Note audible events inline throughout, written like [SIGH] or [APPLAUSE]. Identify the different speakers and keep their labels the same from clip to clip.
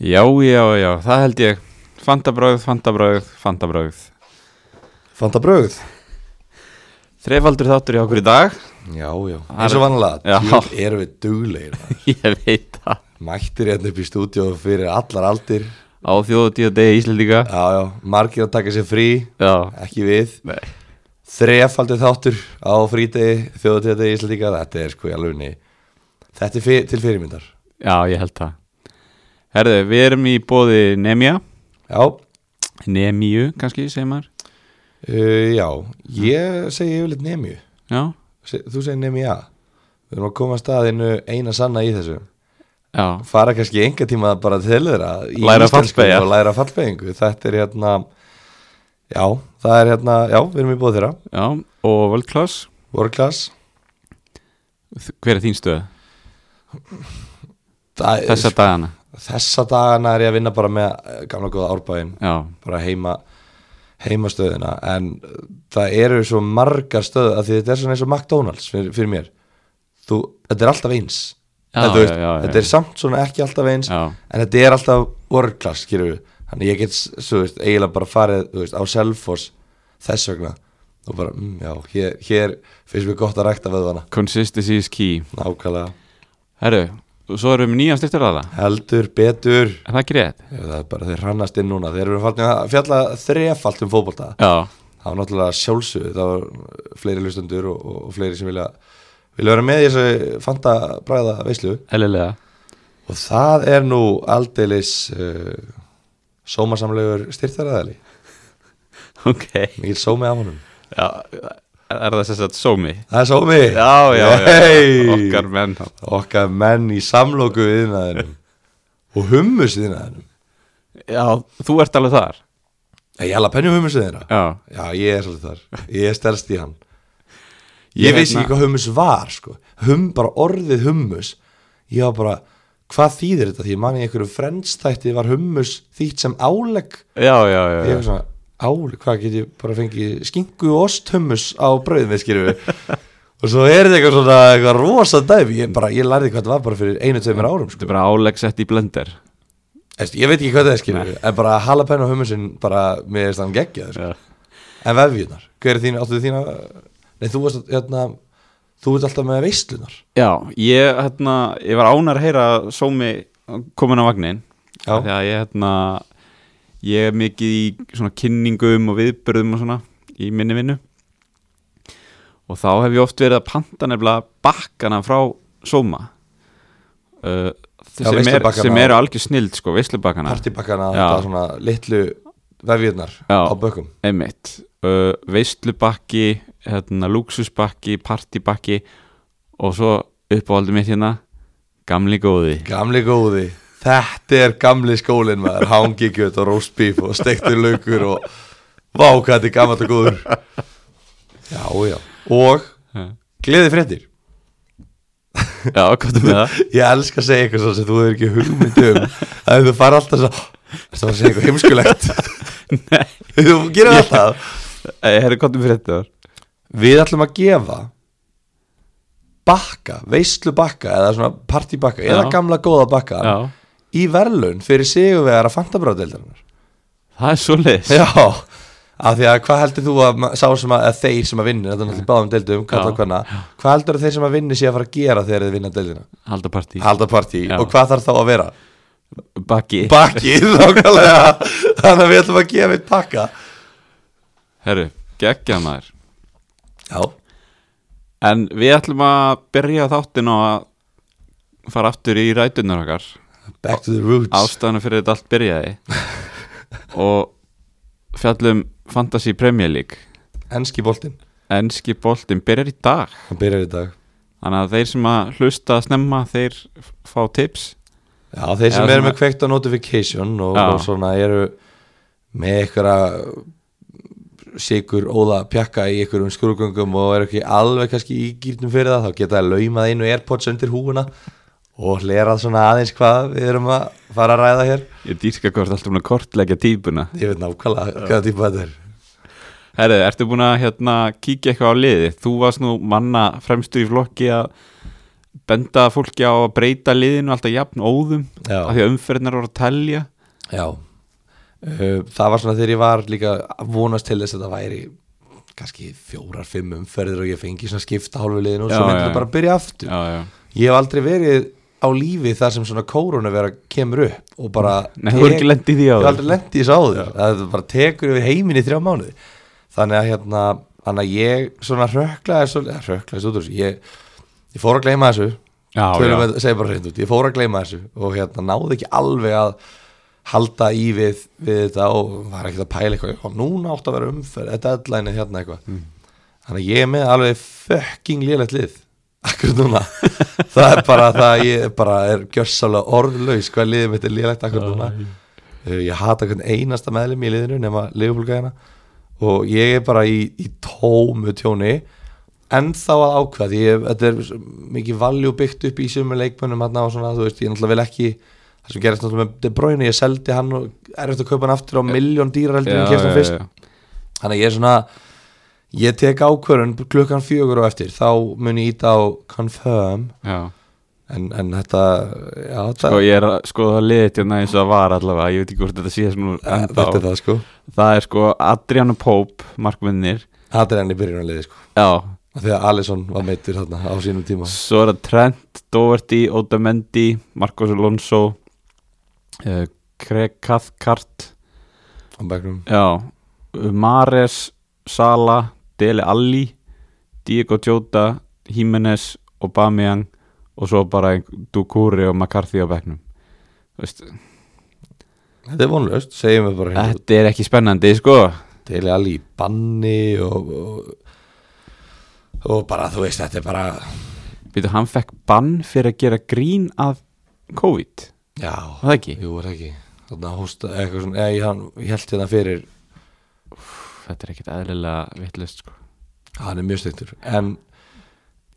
Speaker 1: Já, já, já, það held ég Fantabráð, fantabráð, fantabráð
Speaker 2: Fanta bröð
Speaker 1: Þreifaldur þáttur í okkur í dag
Speaker 2: Já, já, eins og vanlega
Speaker 1: Já.
Speaker 2: Tjóð erum við duglegir maður.
Speaker 1: [LAUGHS] Ég veit það
Speaker 2: Mættir hérna upp í stúdíó fyrir allar aldir
Speaker 1: Á þjóðu tíu degi Íslendinga
Speaker 2: Já, já, margir að taka sér frí
Speaker 1: Já,
Speaker 2: Ekki við
Speaker 1: nei
Speaker 2: Þrefaldur þáttur á frítegi Þjóðatíðategi Íslandíka Þetta er sko í alvegni Þetta er fyr, til fyrirmyndar
Speaker 1: Já, ég held það Herðu, við erum í bóði Nemja
Speaker 2: Já,
Speaker 1: Nemju, kannski, segir maður
Speaker 2: uh, já Ég segi yfirleitt nemi
Speaker 1: Já,
Speaker 2: Þú segir nemi já Við erum að koma að staðinu eina sanna í þessu
Speaker 1: já,
Speaker 2: Fara kannski enga tíma bara til þeirra í
Speaker 1: Læra
Speaker 2: íslensku
Speaker 1: fallbeygja.
Speaker 2: og Læra fallbeigingu Þetta er hérna Já, það er hérna Já, við erum í bóð þeirra
Speaker 1: já Og World Class
Speaker 2: World class
Speaker 1: Þ- Hver er þín stöð?
Speaker 2: Það,
Speaker 1: Þessa dagana
Speaker 2: Þessa dagana er ég að vinna bara með eh, gamla góða árbæðin
Speaker 1: Já,
Speaker 2: bara heima heimastöðina en það eru svo margar stöð að því þetta er svona eins og McDonalds fyrir, fyrir mér þú, þetta er alltaf eins
Speaker 1: Já,
Speaker 2: en, þú veist,
Speaker 1: já, já, já.
Speaker 2: þetta er samt svona ekki alltaf eins
Speaker 1: já,
Speaker 2: en þetta er alltaf world class skilur við, þannig ég get svo, veist, eiginlega bara farið þú veist, á Selfoss þess vegna og bara, mm, já, hér, hér finnst mér gott að rækta vöðvana
Speaker 1: consistency is key
Speaker 2: nákvæmlega,
Speaker 1: Herru, og svo erum við nýjan styrktarraða
Speaker 2: heldur, betur
Speaker 1: Er það ekki rétt?
Speaker 2: Já, það er bara þeir hrannast inn núna þeir eru fallin að fjalla þrefalt um fótbolta
Speaker 1: Já,
Speaker 2: það var náttúrulega sjálfsögðu það var fleiri hlustundur og, og, og fleiri sem vilja vilja vera með í þessu fanta bræða veislu
Speaker 1: eðlilega
Speaker 2: og það er nú aldeilis uh, sómasamlegur styrtaræðali
Speaker 1: Ok
Speaker 2: mikil sómi af honum
Speaker 1: já, Er það sem sagt sómi?
Speaker 2: það er sómi
Speaker 1: Já, já, já,
Speaker 2: Hey!
Speaker 1: okkar menn
Speaker 2: okkar menn í samlóku yðnaðinum og hummus yðnaðinum
Speaker 1: Já, þú ert alveg þar
Speaker 2: ég hella penju hummus yðna
Speaker 1: Já,
Speaker 2: já ég er svolítið þar ég er stelst í hann
Speaker 1: Ég
Speaker 2: Ég vissi
Speaker 1: hérna-
Speaker 2: ekki hvað hummus var sko. hum, bara orðið hummus ég var bara, hvað þýðir þetta því ég man í einhverju frendstætti var hummus þýtt sem álegg
Speaker 1: já, já, já,
Speaker 2: ég var svona, álegg, hvað get ég bara fengið skinku og ost hummus á brauð með skýrfi
Speaker 1: [LAUGHS]
Speaker 2: og svo er þetta eitthvað svona eitthvað rosa dæmi ég, bara, ég lærði hvað þetta var bara fyrir einu, tveimur árum
Speaker 1: Þetta
Speaker 2: sko.
Speaker 1: er bara álegg sett í blender
Speaker 2: Eftir, ég veit ekki hvað það er skýrfi en bara jalapeno hummusin bara með þessan geggja sko.
Speaker 1: Já,
Speaker 2: en vefjunar, hver er þín, áttu þína nei, þú varst hérna, þú ert alltaf með veistlunar
Speaker 1: já ég, hérna, ég var ánar að heyra að sómi komin á vagnin
Speaker 2: Já.
Speaker 1: Því að ég, hérna Ég er mikið í svona kynningum og viðbörðum og svona Í minni vinnu Og þá hef ég oft verið að panta nefnilega bakkana frá sóma uh,
Speaker 2: Já,
Speaker 1: sem, er,
Speaker 2: veislubakkana.
Speaker 1: sem eru algjör snild sko, veislubakkana
Speaker 2: partibakkana
Speaker 1: Já.
Speaker 2: þetta svona litlu vefjurnar
Speaker 1: Já.
Speaker 2: á bökum
Speaker 1: Einmitt, uh, veislubakki, hérna, luxusbakki, partybakki og svo uppáhaldum mitt hérna, gamli góði.
Speaker 2: [LAUGHS] gamli góði þetta er gamli skólinn maður hangi kjöt og roast beef og steiktur laukur og vá hvað þetta er gammalt og góður já já og gleði fréttir
Speaker 1: Já, komdu með það.
Speaker 2: ég elska að segja eitthvað svo sem þú hefur ekki hugmynd um að þú fara alltaf svo það var að segja eitthvað heimskulegt þú gerir alltaf
Speaker 1: Ég herri, komdu fyrir þetta þar.
Speaker 2: við ætlum að gefa bakka, veislu bakka eða svona partybakka, eða
Speaker 1: Já.
Speaker 2: gamla góða bakka
Speaker 1: Já,
Speaker 2: í verðlun fyrir sigurvegar að fantabráðdeildarinnar
Speaker 1: það er svo leiðis.
Speaker 2: Já, af því að hvað heldur þú að ma- sá sem að, að þeir sem að vinni þetta er náttúrulega báðum deildum, kalla
Speaker 1: Já.
Speaker 2: og hvenna hvað heldur þeir sem að vinni sé að fara að gera þegar þeir vinna deildina?
Speaker 1: Halda partí.
Speaker 2: Halda partí
Speaker 1: Já.
Speaker 2: og hvað þarf þá að vera?
Speaker 1: Bakki.
Speaker 2: Bakki, [LAUGHS] nákvæmlega þannig að við ætlum að gefa eitt pakka
Speaker 1: herri, geggja maður.
Speaker 2: Já,
Speaker 1: En við ætlum að byrja þáttin og að fara aftur í rætunar okkar.
Speaker 2: back to the roots
Speaker 1: Ástæðan fyrir þetta allt [LAUGHS] byrjaði. og fjallum Fantasy Premier League.
Speaker 2: Enski boltinn,
Speaker 1: Enski boltinn byrjar í dag.
Speaker 2: hann byrjar í dag
Speaker 1: Þannig að þeir sem að hlusta að snemma þeir f- fá tips
Speaker 2: Já, þeir
Speaker 1: Eða
Speaker 2: sem eru
Speaker 1: svona-
Speaker 2: með kveikt á notification og,
Speaker 1: Já.
Speaker 2: og svona eru með einhverja sigur óða pjakka í einhverjum skrúgöngum og eru ekki alveg kannski ígýrtum fyrir það þá geta að laumað einu airpods undir húuna og hlerað svona aðeins hvað við erum að fara að ræða hér
Speaker 1: Ég dýrka hvort alltaf búin að kortleggja típuna
Speaker 2: ég veit nákvæmlega hvaða típa þetta er
Speaker 1: Herðu, ertu búin að hérna, kíkja eitthvað á liði? Þú varst nú manna fremstur í flokki að benda fólki á að breyta liðinu alltaf jafn óðum
Speaker 2: Já.
Speaker 1: af því að umferðnar voru að telja
Speaker 2: Já Uh, Það var svona þegar ég var líka að vonast til þess að það væri kannski fjórar, fimm umferðir og ég fengi svona skipta hálfulegin og
Speaker 1: Já,
Speaker 2: svo myndi
Speaker 1: já,
Speaker 2: það
Speaker 1: já.
Speaker 2: bara að byrja aftur
Speaker 1: já, já.
Speaker 2: Ég hef aldrei verið á lífi þar sem svona koronavera kemur upp og bara
Speaker 1: Nei, þú hefur ekki lent í því
Speaker 2: Ég hef
Speaker 1: áður.
Speaker 2: aldrei lent í þessu áður það bara tekur yfir heiminn í þrjá mánuði þannig að hérna þannig að ég svona röklaði svo, ja, röklaði svo út úr þessu ég, ég fór að gleyma þessu
Speaker 1: Já,
Speaker 2: Tölum
Speaker 1: já.
Speaker 2: við- segi bara hreint út, ég fór að gleyma þessu og hérna náði ekki alveg að halda í við, við þetta og var ekkert að pæla eitthvað og núna átt að vera umferð, þetta er deadline hérna eitthvað
Speaker 1: Mm.
Speaker 2: þannig að ég er með alveg fucking lélegt lið akkur núna [LAUGHS] það er bara það að ég bara er gjörsálega orðlaus hvað liðið mitt er lélegt akkur núna Uh, ég hata hvern einasta meðlum í liðinu nema liðbúlgæðina og ég er bara í, í tómu tjóni en þá að ákvað ég, þetta er svo mikið valjú byggt upp í sömu leikmönnum hann og svona, þú veist, ég náttúrulega vil ekki það sem gerist náttúrulega með De Bruyne, ég seldi hann og er eftir að kaupa hann aftur á miljón dýrar heldur en kemst hann fyrst, þannig að ég er svona ég tek ákvörun klukkan fjögur og eftir, þá mun ég íta á confirm,
Speaker 1: já.
Speaker 2: en, en þetta já, þetta,
Speaker 1: Sko ég er að skoða að liðið hérna eins og það var allavega ég veit ekki hvort þetta sé sem nú enda
Speaker 2: þetta
Speaker 1: á
Speaker 2: er það sko
Speaker 1: það er sko Adriano Pope markmennir,
Speaker 2: þetta er henni byrjunarliði sko
Speaker 1: já
Speaker 2: Af því að Alisson var meittur þarna á sínum tíma
Speaker 1: Svo er það Trent, Doherty, Otamendi, Marcos Alonso uh, Craig Cathcart
Speaker 2: á backroom
Speaker 1: Já, Mares, Sala, Dele Alli, Diego Jota, Jimenez, Aubameyang og svo bara Dukuri og McCarthy á bekknum. Þú Veist,
Speaker 2: Þetta er vonlöst, segjum við bara hérna
Speaker 1: þetta er ekki spennandi, sko.
Speaker 2: Deli Alli í banni og, og, og bara þú veist þetta er bara
Speaker 1: Býtu, hann fekk bann fyrir að gera grín að COVID,
Speaker 2: Já,
Speaker 1: var það ekki?
Speaker 2: jú er það ekki Þarna hósta eitthvað svona Ég, hann, ég held hérna fyrir
Speaker 1: Þetta er ekkit eðlilega vittlust, sko.
Speaker 2: Hann er mjög stektur En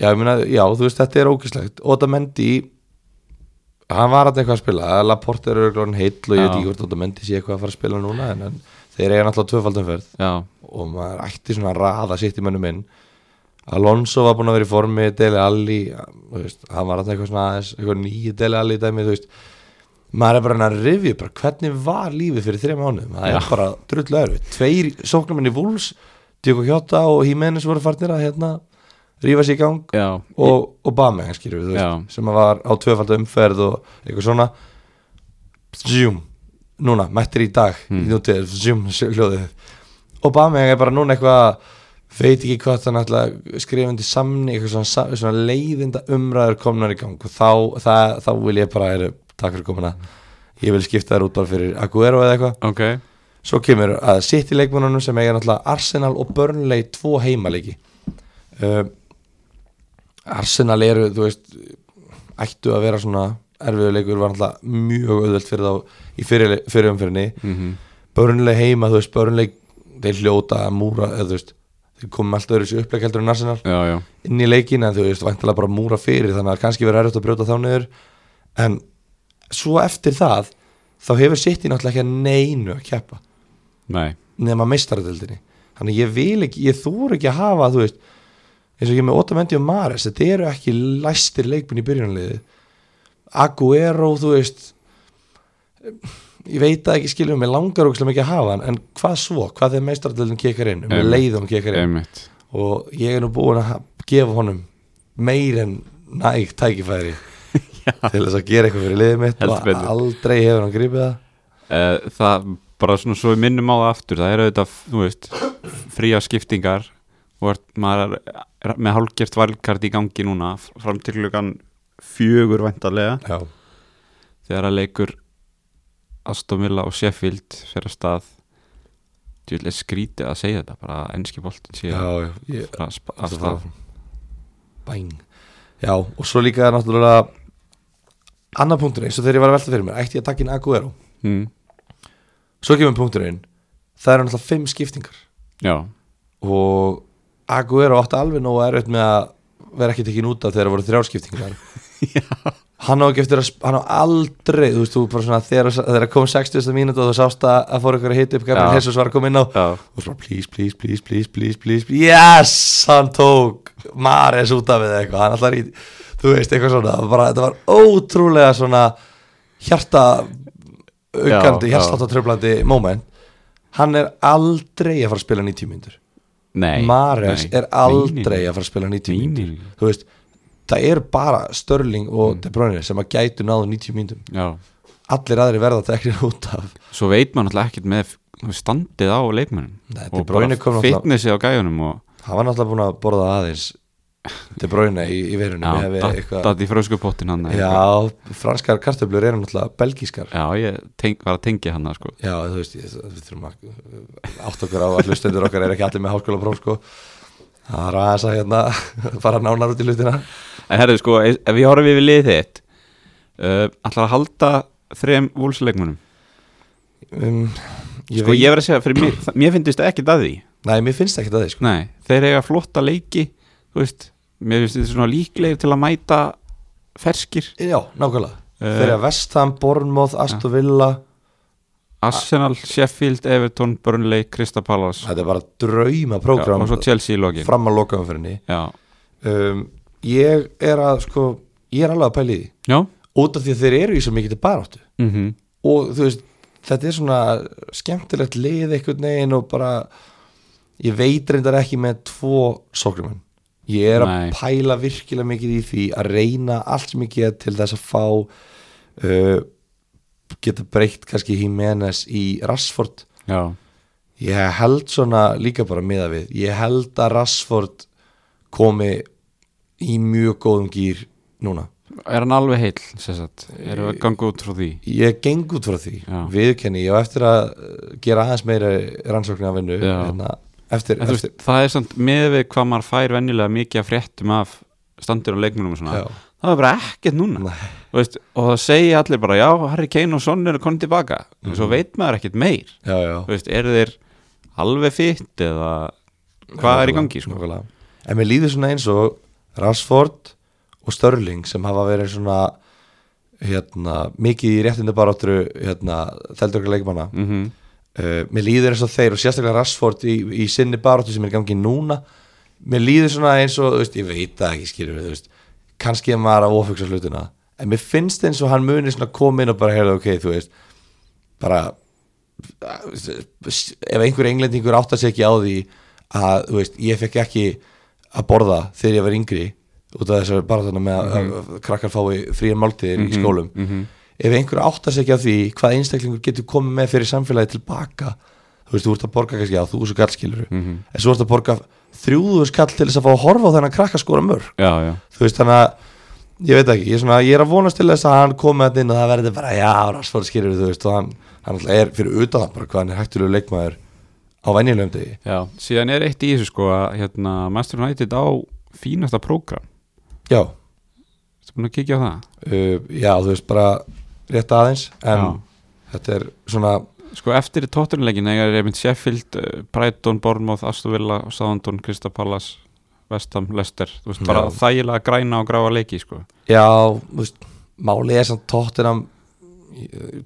Speaker 2: já, ég meina, já, þú veist þetta er ógislegt Otamendi Hann var alltaf eitthvað að spila Laporte er örglóðin heill og ég veit
Speaker 1: Já.
Speaker 2: ekki hvort Otamendi sé eitthvað að fara að spila núna En, en þeir eiga náttúrulega tvöfaldumferð
Speaker 1: Já,
Speaker 2: og maður ætti svona að raða sitt í mönnum inn Alonso var búin að vera í formi Dele Alli, þú veist, hann var alltaf eitthvað svona aðeins, eitthvað nýju Dele Alli í dæmi, þú veist maður er bara að rifja upp bara hvernig var lífið fyrir þrejum mánuðum það er bara drullu öðru tveir sóknumenni Wolves, Diogo Jota og Jimenez voru farnir að hérna rífa sér í gang
Speaker 1: já,
Speaker 2: og, og Bami skýrur, við, þú veist, sem að var á tvöfalda umferð og eitthvað svona zoom, núna, mættir í dag í nútið, zoom, [LAUGHS] hljóðið og Bami er bara núna eitthvað veit ekki hvað það náttúrulega skrifandi samni, eitthvað svona, sa- svona leiðinda umræður komnar í gang og þá, það, þá vil ég bara, er, takk fyrir komuna ég vil skipta þér út bara fyrir Aguero eða eitthvað
Speaker 1: ok.
Speaker 2: Svo kemur að sitt í leikmannunum sem eiga náttúrulega Arsenal og Burnley tvo heimaleiki uh, Arsenal eru, þú veist ættu að vera svona erfiðuleikur var náttúrulega mjög auðvelt fyrir þá í fyrir, fyrir umfyrinni
Speaker 1: Mm -hmm.
Speaker 2: Burnley heima, þú veist, Burnley þeir hljóta að múra, eða, þú veist þeir komum alltaf öðru sér uppleik heldur en Arsenal
Speaker 1: Já, já,
Speaker 2: inn í leikin en þú veist, væntalega bara múra fyrir þannig að kannski verið erfitt að brjóta þá niður en svo eftir það þá hefur sitt í náttúrulega ekki að neinu að keppa
Speaker 1: nei,
Speaker 2: nema meistaradeldinni þannig að ég vil ekki, ég þúr ekki að hafa þú veist, eins og ég er með Otamendi og Mares þetta eru ekki læstir leikmenn í byrjunarliði Aguero þú veist ég veit að ekki skiljum mig langar ógislega mikið að hafa hann, en hvað svo hvað þegar meistaradeldin kekar inn, um
Speaker 1: Einmitt.
Speaker 2: leiðum kekar inn
Speaker 1: einmitt.
Speaker 2: og ég er nú búin að ha- gefa honum meir en næg
Speaker 1: [LAUGHS]
Speaker 2: tækifæri til þess að gera eitthvað fyrir liðið mitt
Speaker 1: Heldur
Speaker 2: og
Speaker 1: betur.
Speaker 2: aldrei hefur hann gripið það
Speaker 1: Eh, það bara svona svo við minnum á það aftur það er auðvitað, þú veist fría skiptingar og er, maður er með hálgert valkart í gangi núna fr- fram til lugan fjögur væntalega
Speaker 2: Já,
Speaker 1: þegar að leikur Aston Villa og Sheffield fer að stað djúlega skrítið að segja þetta bara að enski boltin sé
Speaker 2: já,
Speaker 1: að
Speaker 2: já. Ég,
Speaker 1: fara að spa- af
Speaker 2: Alltaf
Speaker 1: stað
Speaker 2: það Bæn Já, og svo líka er náttúrulega annar punkturinn, eins og þegar ég var að velta fyrir mér ætti ég að taka inn Aguero
Speaker 1: mm,
Speaker 2: Svo kemur punkturinn, það eru náttúrulega fimm skiptingar
Speaker 1: já,
Speaker 2: og Aguero átti alveg nógu erfitt með að vera ekki tekin út af þegar það voru þrjár skiptingar Hann á ekki eftir að sp- hann á aldrei, þú veist, þú bara svona þegar, þegar kom 60. mínútu og þú sást að, að fór ykkur að hita upp Gabriel
Speaker 1: Já.
Speaker 2: Jesus var að koma inn á
Speaker 1: já,
Speaker 2: og svo bara please, please, please, please, please, please, please. yes, hann tók Mares út af við eitthvað hann alltaf í, þú veist, eitthvað svona Það var bara, þetta var ótrúlega svona hjarta aukandi,
Speaker 1: Já, já.
Speaker 2: hjartsláttatröflandi moment hann er aldrei að fara að spila 90 myndur
Speaker 1: Nei
Speaker 2: Mares
Speaker 1: nei,
Speaker 2: er aldrei að fara að spila 90
Speaker 1: Nei,
Speaker 2: myndur
Speaker 1: nei, nei.
Speaker 2: þú veist, það eru bara Störling og
Speaker 1: Mm.
Speaker 2: De Bruyne sem að gætu náðu 90 myndum
Speaker 1: nei. Já
Speaker 2: allir aðri verða þetta ekki út af
Speaker 1: svo veit maður náttúrulega ekkert með þú veist, standið á leikmennum
Speaker 2: Nei, De
Speaker 1: og
Speaker 2: Bruyne
Speaker 1: bara
Speaker 2: kom náttúrulega-
Speaker 1: fitnessi á gæjunum og
Speaker 2: hann var náttúrulega búin að borða aðeins De Bruyne í, í verunum
Speaker 1: já, datt í fröskupottin hann eða eitthvað.
Speaker 2: Já, franskar kartöflur eru náttúrulega belgískar
Speaker 1: já, ég teng, var að tengja hann sko.
Speaker 2: Já, þú veist, ég, við þurfum að átt okkur á að hlustendur okkar er ekki allir með háskóla próf sko Það er aðeins að hérna [LAUGHS] fara nánar út í hlutina
Speaker 1: en herðu sko, ef ef ég horfum yfir liðið þitt uh, ætlar að halda þrem vúlsleikmennum
Speaker 2: um, ég
Speaker 1: sko
Speaker 2: veit,
Speaker 1: ég verð að segja, fyrir mér, það- mér finnst þetta ekkert að því
Speaker 2: Nei, mér finnst ekki það því sko
Speaker 1: nei, þeir eiga flotta leiki þú veist, mér finnst þetta svona líklegir til að mæta ferskir
Speaker 2: Já, nákvæmlega
Speaker 1: Eh.
Speaker 2: Þegar Vestham, Bournemouth, Aston Villa
Speaker 1: Arsenal, Sheffield, Everton, Burnley, Crystal Palace
Speaker 2: Þetta er bara drauma
Speaker 1: já, og
Speaker 2: prógram
Speaker 1: svo Chelsea í lokin
Speaker 2: fram að lokaðum fyrir henni
Speaker 1: já,
Speaker 2: um, Ég er að sko, ég er alveg að pæli því
Speaker 1: já
Speaker 2: Út af því að þeir eru í svo mikið til baráttu
Speaker 1: mm
Speaker 2: og þú veist þetta er svona skemmtilegt lið einhvern veginn og bara ég veit reyndar ekki með tvo sóknumenn, ég er
Speaker 1: Nei.
Speaker 2: að pæla virkilega mikið í því að reyna allt sem ég get til þess að fá uh, geta breytt kannski Jiménez í Rassford
Speaker 1: já
Speaker 2: ég held svona líka bara miða við ég held að Rassford komi í mjög góðum gýr núna
Speaker 1: Er hann alveg heill, sérsagt? Erum við að ganga út frá því?
Speaker 2: ég geng út frá því
Speaker 1: Já.
Speaker 2: viðkenni, ég á eftir að uh, gera aðeins meira rannsóknir af vinnu hérna,
Speaker 1: Já.
Speaker 2: eftir,
Speaker 1: En, þú
Speaker 2: eftir
Speaker 1: veist, það er samt með við hvað maður fær venjulega mikið að fréttum af standur á leikmunum og svona
Speaker 2: Já.
Speaker 1: það er bara ekkert núna
Speaker 2: Nei.
Speaker 1: Þú veist, og það segja allir bara já, Harry Kane og Son eru konið tilbaka en svo veit maður ekkert meir
Speaker 2: já, [LAUGHS] Mhm. já,
Speaker 1: Þú veist, eru þeir alveg fytt eða hvað er í gangi sko?
Speaker 2: Nákvæmlega. en mér líður svona eins og Rashford og Störling sem hafa verið svona hérna, mikið í réttindu barátturu hérna, þeldur okkar leikmanna
Speaker 1: mm
Speaker 2: uh, mér líður eins og þeir og sérstaklega Rashford í, í sinni baráttu sem er í gangi núna mér líður svona eins og þú veist, ég veit það ekki skilur við veist, kannski er maður að ofugsa hlutina en mér finnst eins og hann munir svona koma inn og bara heyrðu ok, þú veist bara ef einhver englendingur áttar sig ekki á því að þú veist, ég fekk ekki að borða þegar ég var yngri út af þess að bara þarna með að að krakkar fái fríar máltíðir í skólum ef einhver áttar sig ekki á því hvað einstaklingur getur komið með fyrir samfélagi tilbaka þú veist, þú ert að borga kannski á þú svo skilur en svo ert að borga þrjúðu skall til þess að fá að horfa á þennan krakka skora mörg
Speaker 1: Já, já,
Speaker 2: þú veist þannig að ég veit ekki, ég er, svona, ég er að vonast til þess að hann komi að inn og það verði bara já, Rashford skýrir þú veist og hann, hann alltaf er fyrir utan það bara hvað hann er hægtulegu leikmaður á venjulegum degi
Speaker 1: já síðan er eitt í þessu sko að hérna, Master United á fínasta prógram
Speaker 2: já,
Speaker 1: Þú búin að kíkja á það?
Speaker 2: uh, já þú veist bara rétt aðeins en
Speaker 1: Já.
Speaker 2: þetta er svona
Speaker 1: Sko eftir tóttunleikin eiga er einmitt Sheffield, eh, Brighton, Bournemouth, Aston Villa, Southampton, Crystal Palace, Vestham, Leicester Þú veist bara
Speaker 2: Já.
Speaker 1: þægilega græna og gráa leiki sko.
Speaker 2: já, þú veist, málið er samt tóttinam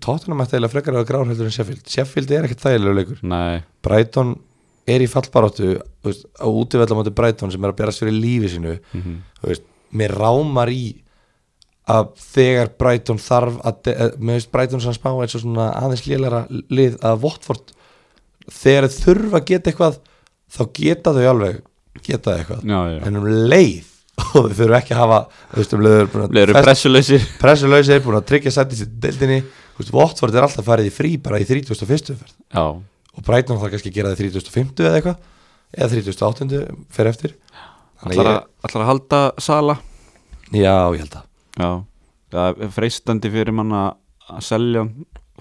Speaker 2: tóttinam ætti eiginlega frekar að gráður heldur en Sheffield Sheffield er ekkert þægilegu leikur
Speaker 1: Nei,
Speaker 2: Brighton er í fallbaróttu þú veist, á útivellamóti Brighton sem er að berast fyrir lífi sínu þú veist, mér rámar í að þegar Brighton þarf að, de- eh, mér veist Brighton svona smá eins og svona aðeins lélæra lið að Votford þegar þau þurfa að geta eitthvað þá geta þau alveg geta eitthvað,
Speaker 1: já, já
Speaker 2: en um leið [LAUGHS] og þau þurfa ekki að hafa þú veist, um leið eru búin að
Speaker 1: Leður
Speaker 2: festa-
Speaker 1: pressuleysir
Speaker 2: pressulausir, búin að tryggja sætti sér deildinni, þú veist, Votford er alltaf farið í frí bara í 31. ferð
Speaker 1: Já,
Speaker 2: og Brighton þarf kannski að gera það í 35. eða eitthvað eða 38. fer eftir Þannig
Speaker 1: ætlar
Speaker 2: að
Speaker 1: að, ætlar að halda sala
Speaker 2: ég, já, ég held að
Speaker 1: Já, það er freistandi fyrir mann að að selja hann,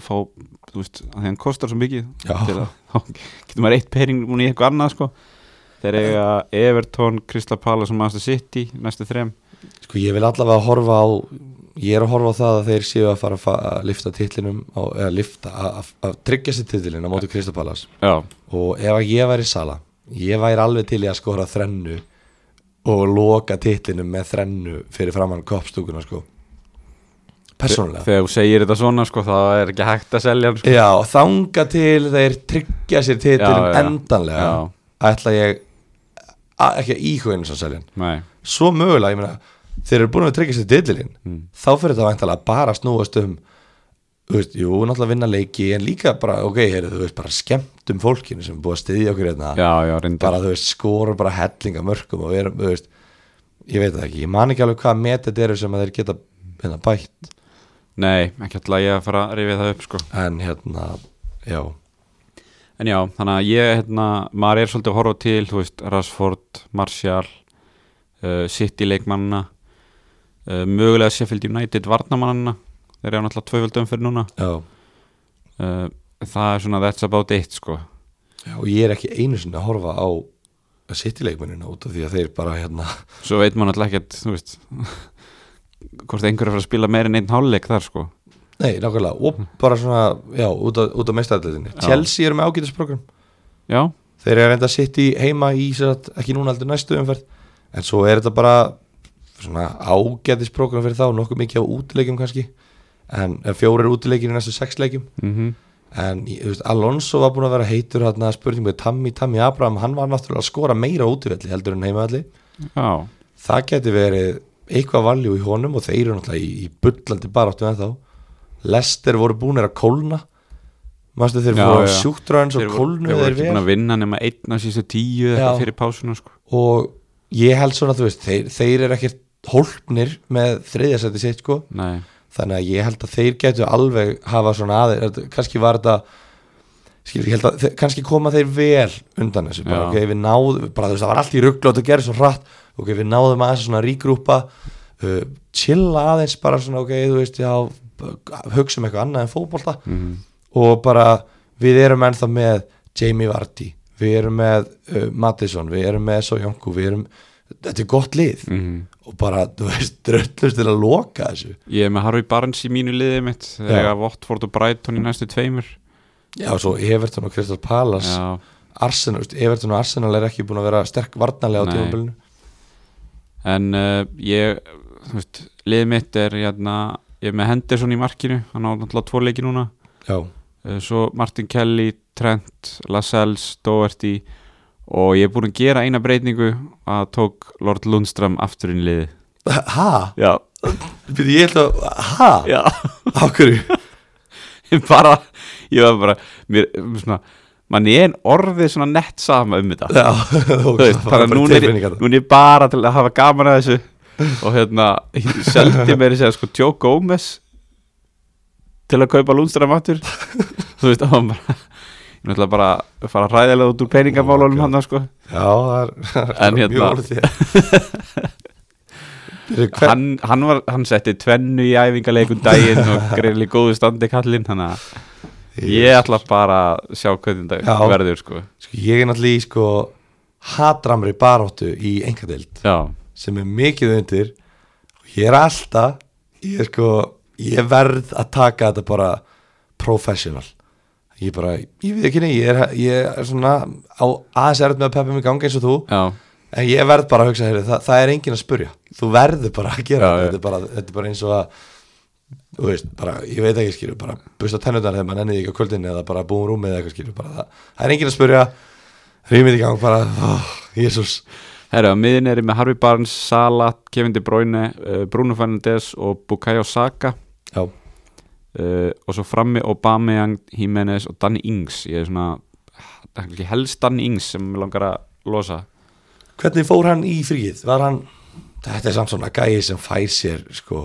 Speaker 1: fá, þú veist, að því hann kostar svo mikið
Speaker 2: Já.
Speaker 1: til að, [LAUGHS] getur maður eitt pering núna í eitthvað annað sko Þeir eiga Everton, Crystal Palace og Master City, næstu þrem
Speaker 2: Sko ég vil allavega horfa á ég er að horfa á það að þeir séu að fara að, fa að lifta titlinum á, eða lifta, að, að, að tryggja sér titlin á mótu Kristapalas
Speaker 1: Já,
Speaker 2: og ef að ég væri sala ég væri alveg til í að skora þrennu og loka titlinum með þrennu fyrir framann koppstúkuna sko persónulega
Speaker 1: Þegar þú segir þetta svona sko það er ekki hægt að selja hann sko.
Speaker 2: Já, þanga til þeir tryggja sér titlinum
Speaker 1: Já, já, já.
Speaker 2: endanlega
Speaker 1: Já.
Speaker 2: ætla ég að, ekki að íhuga einu svo seljan
Speaker 1: Nei,
Speaker 2: svo mögulega, ég meina þeir eru búin að tryggja sér dillilinn
Speaker 1: Hmm.
Speaker 2: þá fyrir það væntalega bara að snúast um þú veist, jú, náttúrulega vinna leiki en líka bara, ok, heyrðu, þú veist, bara skemmtum fólkinu sem er búið að styðja okkur hérna
Speaker 1: Já, já, reyndar
Speaker 2: bara, þú veist, skorum bara hellinga mörgum og við erum, þú veist ég veit það ekki, ég man ekki alveg hvað met þetta eru sem að þeir geta hérna bætt
Speaker 1: Nei, ekki alltaf ég að fara að rifja það upp sko
Speaker 2: en hérna, já
Speaker 1: En já, þannig að ég, hérna, maður er svolítið að horfa til, þú veist, Rashford, Martial, uh, City leikmannina, uh, mögulega Sheffield United varnamannina, þeir eru náttúrulega tvöföldum fyrir núna.
Speaker 2: já,
Speaker 1: Uh, það er svona that's about it, sko.
Speaker 2: já, og ég er ekki einu sinni að horfa á sittileikmunina út af því að þeir bara hérna, [LAUGHS]
Speaker 1: Svo veit maður náttúrulega ekkert, þú veist, [LAUGHS] hvort einhver er að fara að spila meir en einn hálfleik þar, sko.
Speaker 2: nei, nákvæmlega og bara svona, já, út af, út af meistæðleginni
Speaker 1: Já.
Speaker 2: Chelsea eru með ágætisprogram
Speaker 1: Já,
Speaker 2: þeir eru reynda að sitja heima í sem sagt, ekki núna aldrei næstu umferð en svo er þetta bara svona ágætis prógram fyrir þá, nokkuð mikið á útileikjum kannski, en en fjórir útileikjum í næstu sex leikjum
Speaker 1: mm
Speaker 2: en ég- þú veist, Alonso var búin að vera heitur hérna spurning með Tammy, Tammy Abraham hann var náttúrulega að skora meira á útivelli heldur en heimavelli
Speaker 1: já,
Speaker 2: það geti verið eitthvað valjú í honum og þeir eru náttúrulega í, í bullandi baráttu en þá Lester voru búinir að kólna Mastu, þeir
Speaker 1: Já,
Speaker 2: voru
Speaker 1: já.
Speaker 2: sjúktraðins og
Speaker 1: voru, þeir
Speaker 2: kólnuðu
Speaker 1: voru
Speaker 2: þeir
Speaker 1: ekki
Speaker 2: vel
Speaker 1: búin að vinna nema einn á síðustu tíu
Speaker 2: Já.
Speaker 1: eitthvað fyrir pásuna, sko.
Speaker 2: og ég held svona þú veist, þeir, þeir eru ekkert hólpnir með þriðjasætti sitt sko
Speaker 1: Nei,
Speaker 2: þannig að ég held að þeir getu alveg hafa svona aðeins, kannski var þetta skilur, ég held að þe- kannski koma þeir vel undan þessu, bara
Speaker 1: Já.
Speaker 2: ok, við náðum bara þú veist, það var allt í ruggla og þetta gerði svo hratt ok, við náðum aðeins svona rígrúpa uh, chilla aðeins bara svona ok, þú veist, já hugsa um eitthvað annað en fótbolta
Speaker 1: mhm,
Speaker 2: og bara við erum ennþá með Jamie Vardy, við erum með uh, Mattisson, við erum með Sojónku við erum, þetta er gott lið og bara, þú veist, [LAUGHS] dröllust til að loka þessu
Speaker 1: mhm. ég er með Harvey Barnes í mínu liðið mitt, þegar ja. Watford og Brighton í næstu tveimur.
Speaker 2: Já, og svo Everton og Crystal Palace
Speaker 1: Já,
Speaker 2: Arsenal, veist, Everton og Arsenal er ekki búin að vera sterk varnarlega á
Speaker 1: Nei.
Speaker 2: tímabilinu
Speaker 1: en uh, ég þú veist, liðið mitt er hérna, ég er með Henderson í markinu hann á náttúrulega tvo leiki núna
Speaker 2: Já,
Speaker 1: uh, svo Martin Kelly, Trent Lascelles, Doherty og ég er búin að gera eina breytingu að tók Lord Lundström aftur inn í liðið
Speaker 2: ha?
Speaker 1: Já,
Speaker 2: Byrju, ég held að, ha?
Speaker 1: já,
Speaker 2: Á hverju?
Speaker 1: bara ég var bara, mér, svona manni er orðið svona nett sama um þetta
Speaker 2: Já, [LAUGHS] ok,
Speaker 1: Þú veist, þannig
Speaker 2: það var
Speaker 1: að
Speaker 2: bara
Speaker 1: núna er,
Speaker 2: tilfinningar.
Speaker 1: núna er ég bara til að hafa gaman að þessu og hérna, ég seldi mér að segja sko Joe Gomez til að kaupa Lundström aftur þú veist, það var bara ég ætla bara að fara hræðilega út úr peningamálunum
Speaker 2: Oh my
Speaker 1: hann sko.
Speaker 2: Já, það er, það
Speaker 1: En
Speaker 2: er mjög
Speaker 1: hérna-
Speaker 2: orðið þér Byrju, hver,
Speaker 1: hann, hann, var, hann setti tvennu í æfingarleikun daginn og greiðli góðu standi kallinn þannig að ég ætla bara að sjá hvernig
Speaker 2: Já.
Speaker 1: þetta verður sko.
Speaker 2: sko, Ég er náttúrulega í sko hatramri baróttu í engadeild
Speaker 1: já,
Speaker 2: sem er mikið undir og ég er alltaf ég, er sko, ég verð að taka þetta bara professional ég bara, ég veit ekki ney ég er, ég er svona á aðeins erut með að peppa mig í gangi eins og þú
Speaker 1: já,
Speaker 2: en ég verð bara að hugsa, heyri, það, það er engin að spurja þú verður bara að gera
Speaker 1: Já, já.
Speaker 2: þetta þetta er, bara, þetta er bara eins og að þú veist, bara, ég veit ekki skilur bara busta tennutnar þegar maður nennið ekki á kvöldinni eða bara búum rúmið eða eitthvað skilur bara, það, það er engin að spurja rýmið í gang bara, oh, jésús
Speaker 1: Herra, á miðin er ég með Harvey Barnes, Salah, Kevin De Bruyne, uh, Bruno Fernandes og Bukayo Saka
Speaker 2: já,
Speaker 1: uh, og svo frammi Aubameyang, Jimenez og Danny Ings ég er svona, það er kannski helst Danny Ings sem mig langar að losa
Speaker 2: Hvernig fór hann í fríið? Var hann, þetta er samt svona gæi sem fær sér sko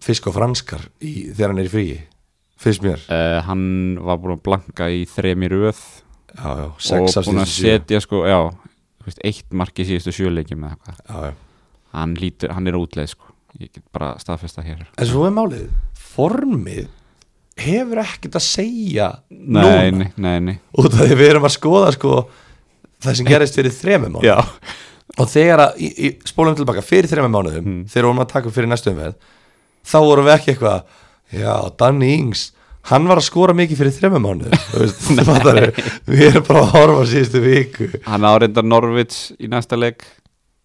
Speaker 2: fisk og franskar í, þegar hann er í fríi finnst mér
Speaker 1: uh, hann var búin að blanka í þremi röð
Speaker 2: já, já,
Speaker 1: og
Speaker 2: sex af
Speaker 1: búin að
Speaker 2: síðustu sjö.
Speaker 1: setja sko, já þú veist, eitt marki síðustu sjöleikjum eða eitthvað
Speaker 2: já, já.
Speaker 1: hann, lítur, hann er útleið sko ég get bara staðfesta hér
Speaker 2: en svo er málið formið hefur ekkert að segja
Speaker 1: nei,
Speaker 2: núna
Speaker 1: nei, nei, nei
Speaker 2: út af því við erum að skoða sko það sem gerist fyrir þremum mánuðum
Speaker 1: já,
Speaker 2: og þegar að, í, í, spólum tilbaka fyrir þremum mánuðum þegar vorum að taka upp fyrir næstu umveð þá vorum við ekki eitthvað já, Danny Ings, hann var að skora mikið fyrir þremur mánuðum [LAUGHS] þú veist, fattarðu? við erum bara að horfa á síðustu viku
Speaker 1: hann áreindar Norvits í næsta leik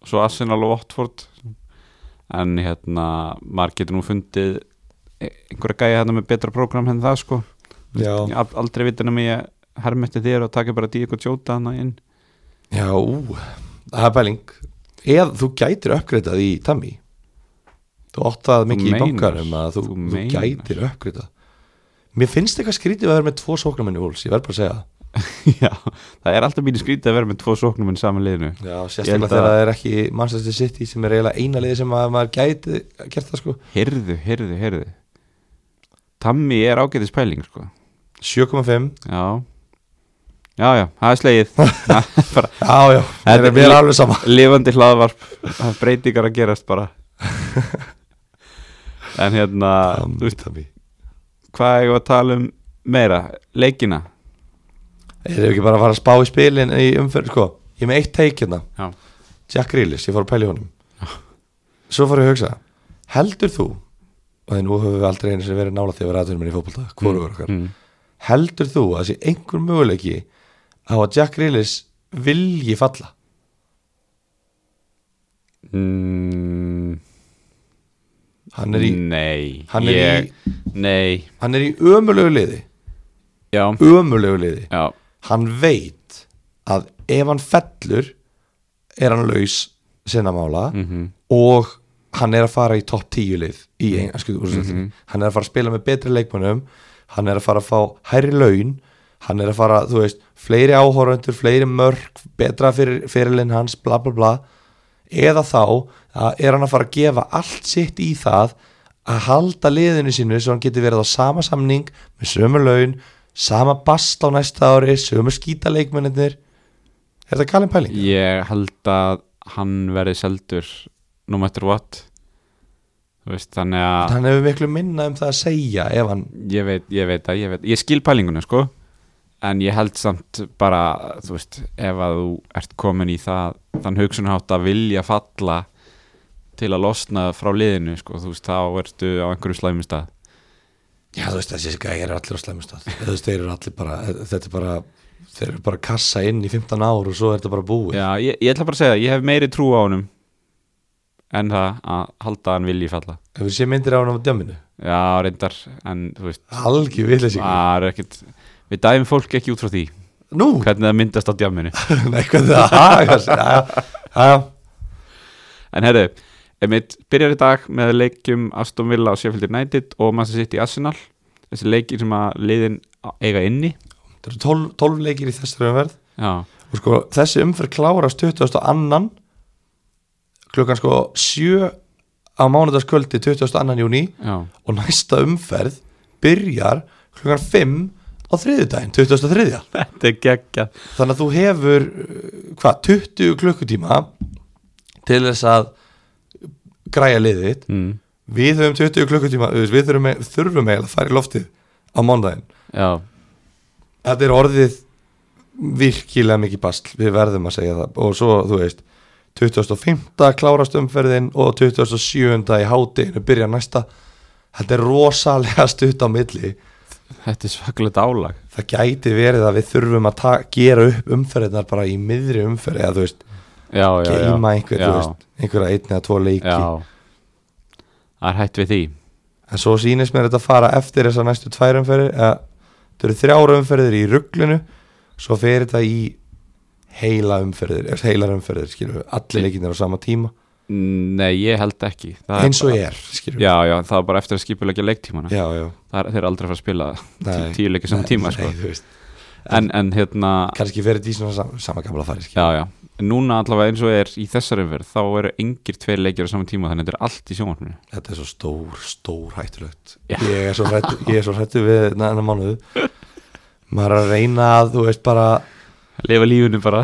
Speaker 1: svo Arsenal og Watford en hérna maður getur nú fundið einhverja gæja hérna með betra prógram henni það sko
Speaker 2: já,
Speaker 1: ég haf aldrei vita nema ég hermetti þér og taka bara dík og tjóta hana inn [LAUGHS]
Speaker 2: já ú, það er pæling eða þú gætir uppgreitað í Tammy þú átt það mikið í
Speaker 1: meinar,
Speaker 2: bankarum að þú,
Speaker 1: þú
Speaker 2: þú,
Speaker 1: meinar.
Speaker 2: gætir uppgriða mér finnst eitthvað skrítið að vera með tvo sóknarmenni vúls, ég verð bara að segja það.
Speaker 1: Já, það er alltaf mínu skrítið að vera með tvo sóknumenn saman liðinu
Speaker 2: já,
Speaker 1: Ég held
Speaker 2: sérstaklega
Speaker 1: að-
Speaker 2: þegar það er ekki Manchester City sem er eiginlega eina liði sem að maður gæti gert það sko
Speaker 1: Heyrðu, heyrðu, heyrðu Tammy er ágætis pæling sko
Speaker 2: 7,5,
Speaker 1: Já Já, já, það er slegið Það er bara
Speaker 2: já já,
Speaker 1: Þetta
Speaker 2: mér
Speaker 1: er
Speaker 2: er, mér er
Speaker 1: lí-
Speaker 2: alveg sama
Speaker 1: Lifandi hlaðvarp Það er breytingar að gerast
Speaker 2: [LAUGHS]
Speaker 1: bara En hérna
Speaker 2: Um.
Speaker 1: þú veist,
Speaker 2: Tammy.
Speaker 1: Hvað eigum við að tala um meira? Leikina?
Speaker 2: Erum við ekki bara að fara að spá í spilin í umferð, sko, ég er með eitt teik hérna
Speaker 1: Já
Speaker 2: Jack Grealish, ég fór að pæla í honum Svo fór ég að hugsa Heldur þú og nú höfum við aldrei einu sem verið nála því að vera aðtunum í fótbolta, hvorugur okkar
Speaker 1: mm.
Speaker 2: Heldur þú að þessi einhver möguleiki á að Jack Grealish vilji falla?
Speaker 1: Mm.
Speaker 2: Hann er í,
Speaker 1: Nei
Speaker 2: hann er
Speaker 1: ég, Nei
Speaker 2: hann er í ömulegu liði
Speaker 1: Já,
Speaker 2: ömulegu liði
Speaker 1: já
Speaker 2: Hann veit að ef hann fellur er hann laus sinna mála
Speaker 1: mm -hmm.
Speaker 2: og hann er að fara í topp 10 lið í engansku úrstættinni hann er að fara að spila með betri leikmönnum hann er að fara að fá hærri laun hann er að fara, þú veist, fleiri áhorfundur fleiri mörg, betra fyrir, fyrirlinn hans, bla bla bla eða þá að er hann að fara að gefa allt sitt í það að halda liðinu sínu svo hann geti verið á sama samning með sömu laun sama bast á næsta ári sömu skítaleikmennir er þetta kallin pæling?
Speaker 1: Ég held að hann verði seldur no matter what Þú veist, þannig að
Speaker 2: hann hefur miklu minna um það að segja ef hann
Speaker 1: ég veit, ég veit að ég veit ég skil pælinguna sko en ég held samt bara þú veist, ef að þú ert komin í það þann hugsunhátt að vilja falla til að losna frá liðinu sko, þú veist, þá ertu á einhverju slæmum stað
Speaker 2: Já, þú veist, þessi gæði eru allir á slæmum [LAUGHS] stað Þú veist, þeir eru allir bara, þetta er bara þeir eru bara að kassa inn í 15 ár og svo er þetta bara búið
Speaker 1: Já, ég, ég ætla bara að segja, það, ég hef meiri trú á honum en það að halda að hann vilji falla
Speaker 2: Hefur sé myndir á hann á djáminu?
Speaker 1: Já, reyndar, en þú veist
Speaker 2: Algjör villis ykkur
Speaker 1: það er ekkert við dæfum fólk ekki út frá því
Speaker 2: Nú,
Speaker 1: hvernig það myndast á djamminu
Speaker 2: [LAUGHS] nei, hvað það hagast Já, já, já,
Speaker 1: en herru, emitt byrjar í dag með leikjum Aston Villa og Sheffield United og Manchester City Arsenal þessi leikir sem að liðin á- eiga inni
Speaker 2: það eru 12, 12 leikir í þessari umverð
Speaker 1: já,
Speaker 2: og sko, þessi umferð klárast 20. annan klukkan sko 7 á mánudaskvöldi 22. annan júni
Speaker 1: já,
Speaker 2: og næsta umferð byrjar klukkan 5 á þriðudaginn, 23.
Speaker 1: þetta er geggja
Speaker 2: þannig að þú hefur uh, hvað, 20 klukkutíma til þess að græja liðið þitt
Speaker 1: mm,
Speaker 2: við höfum 20 klukkutíma, þú veist, við þurfum, þurfum eiginlega að fara í loftið á mondaginn
Speaker 1: já,
Speaker 2: þetta er orðið virkilega mikið bastl, við verðum að segja það og svo, þú veist 2005. klárast umferðin og 2007. í hátinu byrja næsta þetta er rosalega stutt á milli
Speaker 1: þetta er svaklega dálag
Speaker 2: það gæti verið að við þurfum að ta- gera upp umferðinar bara í miðri umferð eða þú veist,
Speaker 1: já, já, já,
Speaker 2: geima einhver,
Speaker 1: já,
Speaker 2: þú veist, einhverja einn eða tvo leiki
Speaker 1: já það er hætt við því
Speaker 2: en svo sýnist mér þetta fara eftir þessar næstu tvær umferðir eða, þetta eru þrjár umferðir í rugglinu svo fer þetta í heila umferðir, eða heilar umferðir skilur við, allir leikinir á sama tíma
Speaker 1: nei, ég held ekki Það er
Speaker 2: eins og
Speaker 1: bara-
Speaker 2: er, skilur við
Speaker 1: já, já, það er bara eftir að skipulegja leiktímana
Speaker 2: já, já,
Speaker 1: það er, þeir eru aldrei að fara að spila
Speaker 2: Nei.
Speaker 1: tíu leikir saman tíma
Speaker 2: nei,
Speaker 1: sko.
Speaker 2: þú veist,
Speaker 1: en, en hérna
Speaker 2: kannski fer þetta í svona sama, sama gamla fari skilur
Speaker 1: Já, já, En núna allavega eins og er í þessari umverð þá eru engir tveir leikir á saman tíma þannig að þetta er allt í sjónvarpinu
Speaker 2: við. þetta er svo stór, stór hættulegt
Speaker 1: Já.
Speaker 2: ég er svo hrættu, ég er svo hrættu við næna mánuðu maður er að reyna að, þú veist, bara
Speaker 1: Lifa lífinu bara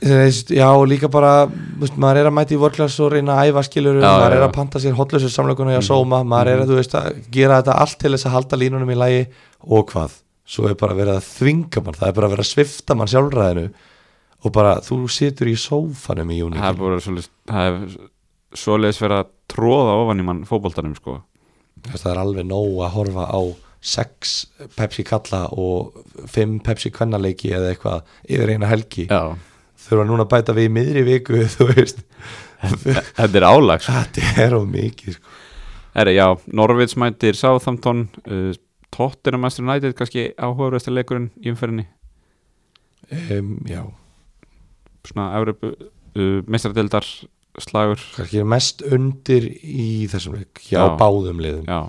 Speaker 2: Þú veist, Já, og líka bara, þú veist, maður er að mæta í vorklass og reyna að æfa skilur
Speaker 1: Já,
Speaker 2: maður
Speaker 1: já,
Speaker 2: er
Speaker 1: já. Mhm.
Speaker 2: að panta sér hotlusur samlökunu og sóma, maður er að, þú veist, að gera þetta allt til þess að halda línunum í lægi og hvað, svo er bara verið að þvinga mann, það er bara verið að svifta mann sjálfræðinu og bara, þú situr í sófanum í
Speaker 1: [LAUGHS]
Speaker 2: júni
Speaker 1: Það er bara svoleiðis, það er svoleiðis verið að tróða ofan í mann fótboltanum sko
Speaker 2: það er alveg nóg að horfa á sex Pepsi kalla og fimm Pepsi kvennaleiki eða eitthvað yfir eina helgi,
Speaker 1: Já,
Speaker 2: þurfa núna að bæta við í miðri viku, [LAUGHS] þú veist [LAUGHS]
Speaker 1: þetta er álag sko
Speaker 2: þetta er of mikið, sko
Speaker 1: Herri, já, Norvits mætir Southampton uh, Tottenham Master United kannski áhugaverðasta leikurinn í umferðinni
Speaker 2: Um, já,
Speaker 1: svona Evropu, uh, meistradeldar slagur
Speaker 2: kannski er mest undir í þessum leik hjá
Speaker 1: Já.
Speaker 2: báðum liðum
Speaker 1: Já uh,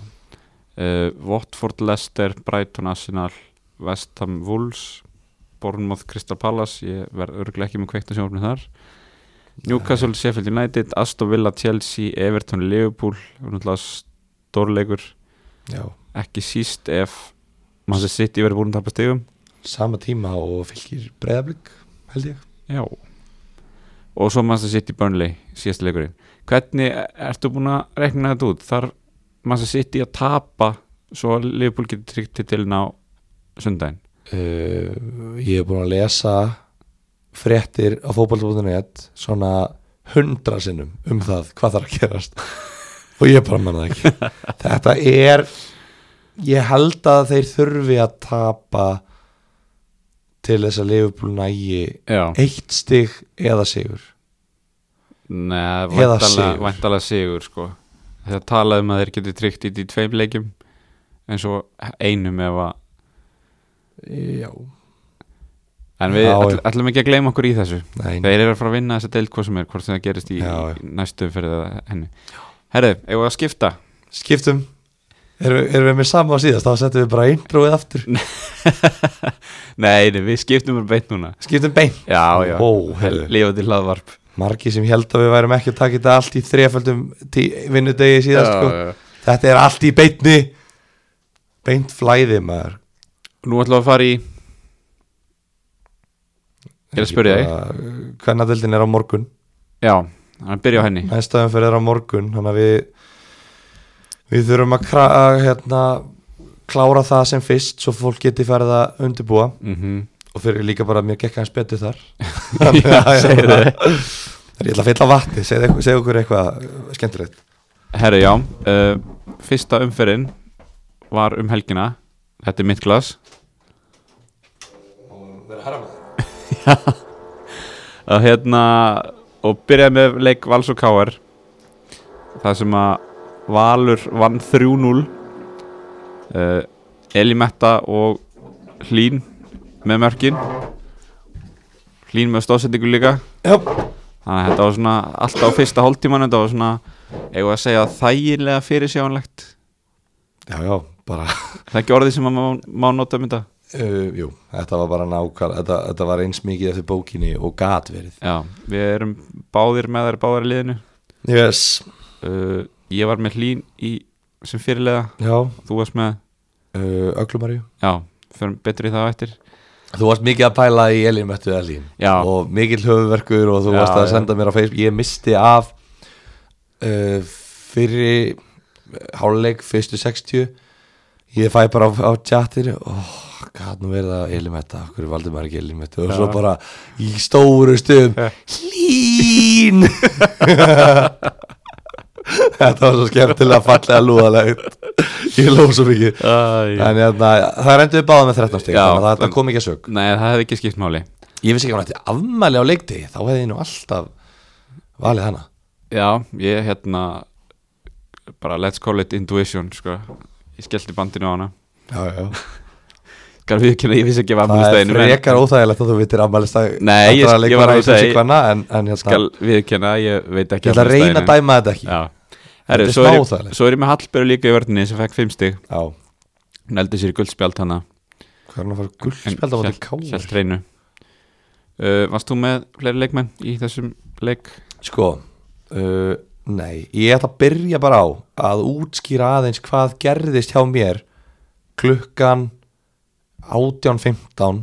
Speaker 1: Watford, Leicester, Brighton, Arsenal West Ham, Wolves Bournemouth, Crystal Palace ég verð örglega ekki með kveikta sjófni þar Newcastle, Sheffield United Aston Villa, Chelsea, Everton, Liverpool og náttúrulega stórleikur
Speaker 2: Já.
Speaker 1: ekki síst ef mann sem sitt í verið búin að tapa stegum
Speaker 2: sama tíma og fylgir breyðablík held ég
Speaker 1: Já Og svo Manchester City Burnley síðasta leikurinn Hvernig ertu búin að rekna þetta út? Þar Manchester City að tapa svo að Liverpool getur tryggt til tilin á sundaginn
Speaker 2: uh, ég hef búin að lesa fréttir á fótballtofnunni svona hundra sinnum um það hvað þarf að
Speaker 1: [LAUGHS]
Speaker 2: gerast og ég bara manna það ekki þetta er ég held að þeir þurfi að tapa til þess að Liverpool nægi
Speaker 1: Já
Speaker 2: eitt stig eða sigur
Speaker 1: Nei,
Speaker 2: Eða
Speaker 1: væntalega,
Speaker 2: sigur.
Speaker 1: væntalega sigur sko Þegar talaði um að þeir getur tryggt í því tveim leikjum en svo einum ef að
Speaker 2: já,
Speaker 1: En við
Speaker 2: Já,
Speaker 1: ætl,
Speaker 2: já.
Speaker 1: ætlum ekki að gleyma okkur í þessu
Speaker 2: nei,
Speaker 1: Þeir eru að fara að vinna þessa deild hvað sem er hvort sem það gerist í,
Speaker 2: Já, já.
Speaker 1: í næstu fyrir henni Herðu, eigum við að skipta?
Speaker 2: skiptum erum, við- erum við með sama á síðast, þá settum við bara introið aftur,
Speaker 1: [LAUGHS] Nei, nei, við skiptum bara beint núna
Speaker 2: skiptum bein
Speaker 1: Já, já,
Speaker 2: Ó, heyrðu.
Speaker 1: lífandi hlaðvarp
Speaker 2: margi sem held að við værum ekki að taka þetta allt í þreföldum tí- vinnudegi síðast sko. þetta er allt í beintni beint flæði maður
Speaker 1: Nú ætlum við að fara í Ég er að spyrja þig
Speaker 2: hvernig að deildin eh, er á morgun
Speaker 1: Já, hann byrja á henni
Speaker 2: næstaðum fyrir er á morgun þannig að við við þurfum að, kra, að hérna, klára það sem fyrst svo fólk geti farið að undirbúa
Speaker 1: mm
Speaker 2: og fyrir líka bara að mér gekk hans betur þar
Speaker 1: [LAUGHS] Já, segirðu.
Speaker 2: Ég ætla að fylla vatni, segðu segðu okkur eitthvað eh, skemmtilegt
Speaker 1: Herru, já uh, Fyrsta umferðin var um helgina Þetta er mitt glas [LAUGHS] Og hérna Og byrjaði með leik Vals og Káar Það sem að Valur vann 3-0 uh, Elimetta og Hlín með mörkin Hlín með stóðsendingu líka
Speaker 2: Já,
Speaker 1: Þannig að þetta var svona alltaf á fyrsta hóltíman þetta var svona, eigum við að segja þægilega fyrirsjáanlegt
Speaker 2: já, já bara
Speaker 1: Það er ekki orðið sem að má, má nota um þetta
Speaker 2: Uh, jú, þetta var bara nákvæm þetta, þetta var eins mikið eftir bókinni og gat verið
Speaker 1: Já, við erum báðir með þær báðar í liðinu
Speaker 2: Yes
Speaker 1: uh, Ég var með hlín í, sem fyrirlega
Speaker 2: Já,
Speaker 1: Þú varst með,
Speaker 2: uh, Öglumarju
Speaker 1: já, fyrir betur í það á eftir
Speaker 2: Þú varst mikið að pæla í Elin Möttu Elin
Speaker 1: Já.
Speaker 2: Og mikill höfuverkur og þú
Speaker 1: Já,
Speaker 2: varst að
Speaker 1: já.
Speaker 2: senda mér á Facebook Ég misti af uh, Fyrir Háluleik, fyrstu 60 Ég fæ bara á, á tjattir oh, Gat nú verið að Elin Mötta Hverju valdi maður ekki Elin Möttu Og
Speaker 1: Já.
Speaker 2: svo bara í stóru stöðum Hlín [LAUGHS] Þetta var svo skemmtilega fallega lúðalegt Ég lóf svo mikið
Speaker 1: Æ.
Speaker 2: Þannig að það er endur báða með 13 stík
Speaker 1: Já,
Speaker 2: Þannig að
Speaker 1: en-
Speaker 2: þetta kom ekki að sög
Speaker 1: Nei, það hefði ekki skipt máli
Speaker 2: Ég vissi ekki að hann ætti afmæli á leikdegi Þá hefði ég nú alltaf valið hana
Speaker 1: Já, ég hérna bara let's call it intuition sko. Ég skellti bandinu á hana
Speaker 2: Já, já
Speaker 1: Skal við ekki, ég vissi ekki að var
Speaker 2: Það er
Speaker 1: afmælisdaginu, en-
Speaker 2: frekar óþægilegt að þú vitir afmælistag
Speaker 1: Nei, ég- ég var að segja-
Speaker 2: hana, en, en hérna,
Speaker 1: skal viðkjanna, ég veit
Speaker 2: Ég
Speaker 1: ekki
Speaker 2: ætla að
Speaker 1: afmælisdaginn, en-
Speaker 2: reyna að dæma þetta ekki Já,
Speaker 1: Já. Herru,
Speaker 2: Þetta er
Speaker 1: svo,
Speaker 2: smá
Speaker 1: er ég,
Speaker 2: óþægilegt.
Speaker 1: svo er ég með Hallberg líka í vörninni sem fekk 5 stig
Speaker 2: hvað
Speaker 1: hún eldi sér í guldspjald hana
Speaker 2: er hann að fara
Speaker 1: en
Speaker 2: guldspjald á móti
Speaker 1: hélt-
Speaker 2: káur
Speaker 1: hélt hreinu uh, Varst þú með fleiri leikmenn í þessum leik?
Speaker 2: Sko, uh, nei Ég ætla að byrja bara á að útskýra aðeins hvað gerðist hjá mér klukkan 18.15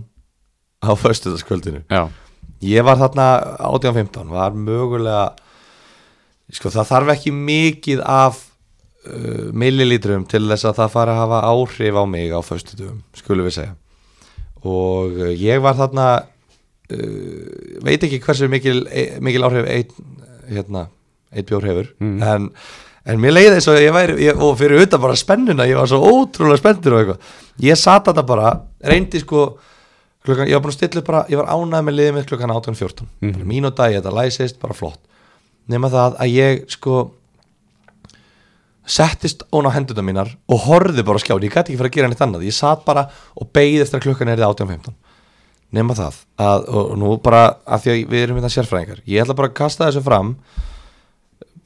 Speaker 2: á föstudagskvöldinu
Speaker 1: Já,
Speaker 2: Ég var þarna 18-15 var mögulega sko það þarf ekki mikið af uh, millilítrum til þess að það fara að hafa áhrif á mig á föstudum, skulum við segja og uh, ég var þarna uh, veit ekki hversu mikil, e, mikil áhrif einn hérna, ein bjór hefur
Speaker 1: Mm.
Speaker 2: en, en mér leiði eins og ég væri ég, og fyrir utan bara spennuna, ég var svo ótrúlega spenntur og eitthvað ég sat þarna bara, reyndi sko klukkan, ég var búin að stilla upp bara, ég var ánægð með liðið mitt klukkan 18.14
Speaker 1: Mhm.
Speaker 2: mm. mín og dag, þetta læsist, bara flott nema það að ég sko settist ón á hendurna mínar og horfði bara á skjáin, ég gæti ekki fyrir að gera neitt annað ég satt bara og beigði eftir að klukkan er 18.15 nema það að, og, og nú bara, af því að við erum hérna sérfræðingar ég ætla bara að kasta þessu fram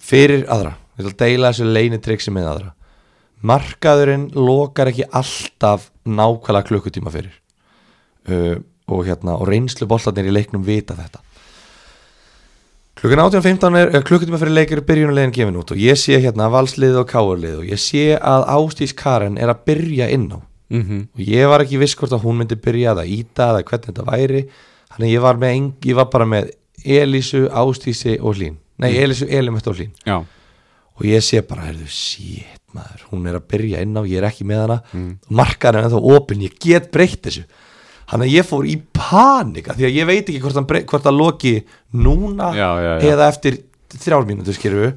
Speaker 2: fyrir aðra ég ætla að deila þessu leynitriksi með aðra markaðurinn lokar ekki alltaf nákvæmlega klukkutíma fyrir uh, og hérna og reynslu boltarnir í leiknum vita þetta klukkan 18.15 er eh, klukkutíma fyrir leikir byrjunulegin gefin út og ég sé hérna valslið og káarlið og ég sé að Ástís Karen er að byrja inn á
Speaker 1: mm -hmm.
Speaker 2: og ég var ekki viss hvort að hún myndi byrja að íta eða hvernig þetta væri þannig að ég var, með, eng- ég var bara með Elísu, Ástísi og Hlín nei, Elísu, Elimett og Hlín
Speaker 1: Já,
Speaker 2: og ég sé bara, heyrðu, shit maður hún er að byrja inn á, ég er ekki með hana
Speaker 1: Mm.
Speaker 2: og markaðan er ennþá opinn, ég get breytt þessu þannig að ég fór í panika því að ég veit ekki hvort, hann brey- hvort að loki núna
Speaker 1: Já, já, já.
Speaker 2: eða eftir þrjár mínútur skilur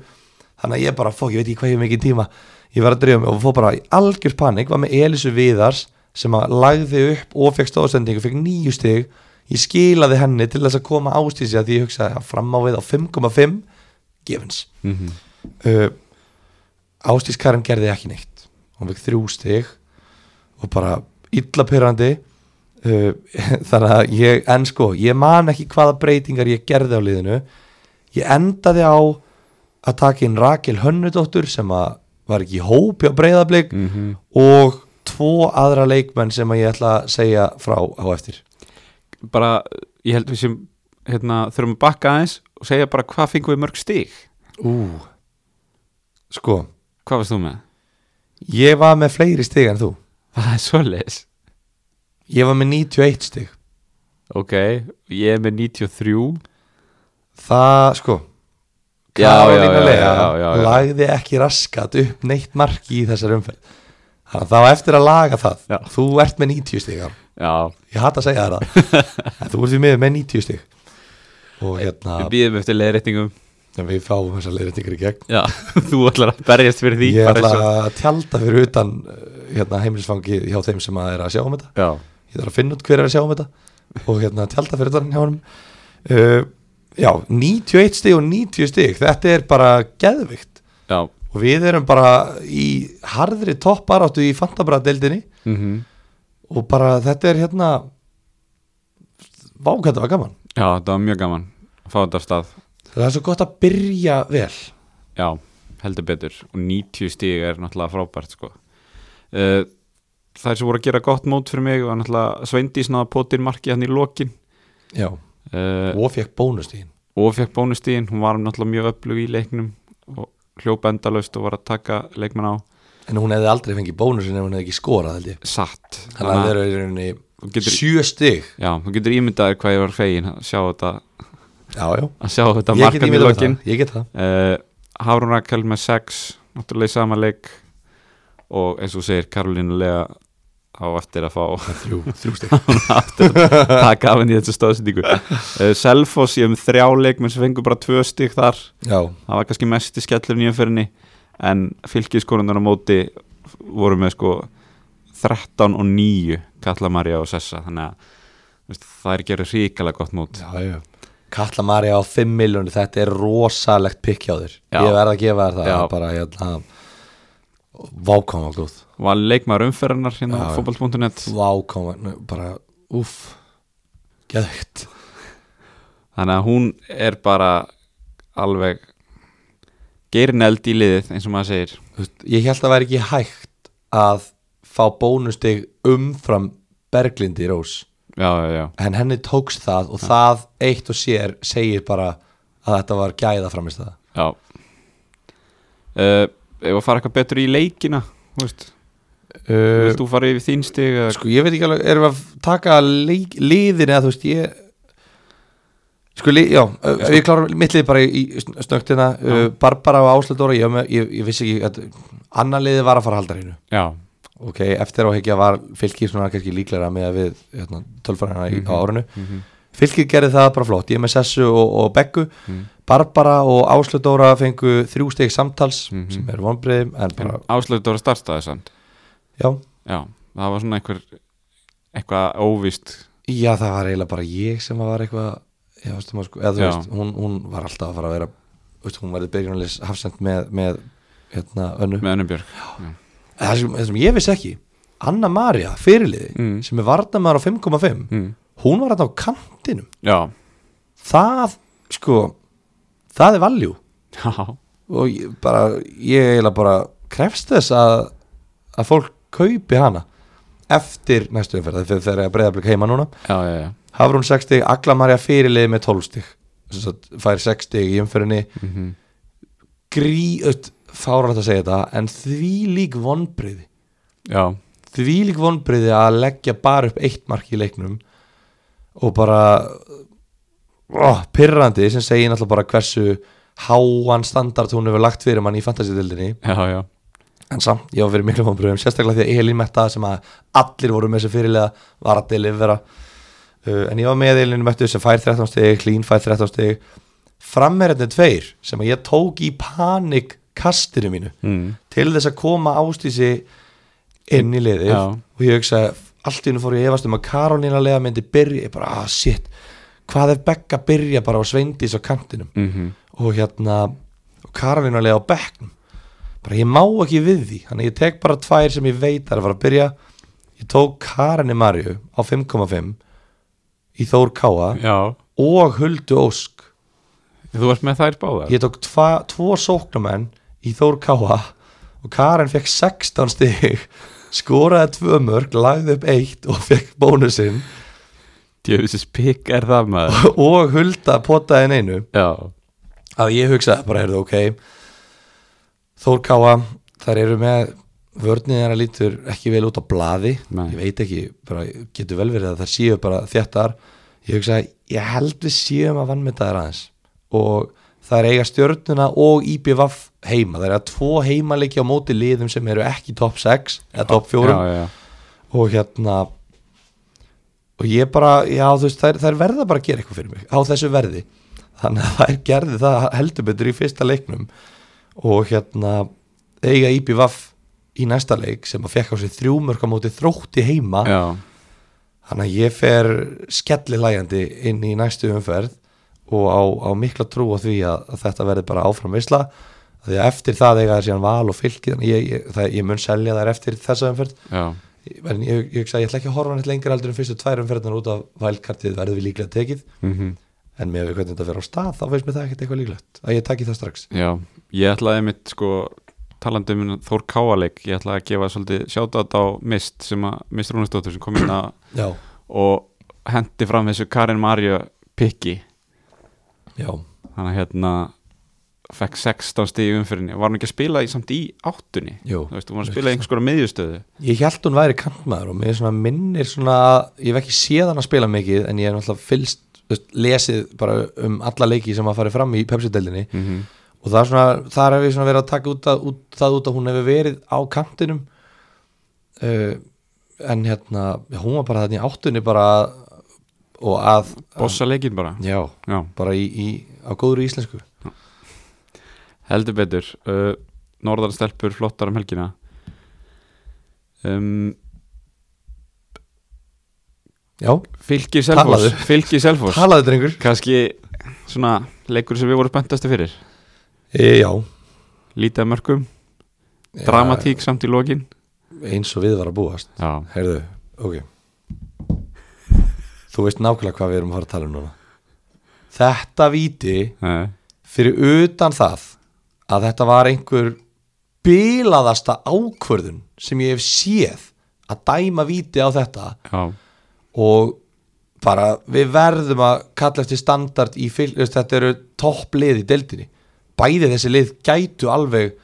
Speaker 2: þannig að ég bara, fók, ég veit ekki hvað ég hef mikið tíma ég var að dreifa mig og fór bara í algjör panik var með Elisu Viðars sem að lagði upp og fekk stóðsendingu fekk nýju stig, ég skilaði henni til þess að koma ástísi að því ég hugsaði að fram á við á 5,5 gefins
Speaker 1: Mhm,
Speaker 2: uh, Ástís Karin gerði ekki neitt hún fekk þrjú stig og bara illa pyrrandi uh, [LAUGHS] þannig að ég en sko, ég man ekki hvaða breytingar ég gerði á liðinu ég endaði á að taka inn Rakel Hönnudóttur sem að var ekki í hópi á breyðablík
Speaker 1: Mm. mhm.
Speaker 2: og tvo aðra leikmenn sem að ég ætla að segja frá á eftir
Speaker 1: bara ég held við sem hérna, þurfum að bakka aðeins og segja bara hvað fengum við mörg stig
Speaker 2: Ú. sko,
Speaker 1: Hvað varst þú með? [LAUGHS]
Speaker 2: ég var með fleiri stig en þú
Speaker 1: Það er svoleiðis
Speaker 2: ég var með 91 stig
Speaker 1: Ok, ég er með 93
Speaker 2: Það, sko
Speaker 1: Já, já,
Speaker 2: Karolína
Speaker 1: já,
Speaker 2: Lea
Speaker 1: já, já, já, já.
Speaker 2: lagði ekki raskat upp neitt marki í þessar umferð Þannig að það var eftir að laga það
Speaker 1: Já.
Speaker 2: Þú ert með 90 stig Aron.
Speaker 1: Já,
Speaker 2: Ég hata að segja þér
Speaker 1: [LAUGHS]
Speaker 2: það En Þú ert því miður með 90 stig Og hérna,
Speaker 1: við býðum eftir leiðréttingum
Speaker 2: við fáum þessar leiðrættingur í gegn
Speaker 1: Já, [LAUGHS] þú ætlar að berjast fyrir því
Speaker 2: Ég
Speaker 1: bara
Speaker 2: ætla
Speaker 1: eins og-
Speaker 2: að tjálta fyrir utan uh, hérna, heimilisfangi hjá þeim sem að er að sjá um þetta
Speaker 1: Já,
Speaker 2: Ég þarf að finna út hver er að sjá um þetta Og hérna, tjálta fyrir utan hjá honum uh, Já, 91 stig og 90 stig Þetta er bara geðvikt
Speaker 1: já
Speaker 2: og við erum bara í harðri topparáttu í fantabræðdeldinni
Speaker 1: mm
Speaker 2: Mhm. og bara þetta er hérna vák þetta var gaman
Speaker 1: Já, það var mjög gaman að fá þetta af stað
Speaker 2: það er svo gott að byrja vel
Speaker 1: Já, heldur betur og 90 stig er náttúrulega frábært sko. uh, Það sem voru að gera gott mót fyrir mig var náttúrulega Sveindís náða pótin marki hann hérna í lokin
Speaker 2: já.
Speaker 1: uh,
Speaker 2: og fekk bónustíðin
Speaker 1: og fekk bónustíðin, hún var náttúrulega mjög öflug í leiknum og hljópa endalaust og var að taka leikmann á
Speaker 2: en hún hefði aldrei fengið bónusin ef hún hefði ekki skorað held ég
Speaker 1: satt
Speaker 2: þannig að það eru í rauninni
Speaker 1: þú getur,
Speaker 2: sjö stig
Speaker 1: já, þú getur ímyndaðir hvað ég var fegin að sjá þetta,
Speaker 2: já, já.
Speaker 1: að sjá þetta
Speaker 2: ég
Speaker 1: markan
Speaker 2: get
Speaker 1: í
Speaker 2: ímyndað mér
Speaker 1: lokin
Speaker 2: það, ég get það.
Speaker 1: uh, Hárun Rakel með 6 náttúrulega í sama leik og eins og þú segir Karolínu Lea á eftir að fá [LAUGHS]
Speaker 2: Þrjú, þrjú stig
Speaker 1: hún á eftir að taka af henni í þessu stóðsendingu uh, Selfoss ég um þrjá leik menn sem fengur bara tvö stygg þar
Speaker 2: já,
Speaker 1: það var kannski mest í skellur nýjumferinni en fylgiskonundan á móti voru með sko 13 og 9 Kalla Maria og Sessa þannig að þú veist, þær gerir ríkalega gott mót
Speaker 2: já, já Kalla Marja á 5 miljónir, þetta er rosalegt pikk hjá þér
Speaker 1: Já.
Speaker 2: Ég verð að gefa þér það,
Speaker 1: Já.
Speaker 2: bara hérna Vákvæm var góð
Speaker 1: var leikmaður umferinnar hérna á
Speaker 2: Já, já.
Speaker 1: fótbolt.net
Speaker 2: Vá, koma, nú, bara, úff Geðvikt
Speaker 1: þannig að hún er bara alveg geirin eld í liðið eins og maður segir
Speaker 2: Þú veist, Ég held að væri ekki hægt að fá bónustig umfram Berglindi Rós
Speaker 1: já, já, já,
Speaker 2: En henni tókst það og það eitt og sér segir bara að þetta var gæða framist það
Speaker 1: já. Uh, ef að fara eitthvað betur í leikina þú veist,
Speaker 2: uh,
Speaker 1: vilt þú fara yfir þín stig eða-
Speaker 2: Sko, ég veit ekki alveg, erum við að taka leik, liðin eða þú veist, ég Sko, li, já, uh, ég klára mitt lið bara í í sn- snöggt hérna uh, Barbara og Áslu Dóra, ég, var með- ég, ég vissi ekki að annan liðið var að fara að halda hreinu
Speaker 1: já,
Speaker 2: ok, eftir áhyggja var fylgir svona kannski líklega með að við hérna, tölfræðina mm á árinu fylgir gerði það bara flott, ég með Sessu og, og Beggu, Barbara og Áslu Dóra fengu þrjú steg samtals sem eru vonbreiðum, en bara
Speaker 1: áslöður að starta þessand
Speaker 2: já,
Speaker 1: já, það var svona einhver eitthvað óvist
Speaker 2: já, það var eiginlega bara ég sem var eitthvað já, veistu, maður, sko, eða, þú
Speaker 1: Já.
Speaker 2: veist, hún, hún var alltaf að fara að vera veistu, hún verði byrjunalis hafsend með, með hérna, önnu
Speaker 1: með Önubjörg já.
Speaker 2: það sem, það sem ég vissi ekki Anna Maria, fyrirliði
Speaker 1: Mm.
Speaker 2: sem er varnamæður á 5,5
Speaker 1: Mm.
Speaker 2: hún var þetta á kantinum
Speaker 1: já, [LAUGHS]
Speaker 2: það sko það er valjú
Speaker 1: já,
Speaker 2: og ég bara, ég eiginlega bara krefst þess að, að fólk kaupi hana eftir næstu umferð, þegar þegar ég að breyða blika heima núna
Speaker 1: já, já, já.
Speaker 2: Hafrún 6 stig, Agla Marja fyrirlið með 12 stig Sem sagt, fær 6 stig í umferðinni
Speaker 1: Mm
Speaker 2: gríut fárætt að segja þetta en því lík vonbriði
Speaker 1: já,
Speaker 2: því lík vonbriði að leggja bara upp eitt mark í leiknum og bara oh, pyrrandi sem segir náttúrulega bara hversu háan standard hún hefur lagt fyrir mann í fantasy-dildinni
Speaker 1: já, já,
Speaker 2: en samt, ég var fyrir miklu vonbröðum sérstaklega því að Elin Metta sem að allir voru með þessu fyrirlega var að delivera uh, en ég var með Elin Metta sem fær 13 stig, Klín fær 13 stig frammerðinu tveir sem að ég tók í panik kastinu mínu
Speaker 1: mm.
Speaker 2: til þess að koma ástísi inn í liðið
Speaker 1: Já.
Speaker 2: og ég hugsa allt í hennu fór ég að efast um að Karolina lega myndi byrja, ég bara, ah shit hvað ef Becca byrja bara á Sveindís á kantinum
Speaker 1: Mm
Speaker 2: og hérna og Karolín alveg á bekknum bara ég má ekki við því þannig ég tek bara tvær sem ég veit að er að fara að byrja ég tók Karinni Marju á 5,5 í Þór Káa
Speaker 1: já
Speaker 2: og Huldu Ósk
Speaker 1: Þú varst með þær báðar?
Speaker 2: ég tók tva, tvo sóknumenn í Þór Káa og Karin fekk 16 stig skoraði tvö mörg, lagði upp eitt og fekk bónusinn
Speaker 1: Djöfisins pikk er það maður
Speaker 2: og Hulda potaði inn einu
Speaker 1: Já,
Speaker 2: að ég hugsaði bara, heyrðu, ok Þór Káa þær eru með vörnið þeirra lítur ekki vel út á blaði
Speaker 1: Nei.
Speaker 2: ég veit ekki, bara getur vel verið að þær séu bara þjættar ég hugsaði, ég held við séum að vannmynda þær aðeins og þær eiga stjörnuna og IBVF heima, þær eiga tvo heimaleiki á móti liðum sem eru ekki top 6 eða top
Speaker 1: já,
Speaker 2: 4
Speaker 1: já, já.
Speaker 2: og hérna og ég bara, já þú veist þær, þær verða bara að gera eitthvað fyrir mig á þessu verði þannig að þær gerði það heldur betur í fyrsta leiknum og hérna eiga IBVF í næsta leik sem að fekk á sig þrjú mörg á móti þrótti heima
Speaker 1: já.
Speaker 2: þannig að ég fer skellilægjandi inn í næstu umferð og á, á mikla trú á því að, að þetta verði bara áfram veisla því að eftir það eiga þær síðan val og fylki þannig að ég, ég, það, ég mun selja þær eftir þessa umferð
Speaker 1: já.
Speaker 2: en ég, ég hugsa að ég ætla ekki að horfa neitt lengur aldrei en fyrstu tværum ferðnar út af vælkartið verðum við líklega tekið
Speaker 1: Mhm.
Speaker 2: en með við hvernig þetta fer á stað þá veist mér það ekkert eitthvað líklegt að ég taki það strax
Speaker 1: já Ég ætlaði mitt sko talandi um þennan Þór Káaleik ég ætlaði að gefa svolítið sjátátt á Mist sem að Mist Rúnastóttur sem kom inn að
Speaker 2: já,
Speaker 1: og hendi fram þessu Karin Marja pikki
Speaker 2: já,
Speaker 1: þannig að hérna fekk 16 stig í umfyrinni var hún ekki að spila í, samt í áttunni
Speaker 2: jú
Speaker 1: þú veist, hún var að spila í einhvers konar meðjustöðu
Speaker 2: ég held hún væri kantmaður og mér svona minnir svona ég hef ekki séð hann að spila mikið en ég hef náttúrulega fylst þú veist, lesið bara um alla leiki sem að fari fram í pepsi-deldinni
Speaker 1: mm -hmm.
Speaker 2: og það er svona, þar hef ég svona verið að taka út að, út, það út að hún hefur verið á kantinum uh, en hérna já, hún var bara þannig áttunni bara og að
Speaker 1: Bossa leikinn bara
Speaker 2: já,
Speaker 1: Já
Speaker 2: bara í, í á góðru íslensku
Speaker 1: Heldur betur uh, Norðan stelpur flottar um helgina um,
Speaker 2: já,
Speaker 1: Fylgir Selfoss
Speaker 2: Talaðu.
Speaker 1: Fylgir Selfoss
Speaker 2: talaðu drengur
Speaker 1: Kanski svona leikur sem við vorum spenntastu fyrir
Speaker 2: e, já,
Speaker 1: Lítið af mörgum,
Speaker 2: Já,
Speaker 1: dramatík samt í lokin
Speaker 2: eins og við var að búast
Speaker 1: Já,
Speaker 2: heyrðu, ok þú veist nákvæmlega hvað við erum að fara að tala um núna þetta víti
Speaker 1: eh,
Speaker 2: fyrir utan það að þetta var einhver bilaðasta ákvörðun sem ég hef séð að dæma víti á þetta
Speaker 1: já,
Speaker 2: og bara við verðum að kalla eftir standard í fylg, þetta eru topplið í deildinni bæði þessi lið gætu alveg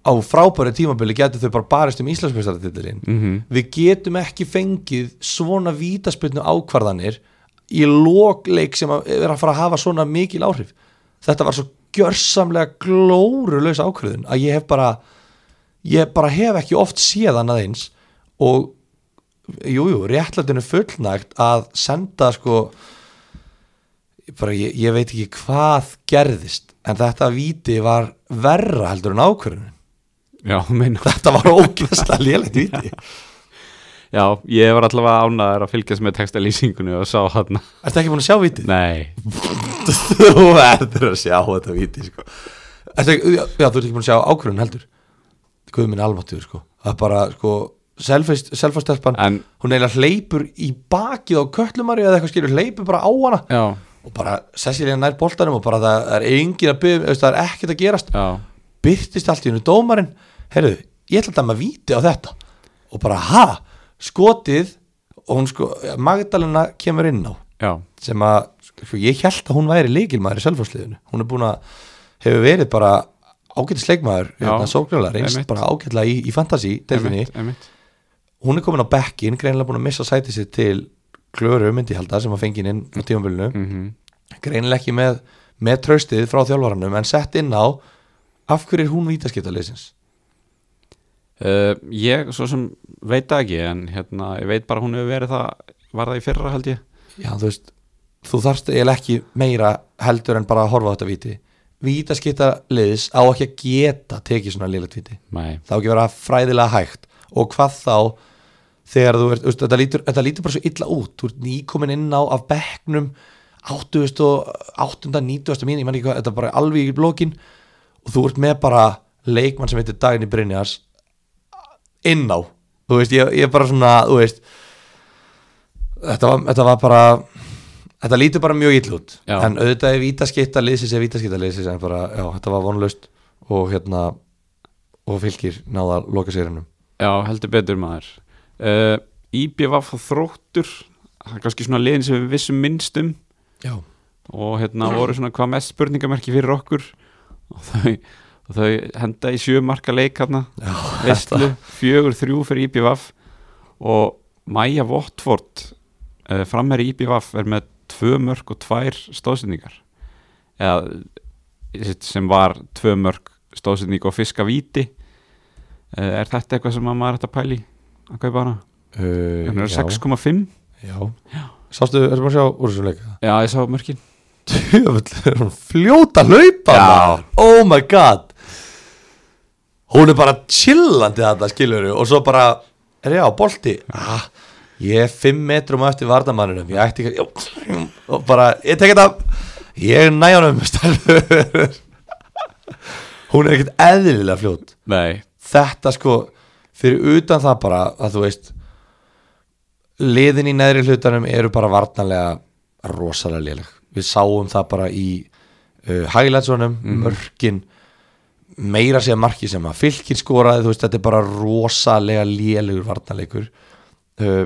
Speaker 2: á frábæru tímabili gætu þau bara barist um Íslandsmeistaratitilin
Speaker 1: mm
Speaker 2: við getum ekki fengið svona vítaspilnu ákvarðanir í lokleik sem að- er að fara að hafa svona mikil áhrif þetta var svo gjörsamlega glórulaus ákvörðun að ég hef bara ég bara hef ekki oft séð annað eins og jújú, jú, réttlætinu fullnægt að senda sko bara ég, ég veit ekki hvað gerðist en þetta víti var verra heldur en ákvörðun
Speaker 1: já, [LAUGHS] meina
Speaker 2: [LAUGHS] þetta var ógeðslega lélegt [LAUGHS] víti
Speaker 1: Já, ég var allavega ánæður að fylgjast með textalýsingunni og sá hann
Speaker 2: Ertu ekki búin að sjá vítið?
Speaker 1: Nei,
Speaker 2: þú verður að sjá þetta víti sko. Ertu ekki, já, já, þú ert ekki búin að sjá ákvörðun heldur Guð minn almáttugur sko Það er bara sko Selfastelpan,
Speaker 1: En-
Speaker 2: hún eiginlega hleypur í bakið á köllumari eða eitthvað skilur, hleypur bara á hana
Speaker 1: já
Speaker 2: og bara Cecilia nær boltanum og bara það er engin að byggja, það er ekkert að gerast
Speaker 1: já,
Speaker 2: byrtist allt í hennu dómarinn heyrðu, ég ætla að dæma víti á þetta og bara ha, skotið og hún sko, Magdalena kemur inn á
Speaker 1: já,
Speaker 2: sem að, sko, ég held að hún væri leikilmaður í selfhásliðinu, hún er búin að hefur verið bara ágætis leikmaður
Speaker 1: Já,
Speaker 2: hérna sóknulega, reynst
Speaker 1: einmitt.
Speaker 2: bara ágætlega í, í fantasy, delfinni,
Speaker 1: einmitt, einmitt
Speaker 2: hún er komin á bekkin greinilega búin að missa sætið sér til glöru myndi ég halda sem að fengið inn á tímabilinu
Speaker 1: mm
Speaker 2: greinilega ekki með, með traustið frá þjálfaranum en sett inn á af hverju er hún vítaskiptaleysins
Speaker 1: uh, Ég, svo sem veit það ekki en hérna, ég veit bara hún hefur verið það var það í fyrra held ég
Speaker 2: já þú veist þú þarfst eiginlega ekki meira heldur en bara að horfa á þetta víti vítaskiptaleys á ekki að geta tekið svona liðlegt víti
Speaker 1: Nei,
Speaker 2: það á ekki að vera fræðilega hægt og hvað þá þegar þú ert, veist, þetta, lítur, þetta lítur bara svo illa út þú ert nýkomin inn á af bekknum 80 og 8. 90. mín, ég man ekki hvað, þetta er bara alveg í blókin og þú ert með bara leikmann sem heitir Dagni Brynjars inn á þú veist, ég, ég er bara svona, þú veist þetta var, þetta var bara þetta lítur bara mjög illa út
Speaker 1: Já.
Speaker 2: en auðvitað er vítaskipta liðsins er vítaskipta liðsins en bara, já, þetta var vonlaust og hérna og fylgir náða loka sérunum
Speaker 1: já, heldur betur maður uh, IBVF og þróttur það er kannski svona liðin sem við vissum um. minnstum
Speaker 2: já,
Speaker 1: og hérna voru svona hvað mest spurningamerki fyrir okkur og þau, og þau henda í sjö marka leik hérna
Speaker 2: já
Speaker 1: Vestlu, fjögur þrjú fyrir IBVF og Maja Votford uh, framherri IBVF er með tvö mörg og tvær stóðsendingar eða sitt sem var tvö mörg stóðsending og fiska víti uh, er þetta eitthvað sem að maður er þetta pæli að kaupa hana?
Speaker 2: uh,
Speaker 1: Hún er
Speaker 2: já,
Speaker 1: 6,5
Speaker 2: já. sástu, erum við að sjá úr þessum leika
Speaker 1: Já, ég sá mörkin
Speaker 2: djöfull, [LAUGHS] er hún fljóta hlaupa
Speaker 1: Já.
Speaker 2: maður. oh my god hún er bara chillandi þetta skilur og svo bara, er ég á bolti ah, ég er fimm metrum á eftir vardamanninum, ég ætti ekki já, og bara, ég tek þetta ég er [LAUGHS] næjanum stelpur. hún er ekkert eðlilega fljót
Speaker 1: Nei,
Speaker 2: þetta sko fyrir utan það bara að þú veist liðin í neðri hlutanum eru bara varnanlega rosalega léleg við sáum það bara í uh, hæglætsvonum, mörkin meira sér marki sem að fylgir skoraði, þú veist, þetta er bara rosalega lélegur varnanleikur uh,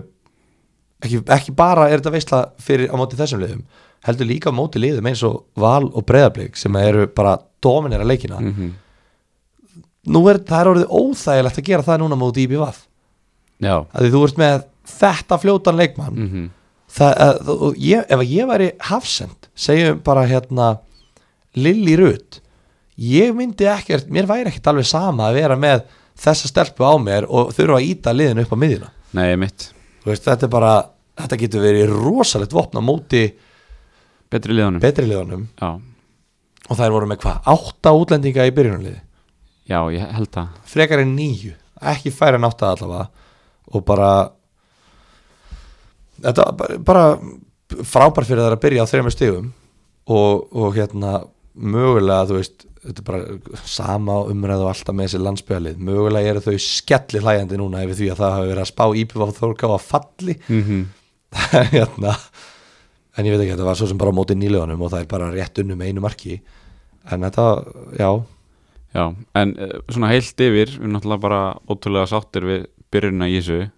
Speaker 2: ekki, ekki bara er þetta veistla fyrir á móti þessum liðum heldur líka á móti liðum eins og val og breyðablík sem eru bara dominera leikina
Speaker 1: Mhm.
Speaker 2: nú er það er orðið óþægilegt að gera það núna móti IBVF
Speaker 1: já
Speaker 2: að því þú ert með þetta fljótan leikmann
Speaker 1: mm
Speaker 2: það, að, þú- og ég, ef að ég væri hafsend segjum bara hérna Lilli Rut ég myndi ekkert, mér væri ekkert alveg sama að vera með þessa stelpu á mér og þurfa að íta liðinu upp á miðjuna
Speaker 1: Nei, mitt
Speaker 2: Þú veist, þetta er bara, þetta getur verið rosalegt vopna móti
Speaker 1: Betri liðanum
Speaker 2: betri liðunum
Speaker 1: Já,
Speaker 2: og þær voru með hvað, átta útlendinga í byrjunarliði
Speaker 1: já, ég held það
Speaker 2: frekar en nýju ekki færi en átta allavega og bara þetta var bara frábær fyrir þær að byrja á þreymur stigum og, og hérna mögulega þú veist þetta er bara sama umræðu og alltaf með þessi landsbjölið mögulega eru þau skelli hlæjandi núna yfir því að það hafi verið að spá íbjöf á þórká að falli [LAUGHS]
Speaker 1: mm -hmm.
Speaker 2: hérna en ég veit ekki, þetta var svo sem bara á móti nýleganum og það er bara rétt unnu með einu marki en þetta, já,
Speaker 1: Já, en eh, svona heilt yfir við náttúrulega bara ótrúlega sáttir við byrjunna í þessu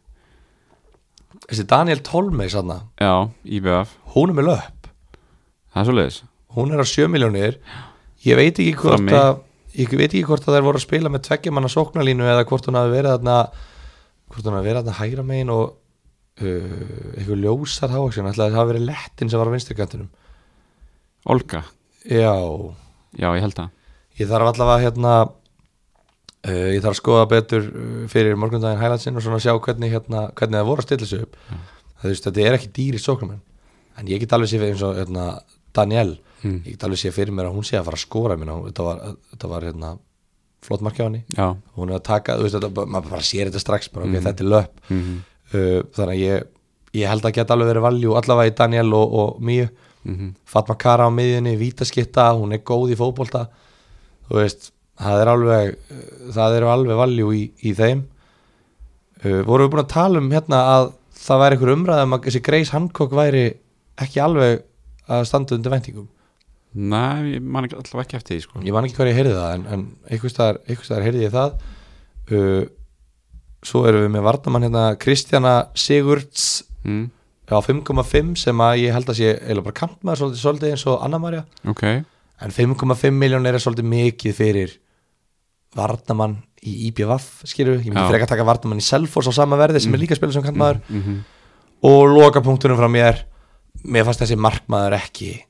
Speaker 2: þessi Daniel Tolmei sanna,
Speaker 1: Já, IBF,
Speaker 2: hún er með löpp
Speaker 1: það er svo leiðis
Speaker 2: hún er á 7 miljónir ég veit ekki hvort
Speaker 1: Frammi.
Speaker 2: að ég veit ekki hvort að þær voru að spila með tveggjumanna sóknarlínu eða hvort hún hafi verið þarna hvort hún hafi verið þarna hægra megin og uh, eitthvað ljósar hávaksin ætlaði að það hafi verið lettin sem var á vinstrikantinum
Speaker 1: Olga,
Speaker 2: já,
Speaker 1: já ég held það
Speaker 2: ég þarf allavega hérna uh, ég þarf að skoða betur uh, fyrir morgundaginn hælansinn og svona sjá hvernig, hérna, hvernig það voru að stilla sig upp
Speaker 1: Mm.
Speaker 2: það, þú veist, þetta er ekki dýri sóknarmenn en ég get alveg sér fyrir eins og hérna, Daniel
Speaker 1: mm.
Speaker 2: ég get alveg sé fyrir mér að hún sé að fara að skora minna, þetta var, þetta var hérna, flott marki á henni
Speaker 1: Já,
Speaker 2: hún er að taka, þú veist, þetta, bara- maður bara sér þetta strax bara, ok, þetta er löpp
Speaker 1: mm
Speaker 2: uh, þannig að ég, ég held að geta alveg verið valjú allavega í Daniel og, og Míu Fatma Kara á miðjunni, vítaskitta hún er góð í fótbolta þú veist, það er alveg það eru alveg valjú í, í þeim uh, vorum við búin að um tala um hérna að það væri einhver umræðum að þessi Grace Hancock væri ekki alveg að standa undir vendingum
Speaker 1: Nei, ég man ekki- allavega ekki eftir því sko.
Speaker 2: ég man ekki hvað ég heyrði það en, en einhvers staðar- einhvers staðar heyrði ég það uh, svo erum við með varnamann hérna Kristjana Sigurds
Speaker 1: mm,
Speaker 2: á 5,5 sem að ég held að sé eða bara kantmaður svolítið, svolítið eins og Anna Marja
Speaker 1: Ok,
Speaker 2: en 5,5 miljón er svolítið mikið fyrir varnamann í IBVF skilur, ég myndi
Speaker 1: Já.
Speaker 2: frekar taka varnamann í Selfoss á sama verði sem er líka að spila sem kantmaður
Speaker 1: Mhm.
Speaker 2: og loka punktunum frá mér mér fannst þessi markmaður ekki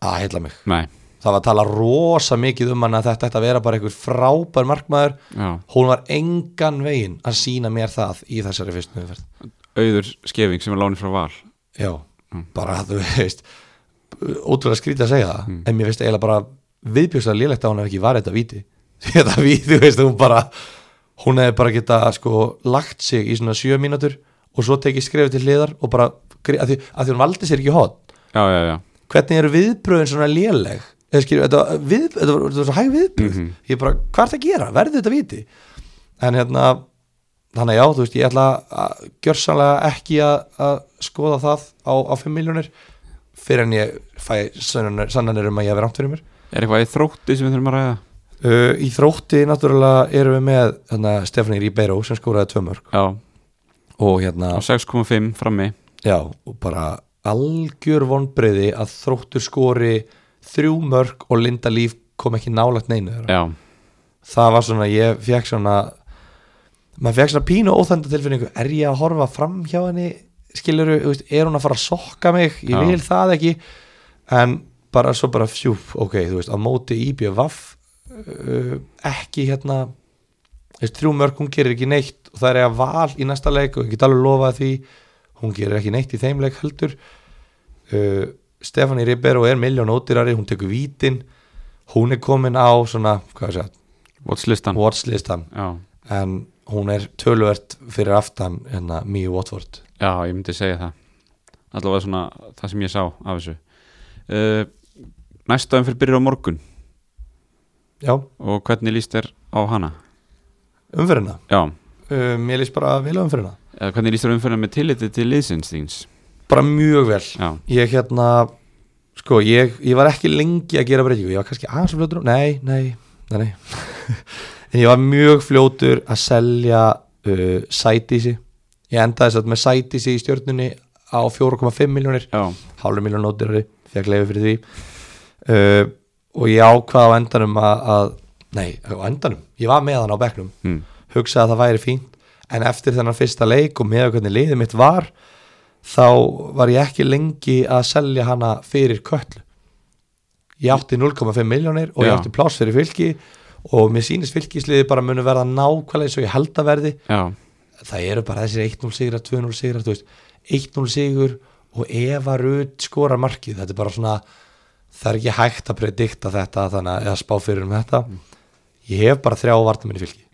Speaker 2: að heilla mig
Speaker 1: nei,
Speaker 2: það var að tala rosa mikið um hann að þetta ætti að vera bara einhver frábær markmaður
Speaker 1: já
Speaker 2: hún var engan veginn að sína mér það í þessari fyrstu umferð
Speaker 1: Auður skefing sem er lánið frá val
Speaker 2: já, bara að þú veist ótrúlega skrítið að segja það en mér veist eiginlega bara viðbjóðslega lélegt að hún hef ekki varð þetta víti [LAUGHS] þetta víti, þú veist, hún bara hún hefði bara geta sko lagt sig í svona sjö mínútur og svo tekið skrefið til hliðar og bara, að því, að því hún valdi sér ekki hot
Speaker 1: Já, já, já, hvernig
Speaker 2: hvernig eru viðbröðin svona léleg eða skilju, þetta, var- við, þetta, var, þetta var svo hæg viðbröð ég bara, hvað er það að gera, verður þetta viti en hérna þannig að já, þú veist, ég ætla að gjörsanlega ekki að, að skoða það á, á 5 miljónir fyrir en ég fæ sannanir, sannanir um að ég hafi rámt fyrir mér
Speaker 1: er eitthvað í þrótti sem við þurfum að ræða
Speaker 2: uh, í þrótti náttúrulega erum við með hérna, Stefani Ribeiro sem skóraði tvö mörg
Speaker 1: Já,
Speaker 2: og hérna,
Speaker 1: á 6,5 frammi
Speaker 2: já, og bara algjör vonbreyði að þróttur skori þrjú mörg og Linda Líf kom ekki nálægt neinu þeirra
Speaker 1: Já,
Speaker 2: það var svona, ég fekk svona maður fekk svona pínu óþænda tilfinningu er ég að horfa fram hjá henni skiluru, veist, er hún að fara að sokka mig ég
Speaker 1: Já.
Speaker 2: vil það ekki en bara svo bara fjúp, ok, þú veist á móti IBVF uh, ekki hérna þú veist, þrjú mörg, hún gerir ekki neitt og það er að val í næsta leik og ég get alveg lofað því hún gerir ekki neitt í þeim leik heldur uh, Stefani Ribeiro er miljón ódýrari, hún tekur vítin hún er komin á svona, hvað sé,
Speaker 1: watchlistan
Speaker 2: watchlistan
Speaker 1: Já,
Speaker 2: en hún er töluvert fyrir aftan hérna Míu Watford
Speaker 1: já, ég myndi segja það Allavega svona það sem ég sá af þessu uh, Næsta umferð byrjar á morgun
Speaker 2: já,
Speaker 1: og hvernig líst þér á hana?
Speaker 2: umfyrirna
Speaker 1: Já,
Speaker 2: um, ég lýst bara vel á umfyrirna
Speaker 1: eða hvernig líst þér á umferðina með tillitið til liðsins þíns?
Speaker 2: bara mjög vel
Speaker 1: Já,
Speaker 2: ég hérna, sko ég, ég var ekki lengi að gera breytingu ég var kannski aðeins fljótur á- nei, nei, nei, nei. [LAUGHS] en ég var mjög fljótur að selja uh, sætísi ég endaði satt með sætísi í stjörnunni á 4,5 miljónir
Speaker 1: já,
Speaker 2: hálfur miljón nótirari, fekk leiði fyrir því uh, og ég ákvað á endanum að, að nei, á endanum, ég var með hann á bekknum
Speaker 1: hm.
Speaker 2: hugsaði að það væri fínt en eftir þennan fyrsta leik og með hvernig liðið mitt var þá var ég ekki lengi að selja hana fyrir köllu ég átti 0,5 miljónir og ég
Speaker 1: Já.
Speaker 2: átti pláss fyrir fylki og mér sýnist fylkisliði bara munu verða nákvæmlega eins og ég held að verði
Speaker 1: já,
Speaker 2: það eru bara þessir 1-0 sigrar, 2-0 sigrar þú veist, 1-0 sigur og Eva Rut skorar markið þetta er bara svona, það er ekki hægt að predikta þetta, þannig að eða spá fyrir um þetta ég hef bara þrjá vartamenn í fylki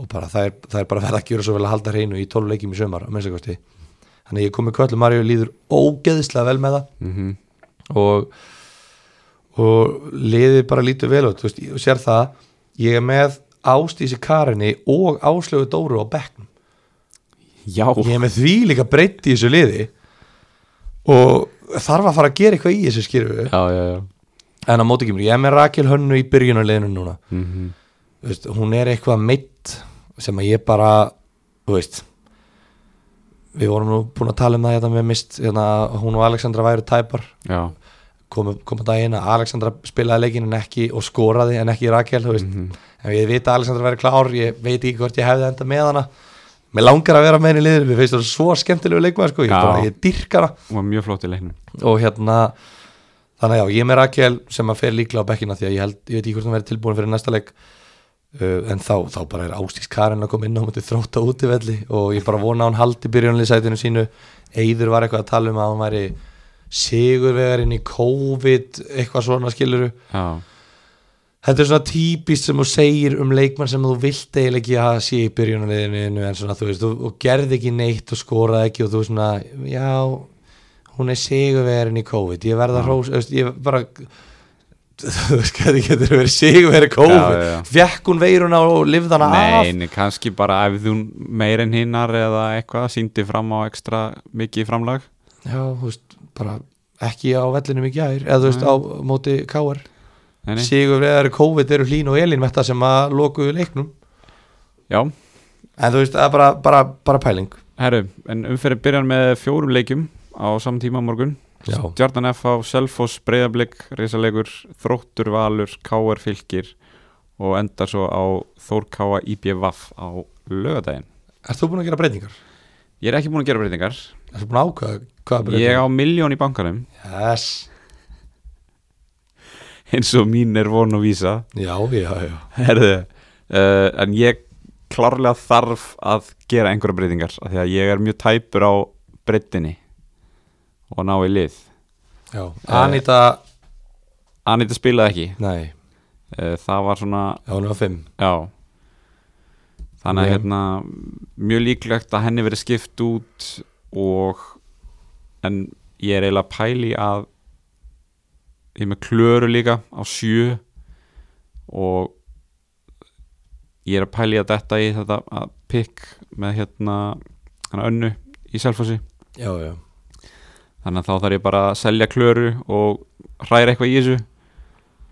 Speaker 2: og bara það er, það er bara verið að gjöra svo vel að halda hreinu í 12 leikjum í sömar, að minnsta kosti þannig að ég kom með kvöldu Maríu líður ógeðislega vel með það
Speaker 1: mhm
Speaker 2: og og liðið bara lítið vel út þú veist, og sér það, ég er með Ástísi Karinni og Áslögu Dóru á bekknum
Speaker 1: Já,
Speaker 2: ég er með því líka breytt í þessu liði og þarf að fara að gera eitthvað í þessu skýrfu
Speaker 1: já, já, já.
Speaker 2: en á móti kemur, ég er með Rakel Hönnu í byrjunarliðinu núna
Speaker 1: Mm
Speaker 2: Þú veist, hún er eitthvað meitt sem að ég bara þú veist við vorum nú búin að tala um það hérna, með mist, hérna, hún og Alexandra væru tæpar
Speaker 1: já,
Speaker 2: komu kom að daginn að Alexandra spilaði leikinn en ekki og skoraði en ekki Rakel þú veist, en ég veit að Alexandra væri klár ég veit ekki hvort ég hefði enda með hana mér langar að vera með henni í liður mér finnst það svo skemmtilegu leikmaður sko, ég,
Speaker 1: Já.
Speaker 2: bara, ég dyrka hana
Speaker 1: hún var mjög flott í leiknum
Speaker 2: og hérna þannig að já, ég er með Rakel sem að fer líklega á bekkina því að ég, held, ég veit ekki hvort hún verið tilbúin fyrir næsta leik uh, en þá, þá bara er Ástís Karin að koma inn á mútið þróta útivelli og ég bara vona að hún haldi byrjunliðsætinu sínu Eyður var eitthvað að tala um að hún væri sigurvegarinn í COVID eitthvað svona skiluru
Speaker 1: Já,
Speaker 2: þetta er svona típist sem þú segir um leikmann sem þú vilt eiginlega ekki að sé í byrjunarliðinu en svona þú veist, þú, og gerði ekki neitt og skoraði ekki og þú svona, já hún er sigurvegarinn í COVID ég verða
Speaker 1: Já.
Speaker 2: hrós, þú veist, ég bara [LAUGHS] þú veist, hvernig getur verið sigurvegarinn í COVID,
Speaker 1: Já, já, já.
Speaker 2: fekk hún veiruna og lifði hana af
Speaker 1: neini, kannski bara ef þú meir en hinnar eða eitthvað síndi fram á ekstra mikið framlag
Speaker 2: já, þú veist, bara ekki á vellinum í gær eða þú veist á móti K.R.
Speaker 1: Nei, nei.
Speaker 2: Sigur Reðar COVID eru Hlín og Elín með það sem að lokuðu leiknum
Speaker 1: Já,
Speaker 2: en þú veist það er bara, bara, bara pæling
Speaker 1: herru, en umferðin byrjar með fjórum leikjum á samtíma morgun
Speaker 2: Já.
Speaker 1: Stjarnan F á Selfoss, Breiðablík, Rísalegur, Þróttur, Valur, Káar, Fylkir og endar svo á Þórkáa IPVAF á lögadaginn.
Speaker 2: Ert þú búin að gera breytingar?
Speaker 1: Ég er ekki búin að gera breytingar.
Speaker 2: Ert þú búin að ákvæða hvað
Speaker 1: Ég
Speaker 2: breytingar?
Speaker 1: á miljón í bankanum
Speaker 2: Yes.
Speaker 1: eins og mín er von og vísa.
Speaker 2: Já, já, já
Speaker 1: Herðu, uh, en ég klárlega þarf að gera einhverja breytingar af því að ég er mjög tæpur á breytinni og ná í lið.
Speaker 2: Já, Anita,
Speaker 1: Anita spilaði ekki.
Speaker 2: nei,
Speaker 1: Uh, það var svona
Speaker 2: já, hún er á 5
Speaker 1: Já Þannig að
Speaker 2: Ok.
Speaker 1: hérna mjög líklegt að henni verið skipt út og en ég er eiginlega að pæli að ég er með klöru líka á sjö og ég er að pæli að detta í þetta að pikk með hérna hana önnu í selfossi
Speaker 2: Já, já,
Speaker 1: þannig að þá þarf ég bara að selja klöru og hræra eitthvað í þessu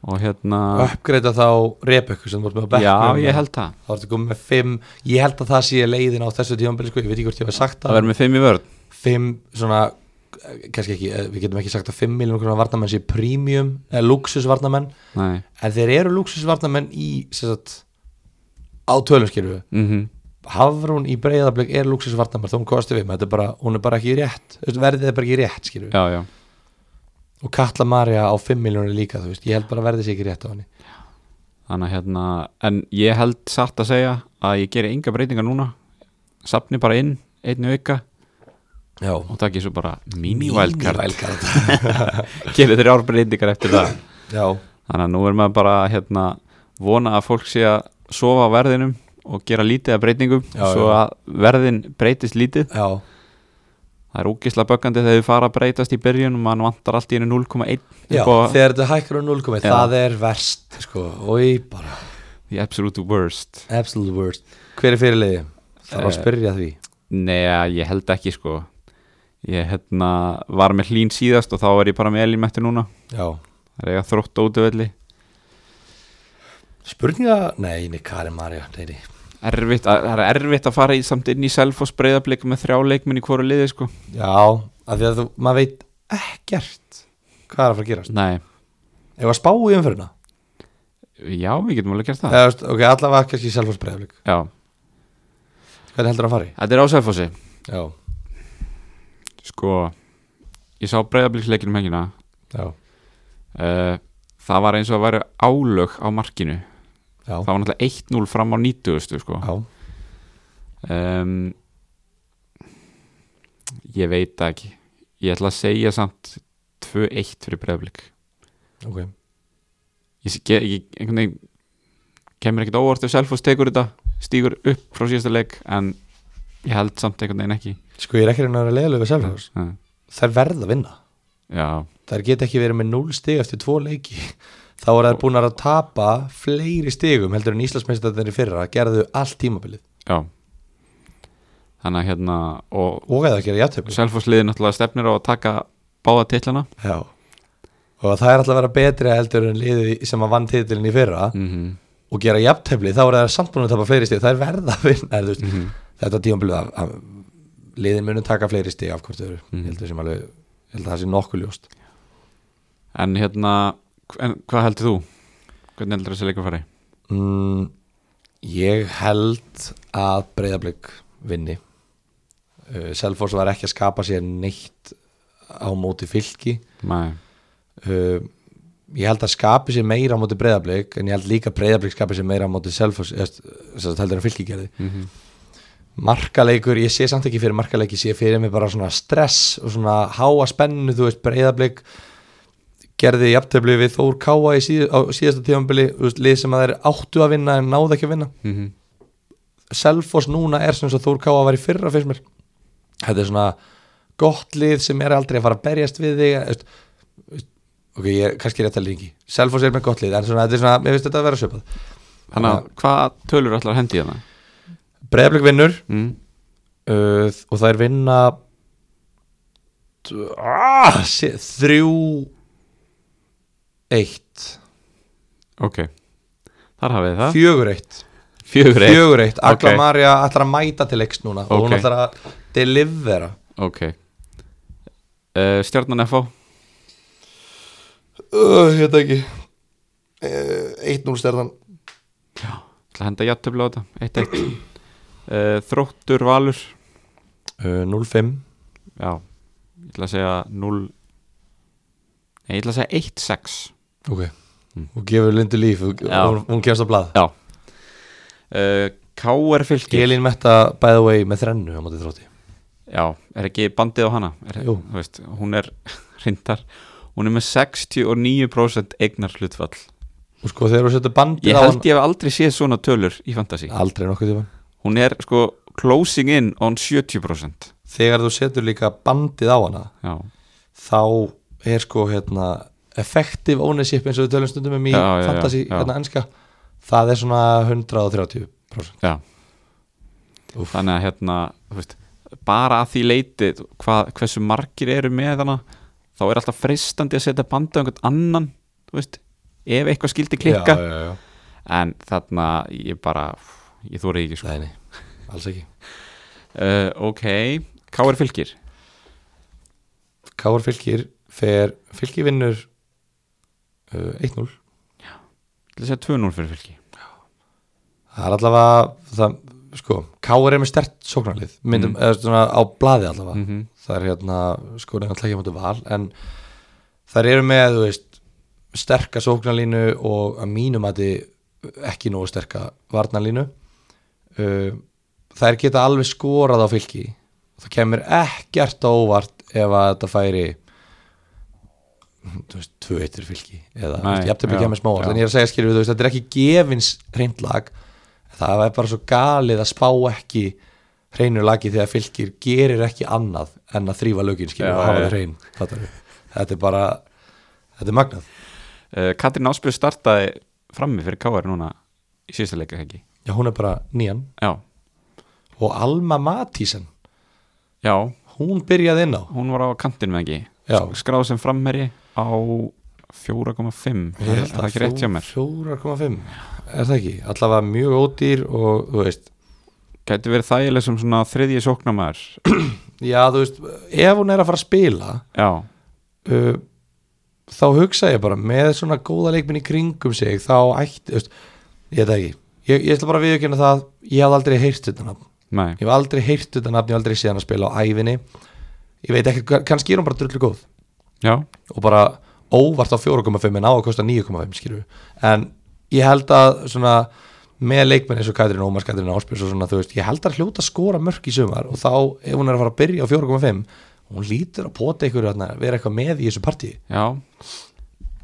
Speaker 1: og hérna
Speaker 2: uppgreita þá Rebekku sem þú ert með á bekk
Speaker 1: Já, ég held það
Speaker 2: Þá ertu komið með 5, ég held að það sé leiðin á þessu tímanbili sko, ég veit ekki hvort ég hef sagt
Speaker 1: Það
Speaker 2: það
Speaker 1: verður með fimm í vörð
Speaker 2: 5 svona, eh, kannski ekki, eh, við getum ekki sagt að 5 miljonur kronar varnamenn sé premium, eða luxusvarnamenn
Speaker 1: Nei
Speaker 2: en þeir eru luxusvarnamenn í sem sagt, á tölum skilfu
Speaker 1: mm
Speaker 2: Hafrún í breyðarbleik er luxusvarnamenn þó hún kosti við, þetta er bara, hún er bara ekki rétt þú veist, verðið er bara ekki rétt skilfu
Speaker 1: Já, já,
Speaker 2: og Katla Maria á 5 miljonur líka, þú veist, ég held bara að verðið sé ekki rétt á henni
Speaker 1: þannig að hérna en ég held satt að segja að ég geri enga breytingar núna sapni bara inn, einni auka
Speaker 2: Já,
Speaker 1: og takk ég svo bara [LAUGHS] mini-wildcard
Speaker 2: Mini-wildcard.
Speaker 1: geri þrjár breytingar eftir það
Speaker 2: Já,
Speaker 1: þannig að nú er maður bara hérna vona að fólk sé að sofa á verðinum og gera lítið af breytingum
Speaker 2: Já,
Speaker 1: svo
Speaker 2: já.
Speaker 1: að verðin breytist lítið
Speaker 2: já,
Speaker 1: það er úkisla böggandi þegar þau fara að breytast í byrjun og mann vantar allt í hennu 0,1
Speaker 2: já
Speaker 1: upp á
Speaker 2: þegar þetta hækkar á 0,1
Speaker 1: Já.
Speaker 2: það er verst sko, oi bara,
Speaker 1: the absolute worst
Speaker 2: absolute worst hver er fyrirliði? Það var að
Speaker 1: Eh.
Speaker 2: spyrja því
Speaker 1: Nei, ég held ekki sko Ég hérna var með hlín síðast og þá er ég bara með Elín mættu núna
Speaker 2: Já,
Speaker 1: Það er eiga þrótt ótuvelli
Speaker 2: spurninga, nei, nei, Karin Marja nei, nei.
Speaker 1: Erfitt, að- það er erfitt að fara í, samt inn í self og spreyðablika með þrjá leikminn í hvoru liði sko
Speaker 2: Já, af því að þú, maður veit ekkert hvað er að fara að gerast
Speaker 1: Nei,
Speaker 2: Ef að spá í umfyrirna
Speaker 1: já, við getum alveg gert það
Speaker 2: Eða, veist, Ok, allavega kannski selfhúsbreiðaflik
Speaker 1: Já,
Speaker 2: Hvernig heldur það að fara í?
Speaker 1: þetta er á selfossi
Speaker 2: Já,
Speaker 1: Sko, ég sá breyðabliksleikinum hengina
Speaker 2: já,
Speaker 1: uh, Það var eins og að vera álög á markinu
Speaker 2: já,
Speaker 1: Það var náttúrulega 1-0 fram á 90 sko
Speaker 2: já.
Speaker 1: um, Ég veit það ekki Ég ætla að segja samt 2-1 fyrir breyðablík
Speaker 2: ok
Speaker 1: Ég, sé- ég, ég einhvern veginn kemur ekkert óvart ef Selfoss tekur þetta stígur upp frá síðasta leik en ég held samt einhvern veginn ekki
Speaker 2: Sko, ég er ekki að reyna að vera leiðlega við selfhús
Speaker 1: Uh,
Speaker 2: Þær verða að vinna
Speaker 1: Já,
Speaker 2: þær get ekki verið með 0 stig eftir 2 leiki þá er þær búin að tapa fleiri stigum heldur en Íslandsmeistarnir í fyrra gerðu allt tímabilið
Speaker 1: já Þannig að hérna og
Speaker 2: og eða gera játtöfli
Speaker 1: Selfoss liði náttúrulega stefnir á að taka báða titlana
Speaker 2: Já. og það er alltaf að vera betri heldur en liðið sem að vann titilin í fyrra
Speaker 1: mm -hmm.
Speaker 2: og gera játtöfli þá er þær samt búin að tapa fleiri stig þær verða að vinna er, mm -hmm. þetta tímabilið að, að liðin munum taka fleiri stig af hvort þau eru
Speaker 1: Mhm.
Speaker 2: ég heldur sem alveg ég held að það sé nokkuð ljóst
Speaker 1: En hérna, en, hvað heldur þú? Hvernig heldur þessi leikur fari?
Speaker 2: Mm, ég held að breyðablík vinni uh, Selfoss var ekki að skapa sér neitt á móti fylki
Speaker 1: Nei,
Speaker 2: uh, ég held að skapi sér meira á móti breyðablík en ég held líka breyðablík skapi sér meira á móti Selfoss eða þess að heldur en fylki gerði
Speaker 1: mm
Speaker 2: markaleikur, ég sé samt ekki fyrir markaleik ég sé fyrir mig bara svona stress og svona háa spennu, þú veist, breyðablík gerði jafntöfli við Þór Káa í síð, á síðasta tífambili lið sem að þeir áttu að vinna en náðu ekki að vinna Selfoss núna er sem svo Þór Káa var í fyrra fyrst mér þetta er svona gott lið sem er aldrei að fara að berjast við þig veist, veist, ok, ég er kannski rétt að líki Selfoss er með gott lið, en svona, þetta er svona mér finnst þetta að vera sjöpað
Speaker 1: Þannig að hvað tölur allar hendi hérna?
Speaker 2: Breiðablík vinnur
Speaker 1: Mm.
Speaker 2: uh, og það er vinna ah, sé, þrjú eitt
Speaker 1: ok Þar hafið þið það
Speaker 2: fjögur eitt
Speaker 1: Fjögur eitt
Speaker 2: fjögur eitt, Agla
Speaker 1: Ok.
Speaker 2: Marja ætlar að mæta til leiks núna og hún
Speaker 1: Ok.
Speaker 2: ætlar að delivera
Speaker 1: Ok uh, Stjarnan FH
Speaker 2: uh, ég veit það ekki uh, 1-0 stjarnan
Speaker 1: Það henda játtöfla á þetta [CLEARS THROAT] 1-1 uh, Þróttur Valur
Speaker 2: uh, 0-5
Speaker 1: Já Ég ætla að segja 0 Nei, ég ætla að segja 1-6
Speaker 2: ok, Mm. og gefur Lindu líf og,
Speaker 1: Já.
Speaker 2: hún, hún kemst á blað
Speaker 1: Já uh, K.R. Fylki
Speaker 2: Elín Metta by the way með þrennu á móti þrótti
Speaker 1: Já, er ekki bandið á hana er,
Speaker 2: Jú.
Speaker 1: þú veist, Hún er [LAUGHS] reyndar Hún er með 69% eignar hlutfall
Speaker 2: og sko þegar þú setur bandið
Speaker 1: Ég
Speaker 2: á
Speaker 1: held ég hef aldrei séð svona tölur í fantasy
Speaker 2: hann aldrei nokkuð tíma
Speaker 1: Hún er sko closing in on 70%
Speaker 2: þegar þú setur líka bandið á hana
Speaker 1: Já,
Speaker 2: þá er sko hérna effective ownership eins og við tölum stundum um í
Speaker 1: Já, já, já,
Speaker 2: fantasy
Speaker 1: já.
Speaker 2: hérna enska það er svona 130%
Speaker 1: já
Speaker 2: Úff.
Speaker 1: Þannig að hérna þú veist, bara að því leiti hva, hversu margir eru með hana þá er alltaf freistandi að setja bandið á einhvern annan þú veist, ef eitthvað skildi klikka
Speaker 2: já, já, já.
Speaker 1: en þarna ég bara ég þóri ekki sko
Speaker 2: Nei, nei, alls ekki
Speaker 1: uh, Ok, hvað er fylgir?
Speaker 2: Káar fylgir fer fylgir vinnur uh, 1-0
Speaker 1: Þetta segja 2-0 fyrir fylgi
Speaker 2: það er allavega það, sko, Káar er með stert sóknarlið myndum, eða svona á blaði allavega
Speaker 1: Mm. Mhm.
Speaker 2: það er hérna, sko, nefnir alltaf ekki á móti val en þær eru með, þú veist sterka sóknarlínu og að mínum að þið ekki nógu sterka varnarlínu uh, þær geta alveg skorað á fylgi það kemur ekkert á óvart ef að þetta færi þú veist, tvö eittir fylgi eða,
Speaker 1: Nei, já,
Speaker 2: jafnir byggja með smá
Speaker 1: já.
Speaker 2: en ég er að segja skilur við, þú veist, þetta er ekki gefins hreint lag, það er bara svo galið að spá ekki hreinu lagi þegar fylgir gerir ekki annað en að þrýfa lögin skilur
Speaker 1: Já,
Speaker 2: við og hafa
Speaker 1: já.
Speaker 2: það hrein, fattar við þetta er bara, þetta er magnað
Speaker 1: uh, Katrin Áspjöð startaði frammi fyrir KR núna í síðasta leika ekki
Speaker 2: já, hún er bara nýjan
Speaker 1: Já,
Speaker 2: og Alma Matísen,
Speaker 1: já
Speaker 2: hún byrjaði inn á
Speaker 1: hún var á kantinum eða ekki
Speaker 2: Já.
Speaker 1: Sk- skráð sem framherji á 4,5
Speaker 2: Ég
Speaker 1: það
Speaker 2: held
Speaker 1: er það ekki rétt hjá mér
Speaker 2: 4,5, er það ekki allavega mjög ódýr og þú veist
Speaker 1: gæti verið þægileg sem svona þriðji sóknamaður
Speaker 2: já, þú veist, ef hún er að fara að spila
Speaker 1: [CLEARS THROAT] já,
Speaker 2: uh, þá hugsa ég bara með svona góða leikminn í kringum sig þá ætti, þú veist, ég veit það ekki ég, ég ætla bara að viðurkenna það ég hef aldrei heyrt þetta nafn,
Speaker 1: nei,
Speaker 2: ég hef aldrei heyrt þetta nafn ég hef aldrei séð hann að spila á ævinni ég veit ekki, kannski er hún bara drullu góð
Speaker 1: já,
Speaker 2: og bara óvart á 4,5 en á að kosta 9,5 skilur en ég held að svona með leikmenn eins og Katrin Ómars, Katrin Áspjörs og svona þú veist, ég held að hljóta að skora mörk í sumar og þá ef hún er að fara að byrja á 4,5 hún lítur að pota ykkur að vera eitthvað með í þessu partíi
Speaker 1: já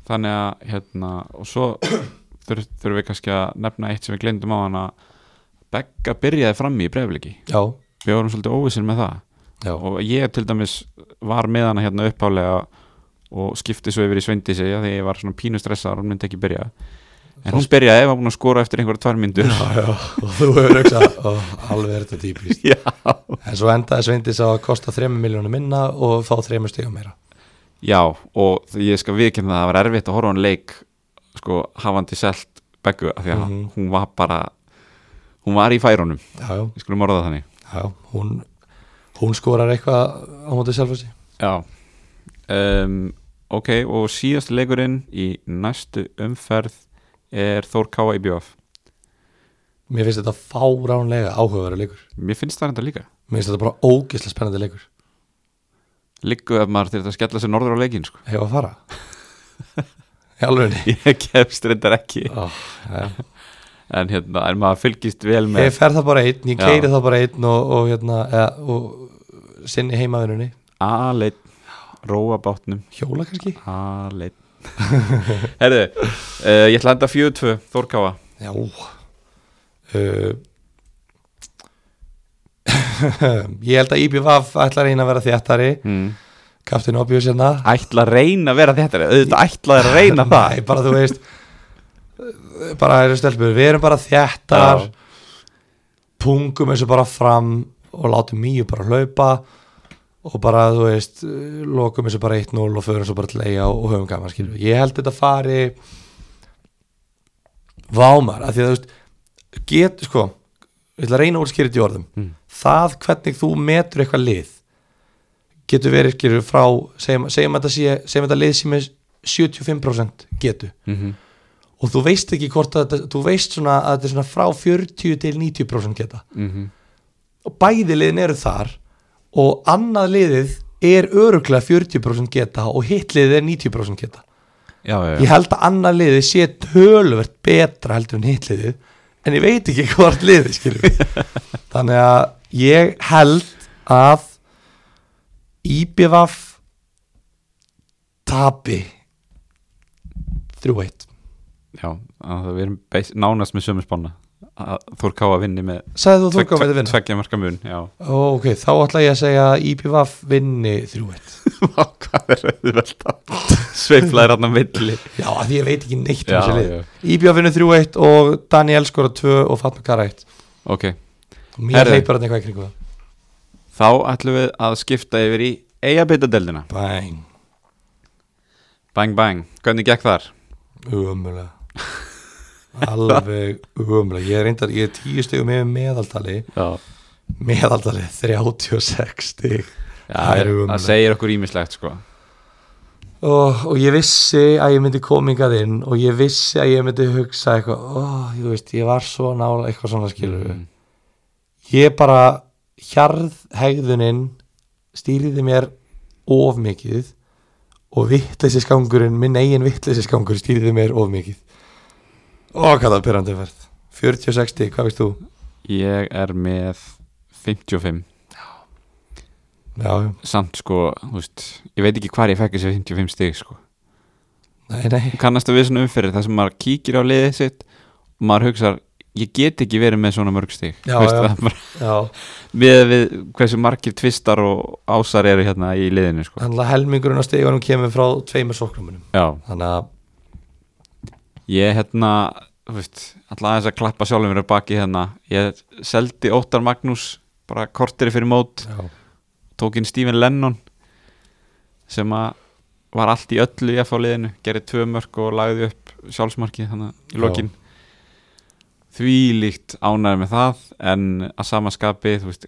Speaker 1: þannig að hérna og svo [CLEARS THROAT] þur, þurfum við kannski að nefna eitt sem við gleyndum á hana Begga byrjaði frammi í breyfliki
Speaker 2: Já,
Speaker 1: við vorum svolítið óvissir með það
Speaker 2: já,
Speaker 1: og ég til dæmis var með hana hérna uppálega og skipti svo yfir í Sveindísi af því ég var svona pínu stressaðar og hún myndi ekki byrja en hún byrjaði ef hún var búin að skora eftir einhverja tvær myndur
Speaker 2: já, og þú hefur auksað alveg er þetta típist
Speaker 1: já.
Speaker 2: en svo endaði Sveindis á að kosta 3 miljónu minna og fá 3 stegum meira
Speaker 1: já og því ég skal viðkynna það að það var erfitt að horfa á hann leik sko hafandi selt beggu af því að
Speaker 2: Mhm.
Speaker 1: hún var bara hún var í færunum,
Speaker 2: já, já,
Speaker 1: ég skulum orða það þannig
Speaker 2: já, hún hún skorar eitthvað á mótið sjálfansi
Speaker 1: já um, ok og síðast leikurinn í næstu umferð er Þór Káa í BF
Speaker 2: mér finnst þetta fáránlega áhugaverið leikur
Speaker 1: mér finnst það þetta líka
Speaker 2: mér finnst þetta bara ógeðslega spennandi leikur
Speaker 1: Liggu ef maður þurft að skella sér norður á leikin sko.
Speaker 2: hefur að fara [LAUGHS] í alveg
Speaker 1: [LAUGHS] Ég kemst reyndar ekki
Speaker 2: ég
Speaker 1: En hérna, en maður fylgist vel með
Speaker 2: fer það bara einn, ég
Speaker 1: Já.
Speaker 2: keiri það bara einn og, og hérna eða, og sinni heimavinnunni
Speaker 1: Aleit Róa bátnum
Speaker 2: hjóla kannski
Speaker 1: Aleit [LAUGHS] Herðu, uh, ég ætla að enda 4-2 Þórkáfa
Speaker 2: Já uh, [LAUGHS] Ég held að IBVF ætlar að reyna að vera þéttari
Speaker 1: hmm.
Speaker 2: Captain Obvious hérna
Speaker 1: Ætla að reyna að vera þetta Þetta ætla að [LAUGHS] reyna það
Speaker 2: Nei, bara þú veist uh, bara eru stelpur, við erum bara þéttar
Speaker 1: Já.
Speaker 2: pungum þessu bara fram og látum mýju bara hlaupa og bara þú veist lokum þessu bara 1-0 og förum svo bara til eiga og, og höfum gaman skilur ég held þetta fari vámar að því að þú veist get sko ég ætla að reyna að útskýra þetta í orðum
Speaker 1: Mm.
Speaker 2: það hvernig þú metur eitthvað lið getur verið skilur frá segjum, segjum, þetta, sé, segjum þetta lið sem er 75% getu
Speaker 1: Mhm.
Speaker 2: og þú veist ekki hvort að þetta þú veist svona að þetta er svona frá 40 til 90% geta
Speaker 1: Mhm.
Speaker 2: og bæði liðin eru þar og annað liðið er öruglega 40% geta og hitt liðið er 90% geta
Speaker 1: já, já, já.
Speaker 2: ég held að annað liðið sé töluvert betra heldur en hitt liðið en ég veit ekki [LAUGHS] hvort
Speaker 1: [LAUGHS]
Speaker 2: liðið skilur þannig að ég held að IBVF tapi 3-1
Speaker 1: já að það- við erum beis, nánast með sömu spanna að Þór Ká að vinni með
Speaker 2: sagði þú þú
Speaker 1: tvek-
Speaker 2: komið að vinna
Speaker 1: tveggja marka mun já,
Speaker 2: Ó, ok, þá ætla ég að segja að IPVAF vinni 3-1
Speaker 1: [LAUGHS] Vá, hvað er auðvelt að [LAUGHS] sveifla þér hann að milli
Speaker 2: Já, af því ég veit ekki neitt um
Speaker 1: Já,
Speaker 2: þessi lið
Speaker 1: já.
Speaker 2: IPVAF vinnur 3-1 og Daniel skora 2 og Fatma Kara 1
Speaker 1: ok,
Speaker 2: Og Mér
Speaker 1: Herðu.
Speaker 2: hleypar hann eitthvað í kringu það
Speaker 1: þá ætlum við að skipta yfir í eigabitadeldina,
Speaker 2: Bæn,
Speaker 1: bang bang hvernig gekk þar?
Speaker 2: umulega Alveg umulega Ég er reyndar, ég er 10 stegum yfir meðaldali
Speaker 1: Já,
Speaker 2: Meðaldali 36 steg Það er
Speaker 1: það
Speaker 2: ömurlegt.
Speaker 1: segir okkur ímislegt sko
Speaker 2: og, og ég vissi að ég myndi komingað inn og ég vissi að ég myndi hugsa eitthvað, oh, ég veist, ég var svo nála eitthvað svona skilur
Speaker 1: Mm.
Speaker 2: ég bara hjarð hegðunin stýriði mér of mikið og vittleisiskangurinn minn eigin vittleisiskangur stýriði mér of mikið og hvað það er perandi verð 40-60, hvað veist þú?
Speaker 1: Ég er með 55
Speaker 2: Já, já.
Speaker 1: samt sko, þú veist, ég veit ekki hvar ég fekk þessi 55 stig sko
Speaker 2: nei, nei
Speaker 1: kannastu við svona umferðir þar sem maður kíkir á liðið sitt og maður hugsar ég get ekki verið með svona mörg stig
Speaker 2: Já,
Speaker 1: Þú veist,
Speaker 2: já.
Speaker 1: það er bara,
Speaker 2: já,
Speaker 1: við, við hversu margir tvistar og ásar eru hérna í liðinu sko
Speaker 2: hann helmingurinn á stegunum kemur frá tveimur sóknumunum
Speaker 1: Já,
Speaker 2: þannig að
Speaker 1: ég hérna þú veist, alltaf aðeins að klappa sjálfum mér á baki hérna, ég seldi Óttar Magnús bara korteri fyrir mót
Speaker 2: já.
Speaker 1: tók inn Stephen Lennon sem að var allt í öllu í FH-liðinu, gerði tvö mörk og lagði upp sjálfsmarkið þannig í
Speaker 2: Já.
Speaker 1: lokin því líkt ánæður með það en að sama skapi þú veist,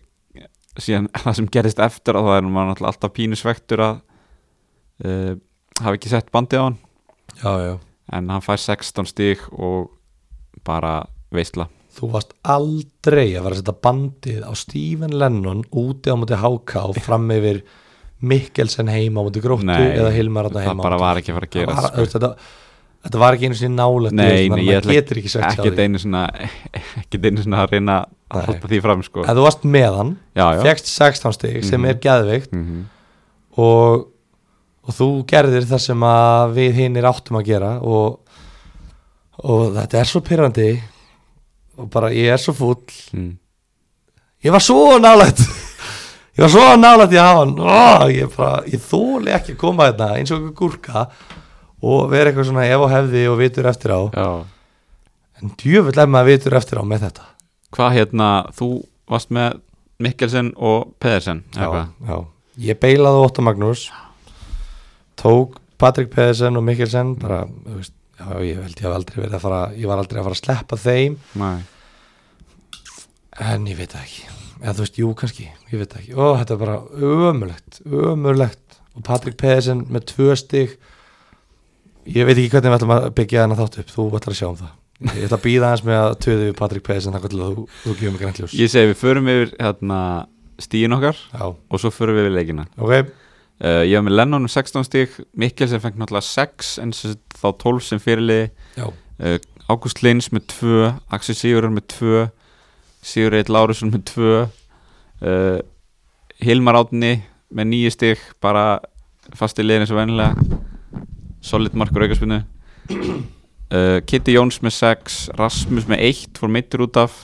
Speaker 1: síðan [LAUGHS] það sem gerist eftir á það er maður náttúrulega alltaf pínu svektur að uh, hafa ekki sett bandið á hann
Speaker 2: já, já
Speaker 1: en hann fær 16 stík og bara veistla
Speaker 2: Þú varst aldrei að vera að setja bandið á Stephen Lennon úti á móti HK og fram yfir Mikkelsen heima á móti gróttu
Speaker 1: Nei,
Speaker 2: eða Hilmar þarna
Speaker 1: það
Speaker 2: heima á
Speaker 1: bara
Speaker 2: móti-
Speaker 1: var ekki að fara að
Speaker 2: Það
Speaker 1: gera
Speaker 2: var- þú veist, þetta, þetta var ekki einu sinni nálægt þú
Speaker 1: Nei, nei,
Speaker 2: veist, þannig að
Speaker 1: ég
Speaker 2: maður
Speaker 1: ætla
Speaker 2: getur ekki sagt
Speaker 1: ekkert einu svona [LAUGHS] ekkert einu svona að reyna að
Speaker 2: Nei.
Speaker 1: halda því fram sko.
Speaker 2: en þú varst með hann,
Speaker 1: já, já.
Speaker 2: fegst 16 stig sem
Speaker 1: Mhm.
Speaker 2: er geðveikt
Speaker 1: Mm
Speaker 2: og, og þú gerðir það sem að við hinir áttum að gera og, og þetta er svo pyrrandi og bara ég er svo fúll
Speaker 1: mm.
Speaker 2: ég var svo nálægt ég var svo nálægt í að hafa hann Ó, ég, bara, ég þóli ekki að koma hérna eins og einhver gúrka og vera eitthvað svona ef og hefði og vitur eftir á
Speaker 1: já.
Speaker 2: en djöfull er maður vitur eftir á með þetta
Speaker 1: Hvað hérna, þú varst með Mikkelsen og Pedersen
Speaker 2: já, já. ég beilaði Ótta Magnús tók Patrik Pedersen og Mikkelsen bara, þú veist, já, ég held ég hef aldrei verið að fara ég var aldrei að fara að sleppa þeim
Speaker 1: Nei.
Speaker 2: en ég veit það ekki eða þú veist, jú kannski, ég veit það ekki og þetta er bara ömurlegt, ömurlegt og Patrik Pedersen með tvö stig ég veit ekki hvernig við ætlum að byggja þennan þátt upp, þú ætlar að sjá um það ég ætla að býða hans með að töðu við Patrik Pedersen þangað til að þú, þú gefur mig grænt ljós
Speaker 1: Ég segi við förum yfir hérna, stíin okkar
Speaker 2: já,
Speaker 1: og svo förum við yfir leikina
Speaker 2: ok,
Speaker 1: uh, Ég var með Lennon um 16 stík Mikkelsen fengt náttúrulega 6 en sem sagt þá 12 sem fyrirliði
Speaker 2: já,
Speaker 1: uh, Ágúst Lins með 2 Axel Sigurður með 2 Sigur Eitt Lárusson með 2 uh, Hilmar Átni með 9 stig bara fasti liðin eins og vennilega solid markur aukarspunni uh, Kitty Jóns með 6 Rasmus með 1 fór meittur út af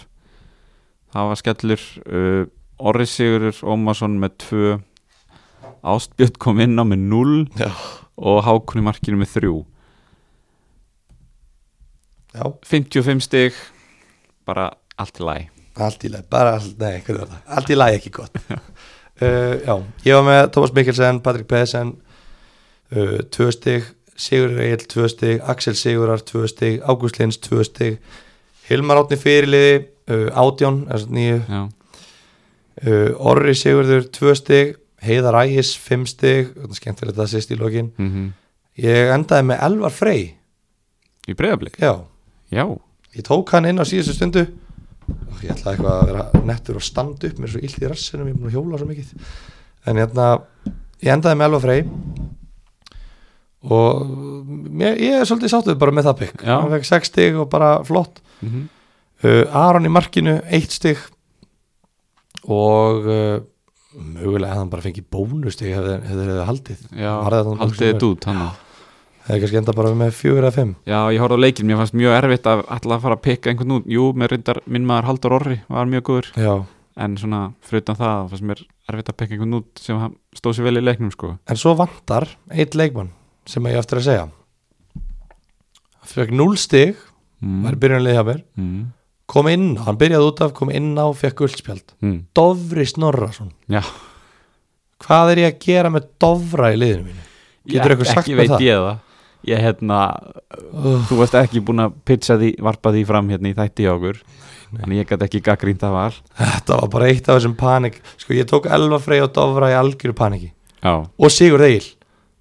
Speaker 1: það var skellur uh, Orri Sigurður Ómarsson með 2 Ástbjörn kom inn á með 0
Speaker 2: Já.
Speaker 1: og Hákon í markinu með 3
Speaker 2: já
Speaker 1: 55 stig bara allt í læ
Speaker 2: allt í lagi, bara allt, nei, hvernig var það allt í lagi ekki gott [LAUGHS] Uh, já, ég var með Thomas Mikkelsen, Patrik Pedersen uh, tvö stig Sigur Egil tvö stig, Axel Sigurar tvö stig, Ágúst Lins tvö stig Hilmar Átni Fyrirliði uh, Átjón, þess að nýju
Speaker 1: já,
Speaker 2: uh, Orri Sigurður tvö stig Heiðar Ægis fimm stig þarna er skemmtilegt að það sést í lokin
Speaker 1: mm
Speaker 2: ég endaði með Elvar Frey
Speaker 1: í breyðablík
Speaker 2: já,
Speaker 1: já,
Speaker 2: ég tók hann inn á síðustu stundu og ég ætlaði eitthvað að vera nettur og standa upp mér er svo illt í rassinum, ég er búin að hjóla svo mikið en hérna ég endaði með Elvar Frey og mér, ég er svolítið sáttuð bara með það pikk
Speaker 1: Já.
Speaker 2: hann fekk 6 stig og bara flott
Speaker 1: mm
Speaker 2: uh, Aron í markinu, eitt stig og uh, mögulega hefði hann bara fengið bónustig hefði hefði haldið
Speaker 1: já
Speaker 2: Varði þetta nú
Speaker 1: haldið
Speaker 2: mjög
Speaker 1: þetta út hann
Speaker 2: hefði kannski enda bara með fjögur eða fimm
Speaker 1: já, ég horfði á leikinn, mér fannst mjög erfitt að alltaf fara að pikka einhvern út, jú, mér reyndar minn maður Haldur Orri var mjög góður
Speaker 2: Já.
Speaker 1: en svona, fyrir utan það, fannst mér erfitt að pikka einhvern út sem hann stóð sér vel í leiknum sko.
Speaker 2: en svo vantar eitt leikmann sem ég á eftir að segja hann fekk 0 stig
Speaker 1: mm.
Speaker 2: var í byrjunlið hjá mér
Speaker 1: mm.
Speaker 2: kom inn á, hann byrjaði út af, kom inn á fekk guldspjald,
Speaker 1: Mm.
Speaker 2: Dofri Snorrason
Speaker 1: já,
Speaker 2: hvað er ég að gera með Dofra í liðinu mínu
Speaker 1: Ég-
Speaker 2: Getur einhver sagt
Speaker 1: ekki
Speaker 2: mér
Speaker 1: veit
Speaker 2: það?
Speaker 1: ég það ég hérna,
Speaker 2: oh,
Speaker 1: þú varst ekki búin að pitcha því, varpa því fram hérna í þætti hjá okkur þannig ég gæti ekki gaggrínt það val
Speaker 2: þetta var bara eitt af þessum panik sko ég tók Elva Frey og Dofra í algjöru paniki
Speaker 1: já,
Speaker 2: og Sigur Egil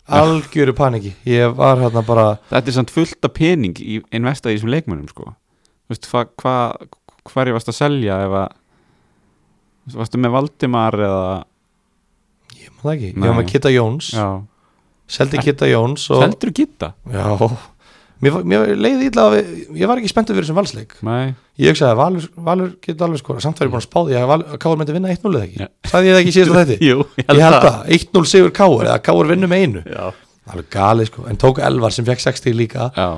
Speaker 2: algjöru paniki ég var hérna bara
Speaker 1: þetta er samt fullt af pening í investa í þessum leikmönnum sko þú veist, hvað hva, hvar ég varst að selja ef að þú veist, varstu með Valdimar eða
Speaker 2: ég maður það ekki, ég
Speaker 1: Nei.
Speaker 2: var með Kitta Jóns
Speaker 1: já,
Speaker 2: seldi Kitta Jóns og
Speaker 1: seldur gitta
Speaker 2: já, mér, var- mér leiði illa að ég var ekki spenntur fyrir þessum valsleik
Speaker 1: nei,
Speaker 2: ég hugsaði að Valur, Valur getur alveg skora samt var ég búin að spáði að, Valur- að Káur myndi vinna 1-0 eða ekki
Speaker 1: Já.
Speaker 2: sagði ég það ekki síðast að þetta
Speaker 1: [LAUGHS] jú,
Speaker 2: ég held það, 1-0 Sigur Káur eða Káur vinnur með einu
Speaker 1: já,
Speaker 2: alveg galið sko, en tók Elvar sem fekk 60 líka
Speaker 1: já,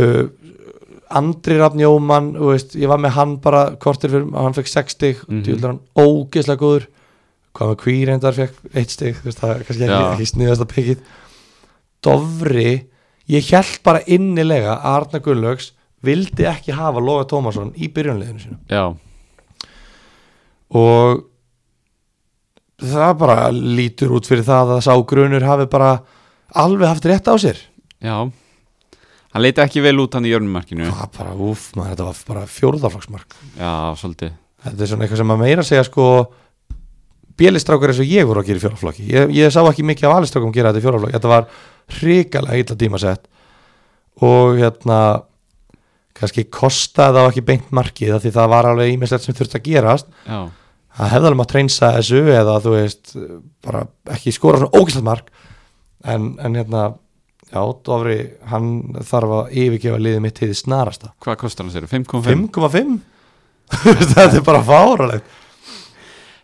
Speaker 2: uh, Andri Rafn Jóman þú veist, ég var með hann bara kortir fyrir hann fekk 6 stig, mm
Speaker 1: Mhm.
Speaker 2: -hmm. djúlar hann ógeðslega góður hvað með Kvíreindar fekk 1 stig þú veist, það er kannski ekki,
Speaker 1: Já.
Speaker 2: ekki sniðast að pikið Dofri ég held bara innilega að Arna Gunnlaugs vildi ekki hafa Loga Tómasson í byrjunleginu sínu
Speaker 1: já,
Speaker 2: og það bara lítur út fyrir það að sá grunur hafi bara alveg haft rétt á sér
Speaker 1: já hann leita ekki vel út hann í jörnumarkinu
Speaker 2: það bara, úf, maður, þetta var bara fjórðaflagsmark
Speaker 1: já, svolítið
Speaker 2: Þetta er svona eitthvað sem að meira segja sko bélistrákar eins og ég voru að gera í fjólaflokki ég, ég sá ekki mikið af alistrákum gera þetta í fjólaflokki þetta var hrikalega illa tímasett og hérna kannski kostaði það ekki beint markið af því það var alveg ímislegt sem þurfti að gerast
Speaker 1: já,
Speaker 2: það hefði alveg maður að treynsa þessu eða þú veist, bara ekki skora svona ógæslega mark en, en hérna, já, Dofri hann þarf að yfirgefa liðið mitt til því snarasta
Speaker 1: hvað kostar hann sér, 5,5
Speaker 2: 5,5 þetta er bara fáralegt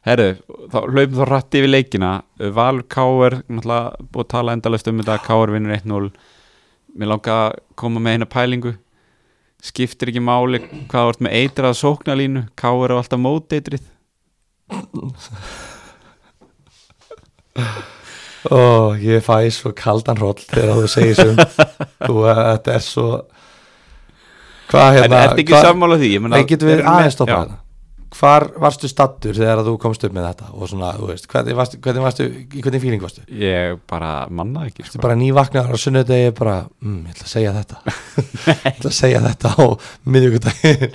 Speaker 1: herru, þá hlaupum þá rætt yfir leikina Eh, Valur Káur, náttúrulega búið að tala endalaust um þetta, Káur vinnur 1-0 mér langar að koma með eina pælingu skiptir ekki máli hvað þú ert með eitrað sóknarlínu Káur er alltaf mót eitrið
Speaker 2: Ó, ég fæ svo kaldan hroll þegar þú segir sem þú að þetta er svo hvað
Speaker 1: en
Speaker 2: hérna
Speaker 1: ertu ekki
Speaker 2: hvar-
Speaker 1: sammála því? Ég meina-
Speaker 2: Nei, getum við
Speaker 1: erum
Speaker 2: aðeins stoppa
Speaker 1: Já,
Speaker 2: þetta Hvar varstu stattur þegar þú komst upp með þetta og svona, þú veist, hvernig varstu, hvernig varstu í hvernig fíling varstu?
Speaker 1: ég bara manna ekki
Speaker 2: Þetta
Speaker 1: sko.
Speaker 2: er bara nývaknaður á sunnudegi bara, mm, ég ætla að segja
Speaker 1: [LAUGHS]
Speaker 2: þetta ég ætla að segja þetta á miðvikudaginn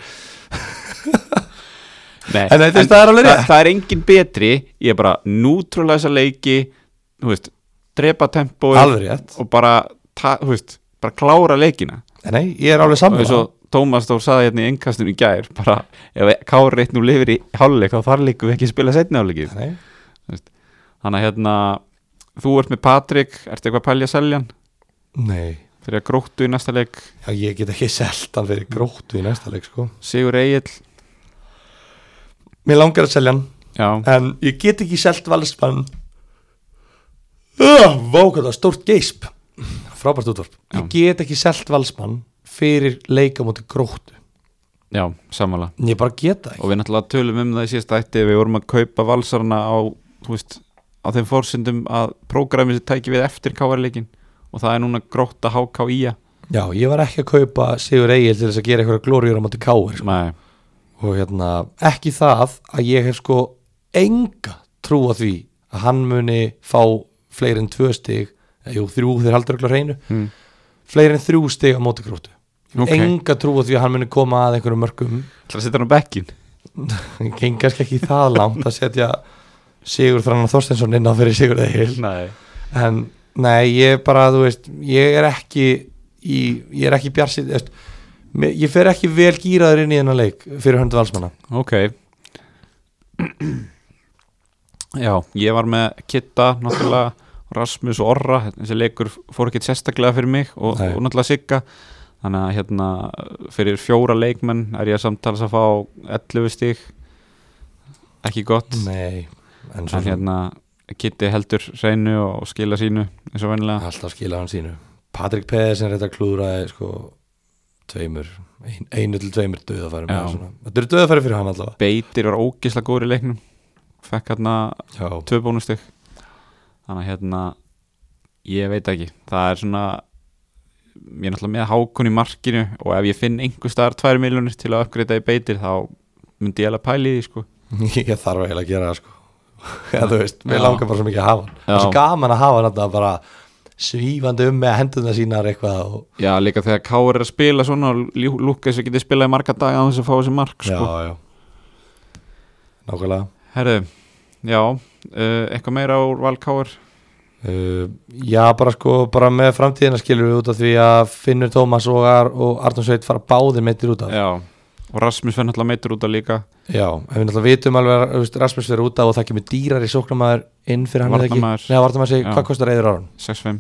Speaker 1: Nei,
Speaker 2: En þetta er staðar alveg
Speaker 1: það,
Speaker 2: rétt.
Speaker 1: það er engin betri ég er bara nútrúlega þessa leiki þú veist, drepa tempói
Speaker 2: Alveg rétt,
Speaker 1: og bara, ta, þú veist, bara klára leikina
Speaker 2: En nei, ég er alveg
Speaker 1: og
Speaker 2: sammála
Speaker 1: eins og Tómas Þór saði hérna í innkastinu í gær bara ef Kári eitt nú lifir í háluleik þá þar líkum við ekki að spila setni háluleikið
Speaker 2: Nei,
Speaker 1: þannig að hérna þú ert með Patrik, ertu eitthvað að pælja að selja hann
Speaker 2: nei
Speaker 1: fyrir að gróttu í næsta leik
Speaker 2: Já, ég get ekki selt hann fyrir gróttu í næsta leik, sko
Speaker 1: Sigur Egil
Speaker 2: Mér langar að selja hann
Speaker 1: já,
Speaker 2: en ég get ekki selt valsmann uh, Vá, hvað það var stórt geisp Frábært útvarp
Speaker 1: Já.
Speaker 2: Ég get ekki selt valsmann fyrir leika múti gróttu
Speaker 1: já, samanlega
Speaker 2: Ég bara get það
Speaker 1: og við náttúrulega tölum um það í síðasta ætti við vorum að kaupa valsarna á þú veist, á þeim fórsendum að prógramið sér tæki við eftir Kári leikin og það er núna grótta HKIA
Speaker 2: ekki Já, ég var ekki að kaupa Sigur Egil til þess að gera eitthvað glóriur á múti káir sko.
Speaker 1: Nei,
Speaker 2: og hérna, ekki það að ég hef sko enga trú trú á því að hann muni fá fleiri en tvö stig eða jú, þrjú þeir haldur öll á hreinu
Speaker 1: Mm.
Speaker 2: fleiri en þrjú stig á móti gróttu
Speaker 1: Ok.
Speaker 2: enga trú á því að hann muni koma að einhverjum mörgum
Speaker 1: Það að setja hann á bekkin
Speaker 2: geng kannski ekki það langt að setja Sigur Þrannar Þorstensson inn á fyrir Sigur Egil
Speaker 1: Nei
Speaker 2: en nei, ég bara, þú veist ég er ekki í, ég er ekki bjarsið, þú veist mér- ég fer ekki vel gýraður inn í þennan leik fyrir höndu valsmanna
Speaker 1: Ok Já, ég var með Kitta, náttúrulega Rasmus og Orra, þessi leikur fór ekki sérstaklega fyrir mig og,
Speaker 2: Nei.
Speaker 1: og náttúrulega Sigga þannig að hérna fyrir fjóra leikmenn er ég samtals að fá 11 stík ekki gott
Speaker 2: nei, en svo
Speaker 1: en hérna Kitti heldur hreinu og skila sínu eins og vennilega
Speaker 2: alltaf skila hann sínu Patrik Pedersen reyndar klúðraði sko tveimur, ein, einu til tveimur döðafærum
Speaker 1: Já.
Speaker 2: eða svona. þetta eru döðafæri fyrir hann allavega
Speaker 1: Beitir var ógislega góður í leiknum fekk hérna
Speaker 2: já,
Speaker 1: tvö bónustig þannig að hérna ég veit ekki, það er svona ég er náttúrulega með hákun í markinu og ef ég finn einhver staðar tvær miljonir til að uppgreita í beitir þá myndi ég alveg pæli því sko
Speaker 2: [LAUGHS] ég þarf eiginlega að gera það sko [LAUGHS] Já, þú veist, mér
Speaker 1: Já.
Speaker 2: langar bara svo mikið að hafa hann það er svo
Speaker 1: Já.
Speaker 2: gaman að hafa hann þarna bara svífandi um með hendurna sínar eitthvað og,
Speaker 1: Já, líka þegar Káur er að spila svona og Lú- Lúkas getið spilað í marga daga á þess að fá þessi mark sko
Speaker 2: já, já. nákvæmlega
Speaker 1: Herðu, já, uh, eitthvað meira úr Val Káur
Speaker 2: Uh, já, bara sko, bara með framtíðina skilur við út af því að Finnur Tómas og, Ar og Arnum Sveit fara báðir meittir út af.
Speaker 1: Já, og Rasmus fyrir náttúrulega meitur út af líka
Speaker 2: Já, en við náttúrulega vitum alveg að þú veist, Rasmus fyrir út af og það kemur dýrar í sóknamaður inn fyrir hann eða ekki.
Speaker 1: Varnarmaður.
Speaker 2: Nei, varnamaður segi,
Speaker 1: Já.
Speaker 2: hvað kostar eður árun?
Speaker 1: 6-5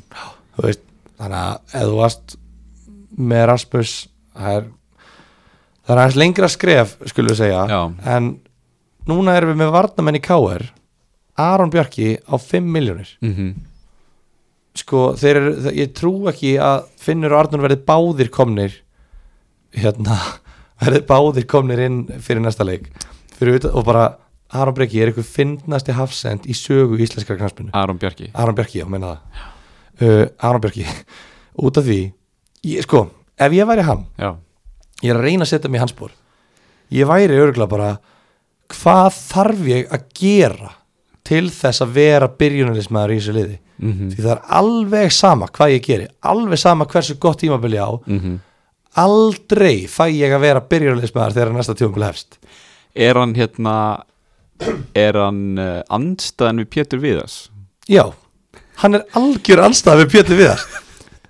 Speaker 2: Þú veist, þannig að ef þú varst með Rasmus, það er, það er aðeins lengra skref, skulum við segja.
Speaker 1: Já,
Speaker 2: En núna erum við með varnamenn í KR, Aron Bjarki á 5 miljónir.
Speaker 1: mm
Speaker 2: sko, þeir eru, þe- ég trú ekki að Finnur og Arnur verði báðir komnir hérna [LAUGHS] verði báðir komnir inn fyrir næsta leik fyrir, utan- og bara Aron Breki er ykkur finnasti hafsend í sögu íslenskar knarspinu
Speaker 1: Aron Bjarki
Speaker 2: Aron Bjarki, já, meina það uh, Aron Bjarki, [LAUGHS] út af því ég, sko, ef ég væri hann
Speaker 1: Já,
Speaker 2: ég er að reyna að setja mig í hans bór ég væri örgulega bara hvað þarf ég að gera til þess að vera byrjunalismæður í þessu liði
Speaker 1: mm -hmm.
Speaker 2: því það er alveg sama hvað ég geri alveg sama hversu gott tímabili á
Speaker 1: Mhm.
Speaker 2: aldrei fæ ég að vera byrjunarleismæðar þegar næsta tímabili hefst
Speaker 1: Er hann hérna Er hann uh, andstæðan við Pétur Viðars?
Speaker 2: já, hann er algjör allstað við Pétur Viðars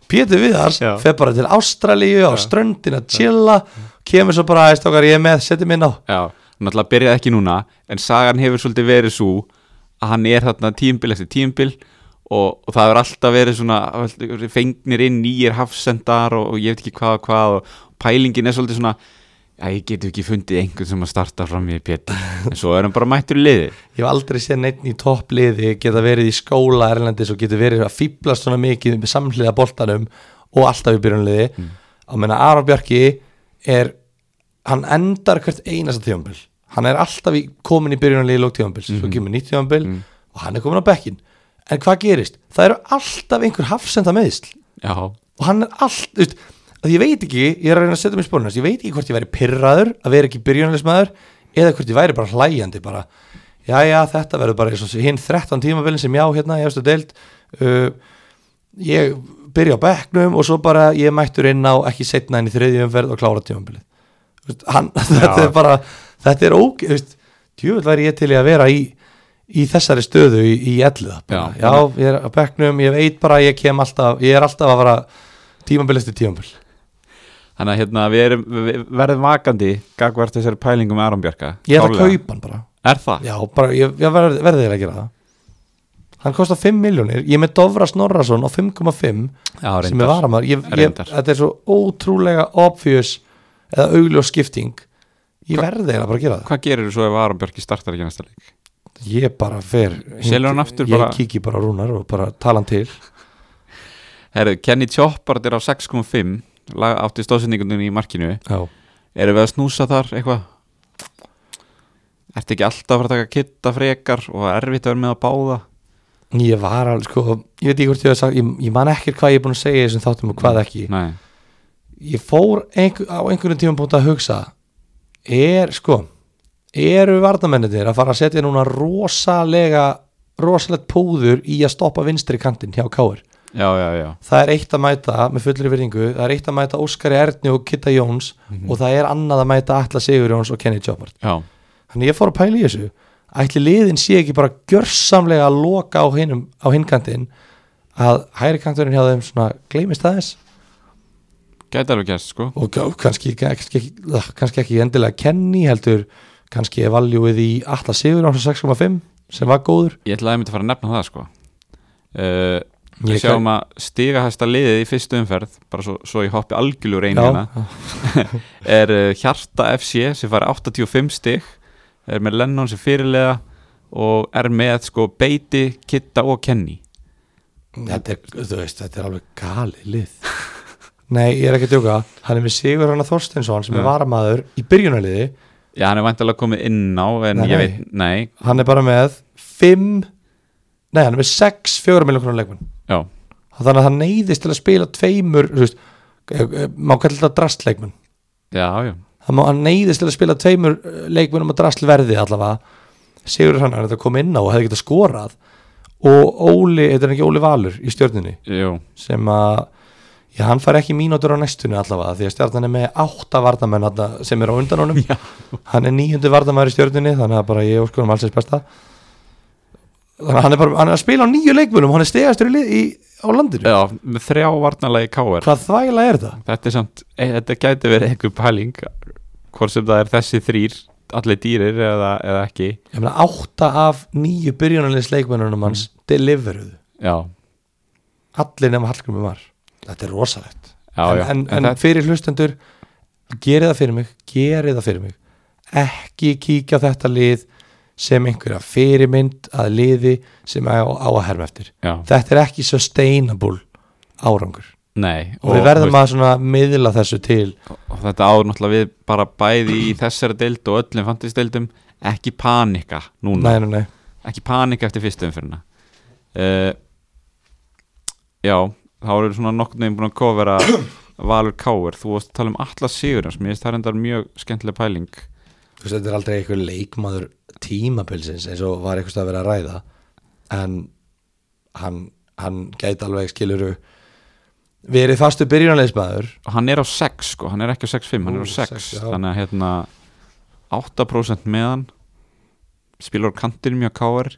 Speaker 2: Pétur Viðars
Speaker 1: Já.
Speaker 2: fer bara til Ástralíu á ströndin að chilla kemur svo bara aðeins okkar ég er með, setjum inn á
Speaker 1: Já, náttúrulega byrjaði ekki núna En sagan hefur svolítið verið svo að hann er þarna tímbil eftir tímbil og, og það hefur alltaf verið svona fengnir inn nýjir hafsendar og, og ég veit ekki hvað og hvað og pælingin er svolítið svona að ég getur ekki fundið einhvern sem að starta fram í Pétur en svo er hann bara mættur í liði
Speaker 2: ég hef aldrei séð neitt í toppliði geta verið í skóla erlendis og geta verið að fýblast svona mikið með samhliða boltanum og alltaf í byrjunliði á meina Aron Bjarki er hann endar hvert einasta tífambil hann er alltaf í, komin í byrjunliði í lók tífambil, svo kemur nýtt tífambil og hann er komin á bekkin, en hvað gerist? það eru alltaf einhver hafsenda meðisl
Speaker 1: Já,
Speaker 2: og hann er allt þú veist, að ég veit ekki, ég er að reyna að setja mig í spórnast ég veit ekki hvort ég væri pyrraður að vera ekki byrjunalismæður eða hvort ég væri bara hlæjandi bara, já já þetta verður bara eins og hinn 13 tímabilin sem já hérna ég hefstu deild uh, ég byrja á bekknum og svo bara ég er mættur inn á ekki setna inn í þriðju umferð og klára tímabilið Þú veist, hann, [LAUGHS] þetta er bara þetta er óg, þú veist, djúvel væri ég til í að vera í í þessari stöðu í, í elliða bara.
Speaker 1: Já.
Speaker 2: já, ég er á bekknum, ég veit bara að ég kem alltaf, ég er alltaf að fara tímabil eftir tímabil
Speaker 1: þannig að hérna, við, erum, við verðum vakandi gagvart þessari pælingum Aron Bjarka
Speaker 2: ég er að
Speaker 1: Klárlega.
Speaker 2: kaupa hann bara
Speaker 1: Er það?
Speaker 2: já, bara, ég, ég verð, verði þeir að gera það hann kostar 5 miljónir ég er með Dovra Snorrason á 5,5
Speaker 1: Já,
Speaker 2: sem er varamar ég, ég,
Speaker 1: Reyndar.
Speaker 2: þetta er svo ótrúlega obvious eða augljós skipting ég verði þeir að bara gera það
Speaker 1: Hvað gerir þú svo ef Aron Björki startar ekki næsta leik?
Speaker 2: ég bara fer hing-
Speaker 1: Selur hann aftur
Speaker 2: ég
Speaker 1: bara?
Speaker 2: kíki bara á rúnar og bara tala hann til
Speaker 1: Herru, Kenny Choppard er á 6.5 lag- átti stóðsendingunum í markinu
Speaker 2: já
Speaker 1: Erum við að snúsa þar eitthvað? Ertu ekki alltaf að fara að taka kitta frekar og erfitt að vera með að báða?
Speaker 2: Ég var alveg, sko, ég veit ekki hvort ég hef sagt, ég, ég man ekkert hvað ég er búin að segja í þessum þáttum og hvað ekki.
Speaker 1: Nei,
Speaker 2: Ég fór einhver, á einhverjum tímum búin að hugsa, er, sko, eru varnamenninir að fara að setja núna rosalega rosalegt púður í að stoppa vinstri kantinn hjá Káur
Speaker 1: já, já, já,
Speaker 2: það er eitt að mæta með fullri virðingu það er eitt að mæta Óskari Erni og Kitta Jóns og það er annað að mæta Atla Sigur Jóns og Kenny Jobbart
Speaker 1: já,
Speaker 2: þannig ég fór að pæla í þessu ætli liðin sé ekki bara gjörsamlega að loka á hinum á hinkantinn að hægri kanturinn hjá þeim svona gleymist aðeins
Speaker 1: gæti alveg gerst sko
Speaker 2: og gá- kannski, kannski, ekki- ah, kannski ekki endilega Kenny heldur kannski er valjúið í Atla Sigur á 6,5 sem var góður
Speaker 1: Ég ætlaði að mynda að fara að nefna það sko uh, Við
Speaker 2: Ég
Speaker 1: sjáum að stigahæsta liðið í fyrstu umferð bara svo, svo ég hoppi algjörlur einu
Speaker 2: já,
Speaker 1: hérna er uh, Hjarta FC sem fari 85 stig er með Lennon sem fyrirlega og er með sko Beiti, Kitta og Kenny
Speaker 2: þetta, er, þú veist, þetta er alveg gali lið Nei, ég er ekki að djóka Hann er með Sigur Hanna Þorsteinsson sem er
Speaker 1: Mm.
Speaker 2: varamaður í byrjunarliði
Speaker 1: Já, hann er væntalega komið inn á en
Speaker 2: Nei,
Speaker 1: ég
Speaker 2: nei.
Speaker 1: veit, nei,
Speaker 2: Hann er bara með 5 Nei, hann er með 6 4 miljón krónar leikmann
Speaker 1: já,
Speaker 2: Þannig að hann neyðist til að spila tveimur þú veist, eh, eh, Má kallar þetta drastleikmann
Speaker 1: já, já
Speaker 2: Hann má- Hann neyðist til að spila tveimur eh, leikmönnum að drastlverði allavega Sigur Hanna er þetta að koma inn á og hefði getað skorað og Óli, þetta er ekki Óli Valur í stjörnunni
Speaker 1: Jú,
Speaker 2: sem að já, hann fær ekki mínútur á næstunni allavega því að stjarnan er með átta vardamenn þarna sem er á undan honum
Speaker 1: Já.
Speaker 2: hann er níundi vardamæður í stjörnunni þannig að bara ég óskur um allsins besta þannig að hann er, bara, hann er að spila á nýju leikmunum hann er stegastur í, lið- í, á landinu
Speaker 1: já með þrjá varnarlega í Káar
Speaker 2: hvað þvæla er þetta?
Speaker 1: Þetta er samt, e, þetta gæti verið einhver pæling hvort sem það er þessi þrýr allir dýrir eða, eða ekki
Speaker 2: ég meina átta af nýju byrjunarliðs leikmununum hans
Speaker 1: Mm.
Speaker 2: deliveruðu
Speaker 1: Já,
Speaker 2: allir nema Hallgrimur var þetta er rosalegt
Speaker 1: já,
Speaker 2: en,
Speaker 1: já
Speaker 2: en, en
Speaker 1: það,
Speaker 2: fyrir hlustendur gerið það fyrir mig, gerið það fyrir mig ekki kíkja á þetta lið sem einhverja fyrirmynd að liði sem á, á að herma eftir
Speaker 1: já,
Speaker 2: þetta er ekki sustainable árangur
Speaker 1: nei
Speaker 2: og, við verðum að svona miðla þessu til
Speaker 1: og þetta áður náttúrulega við bara bæði í þessari deild og öllum fantasdeildum ekki panika núna,
Speaker 2: nei, nei, nei.
Speaker 1: ekki panika eftir fyrstu umfyrirna uh, Já, þá eru svona nokkurn veginn búin að
Speaker 2: [CLEARS THROAT]
Speaker 1: kofera Valur Káur, þú varst að tala um alla sigurins, mér finnst það reyndar mjög skemmtileg pæling
Speaker 2: Þú veist, þetta er aldrei einhver leikmaður tímabilsins eins og var eitthvað að vera að ræða en hann, hann gæti alveg skiluru verið fastu byrjunarleismæður
Speaker 1: og hann er á 6 sko, hann er ekki á 6.5 hann er á
Speaker 2: Ú,
Speaker 1: 6,
Speaker 2: sex, já.
Speaker 1: þannig að hérna 8% meðan spilur á kantinum hjá Káar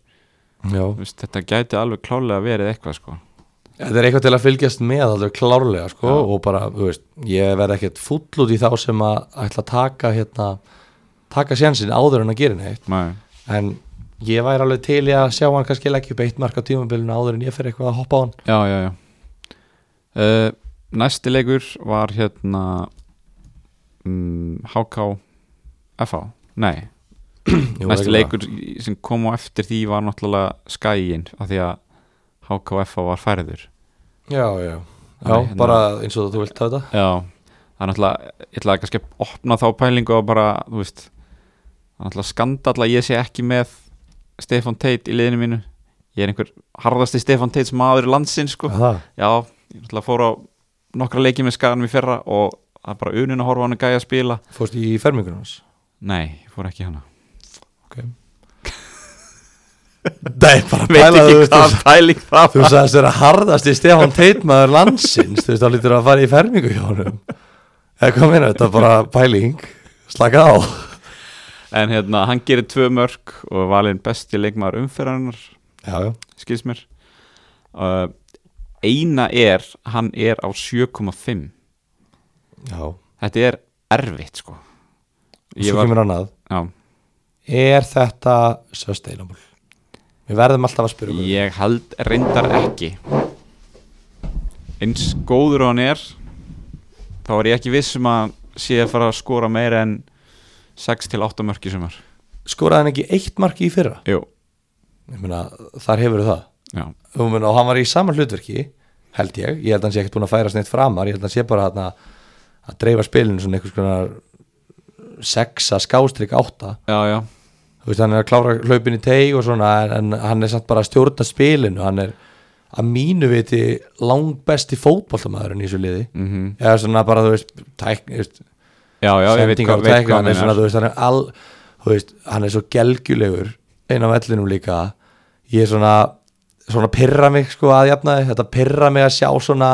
Speaker 2: já
Speaker 1: Vist, þetta gæti alveg klálega verið eitthvað sko
Speaker 2: Þetta er eitthvað til að fylgjast með alveg klárlega sko,
Speaker 1: Já.
Speaker 2: og bara, þú veist, ég verð ekkert fúll út í þá sem að ætla að taka hérna, taka sjansin áður en að gera neitt,
Speaker 1: Nei.
Speaker 2: en ég væri alveg til í að sjá hann kannski leggja upp eitt mark á tímabilinu áður en ég fer eitthvað að hoppa á hann
Speaker 1: já, já, já uh, næsti leikur var hérna mm, HK FH, nei næsti
Speaker 2: Jú, það er ekki
Speaker 1: leikur í- sem kom á eftir því var náttúrulega skæin af því að HK FH var færður
Speaker 2: bara- Já, já, já,
Speaker 1: Þannig, hérna-
Speaker 2: bara eins og þú vilt hafa þetta
Speaker 1: Já, það er náttúrulega ég ætlaði kannski að opna þá pælingu og bara, þú veist það er náttúrulega skandall að ég sé ekki með Stefan Teit í liðinu mínu ég er einhver harðasti Stefan Teits maður í landsinn sko,
Speaker 2: Já, það.
Speaker 1: já, ég náttúrulega fór á nokkra leiki með skaganum í fyrra og það er bara unun að horfa á hann að gæja að spila
Speaker 2: Fórst í fermingunum hans
Speaker 1: Nei, ég fór ekki í hana
Speaker 2: okay. [LAUGHS] Það er bara að
Speaker 1: Veit
Speaker 2: pæla þú
Speaker 1: ekki
Speaker 2: veist,
Speaker 1: hvað pæling það
Speaker 2: Þú
Speaker 1: var
Speaker 2: sagðist vera harðasti Stefán Teitmaður landsins Þú veist, þá lítur að fara í fermingu hjá honum Eða hvað meina, þetta er bara pæling Slaka á
Speaker 1: En hérna, hann gerir tvö mörg og er valinn besti leikmaður umferðarinnar
Speaker 2: Já, já
Speaker 1: skils mér uh, eina er hann er á 7,5
Speaker 2: Já,
Speaker 1: þetta er erfitt sko ég
Speaker 2: svo
Speaker 1: var,
Speaker 2: kemur annað
Speaker 1: já,
Speaker 2: Er þetta sustainable? Við verðum alltaf að spyrja um okkur
Speaker 1: ég held reyndar ekki eins góður og hann er þá er ég ekki viss um að sé að fara að skora meira en 6 til 8 mörki sem er
Speaker 2: Skoraði hann ekki eitt marki í fyrra?
Speaker 1: Jú,
Speaker 2: Ég meina, þar hefur það
Speaker 1: já,
Speaker 2: Þú meina, og hann var í sama hlutverki held ég, ég held að hann sé ekkert búin að færa snett framar ég held að hann sé bara þarna að dreifa spilinu svona einhvers konar sexa skástrík átta
Speaker 1: já, já
Speaker 2: þú veist, hann er að klára hlaupin í teig og svona en, en hann er satt bara að stjórna spilinu hann er að mínu viti langbesti fótboltamaðurinn í þessu liði
Speaker 1: mm
Speaker 2: eða svona bara, þú veist, tæk, þú veist
Speaker 1: já, já, ég veit hvað,
Speaker 2: sendingar og
Speaker 1: veit
Speaker 2: tækla
Speaker 1: hvað
Speaker 2: hann er
Speaker 1: hann er
Speaker 2: svona, þú veist, hann er all þú veist, hann er svo gelgjulegur inn á vellinum líka ég er svona, svona pyrra mig sko aðjafnaði, þetta pyrra mig að sjá svona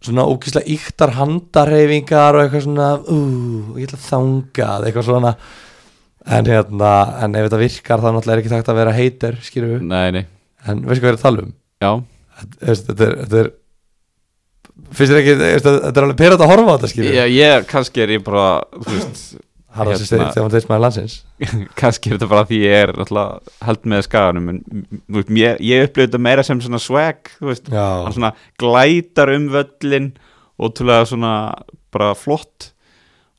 Speaker 2: svona ókýrslega yktar handarhefingar og eitthvað svona ú, ég ætla að þangað, eitthvað svona en hérna, en ef þetta virkar þá náttúrulega er ekki takt að vera heitir, skýrðu
Speaker 1: Nei, nei,
Speaker 2: en veistu hvað er að tala um
Speaker 1: já
Speaker 2: Þetta- þetta þetta er, þetta er finnst þér ekki, þetta þetta er alveg pyrrað að horfa á þetta skýrðu,
Speaker 1: Já, ég, kannski er ég bara þú veist, [LAUGHS]
Speaker 2: hann er þessi
Speaker 1: hérna-
Speaker 2: þegar hann teist maður landsins
Speaker 1: kannski er þetta bara því ég er alltaf held með skaganum en þú veist, mér, ég upplifði þetta meira sem svona swag þú veist,
Speaker 2: Já.
Speaker 1: hann svona glætar um völlin ótrúlega svona bara flott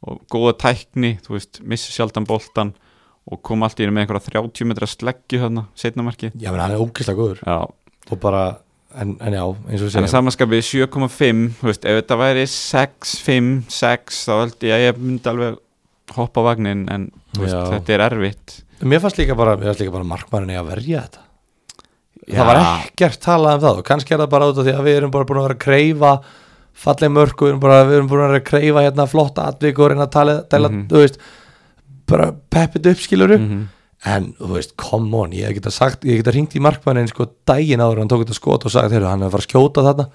Speaker 1: og góða tækni, þú veist, missi sjaldan boltan og kom allt í einu með einhverja 30 metra sleggju hérna, þarna, setna marki
Speaker 2: já, menn hann er ókýrslega góður
Speaker 1: Já,
Speaker 2: og bara, en, en já, eins og við
Speaker 1: en að
Speaker 2: segjum
Speaker 1: samanskapið 7,5 þú veist, ef þetta væri 6, 5, 6 þá held ég að ég myndi alveg hoppa á vagnin en þú veist,
Speaker 2: Já.
Speaker 1: þetta er erfitt
Speaker 2: mér fannst líka bara, mér fannst líka bara markmannin eigi að verja þetta
Speaker 1: Já.
Speaker 2: það var ekkert talað um það og kannski er það bara út af því að við erum bara búin að vera að kreifa falleg mörg og við erum, bara, við erum búin að vera að kreifa hérna flotta atvik og reyna að tala, tala
Speaker 1: Mhm.
Speaker 2: þú veist, bara peppið upp skiluru
Speaker 1: Mhm.
Speaker 2: en þú veist, come on, ég hef geta sagt ég hef geta ringt í markmannin sko daginn áður en hann tók þetta skot og sagt, heyrðu, hann er að fara að skjóta þarna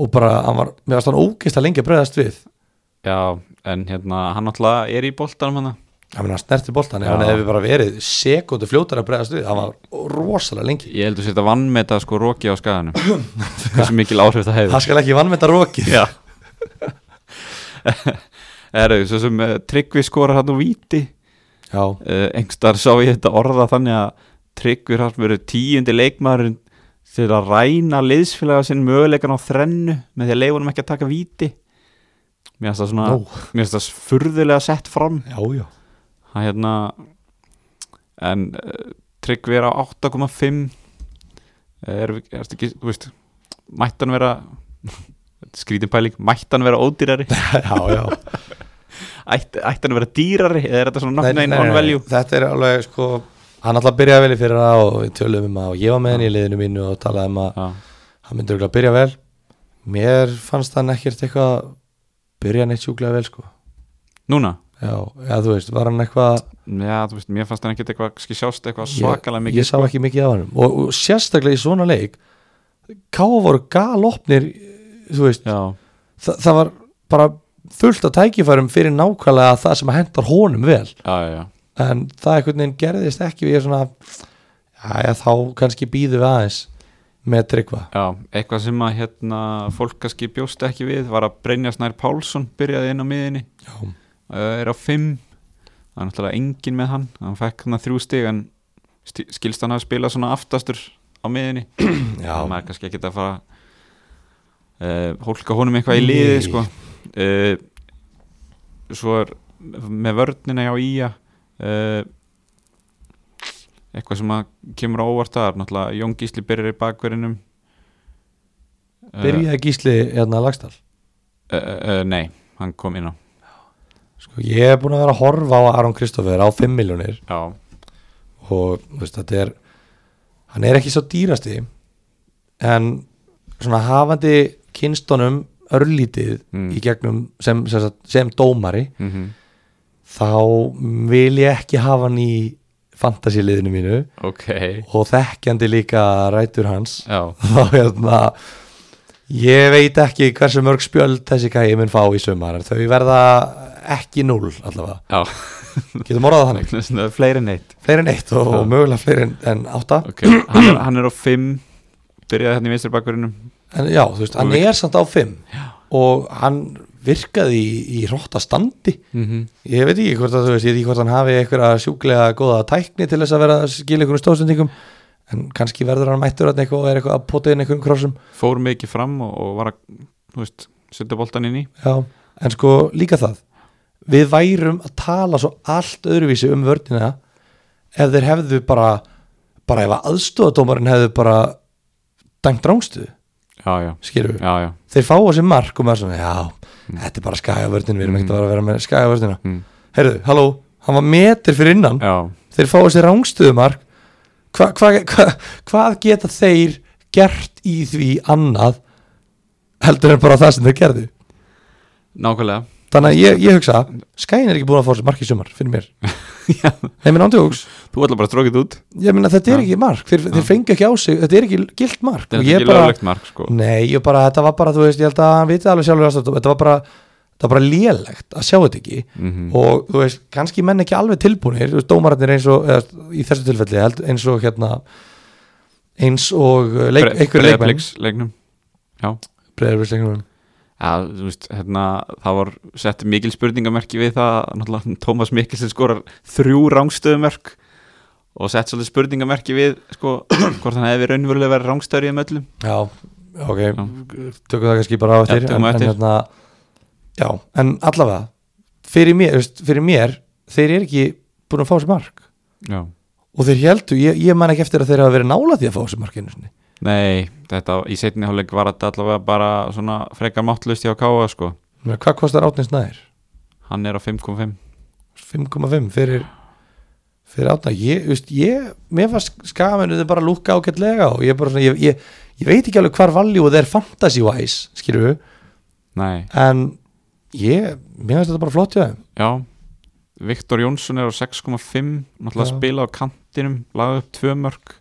Speaker 2: og bara, hann var, mér varst hann ógeist að lengi að bregðast við,
Speaker 1: Já, en hérna, hann alltaf er í boltanum hérna. hann
Speaker 2: hann meina hann snerti boltan ef
Speaker 1: Já.
Speaker 2: hann hefði bara verið sekundu fljótar að bregðast við, hann var rosalega lengi
Speaker 1: Ég heldur sér þetta vannmeta sko roki á
Speaker 2: [COUGHS]
Speaker 1: skaganum Hversu mikil áhrif það
Speaker 2: það
Speaker 1: hefur
Speaker 2: skal ekki vannmynda rokið
Speaker 1: [LAUGHS] Já Erðu, svo sem uh, Tryggvi skorar hann úr víti
Speaker 2: Já.
Speaker 1: uh, Engstar sá ég þetta orða þannig að Tryggvi hann verið tíundi leikmaðurinn til að ræna liðsfélaga sinn möguleikan á þrennu með því að leifunum ekki að taka víti Mér finnst það svona
Speaker 2: Nó.
Speaker 1: Mér finnst það furðulega sett fram
Speaker 2: já, já [LAUGHS]
Speaker 1: hann hérna en uh, Tryggvi er á 8,5 Eh, er, er ekki, þú veist mættan vera [LAUGHS] skrítin pæling, mættan vera ódýrari
Speaker 2: já, já
Speaker 1: ætt, ættan vera dýrari eða er þetta svona
Speaker 2: Nei, nei,
Speaker 1: nafnæðin
Speaker 2: nei,
Speaker 1: on
Speaker 2: nei.
Speaker 1: value
Speaker 2: þetta er alveg sko hann alltaf byrjaði vel í fyrir það og við töluðum um að og ég var með henni í liðinu mínu og talaði um að
Speaker 1: já,
Speaker 2: hann myndi örugglega að byrja vel mér fannst hann ekkert eitthvað byrja neitt sjúklega vel sko
Speaker 1: núna,
Speaker 2: já, já þú veist, var hann eitthvað
Speaker 1: já, þú veist, mér fannst hann ekkert eitthvað skil sjást eitthvað svakalega
Speaker 2: ég,
Speaker 1: mikið sko.
Speaker 2: ég sá ekki mikið af hann og, og sérstaklega í svona leik káfa voru galopnir þú veist,
Speaker 1: já,
Speaker 2: þa það var bara fullt af tækifærum fyrir nákvæmlega það sem hentar honum vel
Speaker 1: já, já, já,
Speaker 2: en það einhvern veginn gerðist ekki við erum svona já, já, þá kannski býðum við aðeins með tryggva
Speaker 1: já eitthvað sem að hérna fólk kannski bjóst ekki við var að Brynja Snær Pálsson byrjaði inn á miðinni
Speaker 2: já,
Speaker 1: uh, er á 5 það er náttúrulega engin með hann hann fekk hann þrjú stig en sti- skilst hann að spila svona aftastur á miðinni það
Speaker 2: já,
Speaker 1: er kannski ekki að fara uh, hólka honum eitthvað í liði
Speaker 2: Nei.
Speaker 1: sko. uh, svo er með vörnina á Ía uh, eitthvað sem að kemur á óvart það er náttúrulega Jón Gísli byrjar í bakverinum Eh,
Speaker 2: byrjaði gísli hérna að lagstall
Speaker 1: eh, eh, eh, nei, hann kom inn á
Speaker 2: sko, ég er búin að vera að horfa á Aron Kristoffer á 5 miljónir
Speaker 1: já,
Speaker 2: og þú veist, þetta er hann er ekki svo dýrasti en svona hafandi kynstónum örlítið
Speaker 1: Mm.
Speaker 2: í gegnum sem, sem, sagt- sem dómari
Speaker 1: mm
Speaker 2: þá vil ég ekki hafa hann í fantasíliðinu mínu
Speaker 1: ok
Speaker 2: og þekkjandi líka rætur hans [LAUGHS]
Speaker 1: já,
Speaker 2: þá hérna ég veit ekki hversu mörg spjöld þessi gæi mun fá í sumar en þau verða ekki núl allavega,
Speaker 1: já
Speaker 2: getum orðað það þannig
Speaker 1: Svona fleiri en eitt
Speaker 2: fleiri en eitt og, og mögulega fleiri en, en átta
Speaker 1: okay. hann, er, hann er á fimm byrjaði hérna í vinstri bakverðinum
Speaker 2: en já, þú veist, hann
Speaker 1: Og-
Speaker 2: er samt á fimm og hann virkaði í, í rotta standi
Speaker 1: mm -hmm.
Speaker 2: ég veit ekki hvort að þú veist, ég veit ekki hvort hann hafi einhverja sjúklega góða tækni til þess að vera að skila einhverjum stóðsendingum en kannski verður hann mættur hann eitthvað og er eitthvað að pota inn einhverjum krossum
Speaker 1: fór mikið fram og, og var að þú veist, setja boltan inn í
Speaker 2: Já, en sko líka það við værum að tala svo allt öðruvísi um vörnina ef þeir hefðu bara bara ef aðstofadómarinn hefðu bara dæmt rángstuð,
Speaker 1: já, já,
Speaker 2: skilur við
Speaker 1: já, já.
Speaker 2: þeir fá á sér mark og maður svona, já, þetta er bara skæðavörnin, við erum ekkert að vera að vera með skæðavörnina
Speaker 1: Mm.
Speaker 2: heyrðu, halló, hann var metir fyrir innan
Speaker 1: já.
Speaker 2: þeir fá á sér rángstuðumark hva, hva, hva, hvað geta þeir gert í því annað heldur en bara það sem þeir gerðu
Speaker 1: nákvæmlega
Speaker 2: Þa- þannig að ég, ég hugsa skæin er ekki búin að fá þessi mark í sumar fyrir mér
Speaker 1: [LAUGHS] Já,
Speaker 2: Nei, minn ándjóks,
Speaker 1: þú ætla bara að strókið út
Speaker 2: ég meina þetta er
Speaker 1: Já.
Speaker 2: ekki mark þeir, þeir fengu ekki á sig, þetta er ekki gilt mark
Speaker 1: Þetta
Speaker 2: og
Speaker 1: er
Speaker 2: ég
Speaker 1: ekki
Speaker 2: bara,
Speaker 1: löglegt mark sko
Speaker 2: nei, ég bara þetta var bara, þú veist, ég held að hann vitið alveg sjálfur að þetta var bara, þetta var bara lélegt að sjá þetta ekki
Speaker 1: Mhm.
Speaker 2: Mm. og þú veist, kannski menn ekki alveg tilbúinir þú veist, dómararnir eins og, eða, í þessu tilfelli held- eins og hérna eins og uh, leik,
Speaker 1: Bre-
Speaker 2: einhver leikmenn
Speaker 1: Breiðabliks leiknum Já,
Speaker 2: breyðarbyggsleikmenn
Speaker 1: ja, þú veist, hérna, það var sett mikil spurningamerki við það náttúrulega Tómas Mikkelsen skorar þrjú rángstöðumerk og sett svolítið spurningamerki við sko, [CLEARS THROAT] hvort hann hefði raunverulega verið rángstöður í þeim öllum
Speaker 2: Já, ok, tökum það kannski bara á
Speaker 1: Já,
Speaker 2: eftir,
Speaker 1: tökum
Speaker 2: en,
Speaker 1: á
Speaker 2: en
Speaker 1: eftir.
Speaker 2: hérna Já, en allavega fyrir mér, þú veist, fyrir mér þeir eru ekki búin að fá sér mark
Speaker 1: Já.
Speaker 2: og þeir heldu, ég, ég man ekki eftir að þeir hafa verið nála því að fá sér mark einu sinni
Speaker 1: Nei, þetta í setni hálfleik var þetta allavega bara svona frekar máttlust hjá Káa sko
Speaker 2: Ég meina, Hvað kostar Átnins nær?
Speaker 1: Hann er á 5.5
Speaker 2: 5,5 fyrir fyrir átna, ég, þú veist, ég mér var skaminu þeir bara lúka ágætlega og ég bara svona, ég, ég, ég veit ekki alveg hvar valjú þeir fantasy wise, skilur við
Speaker 1: Nei,
Speaker 2: en ég, mér finnst þetta bara flott hjá þeim
Speaker 1: Já, Viktor Jónsson er á 6,5 náttúrulega
Speaker 2: Já.
Speaker 1: spila á kantinum laga upp tvö mörg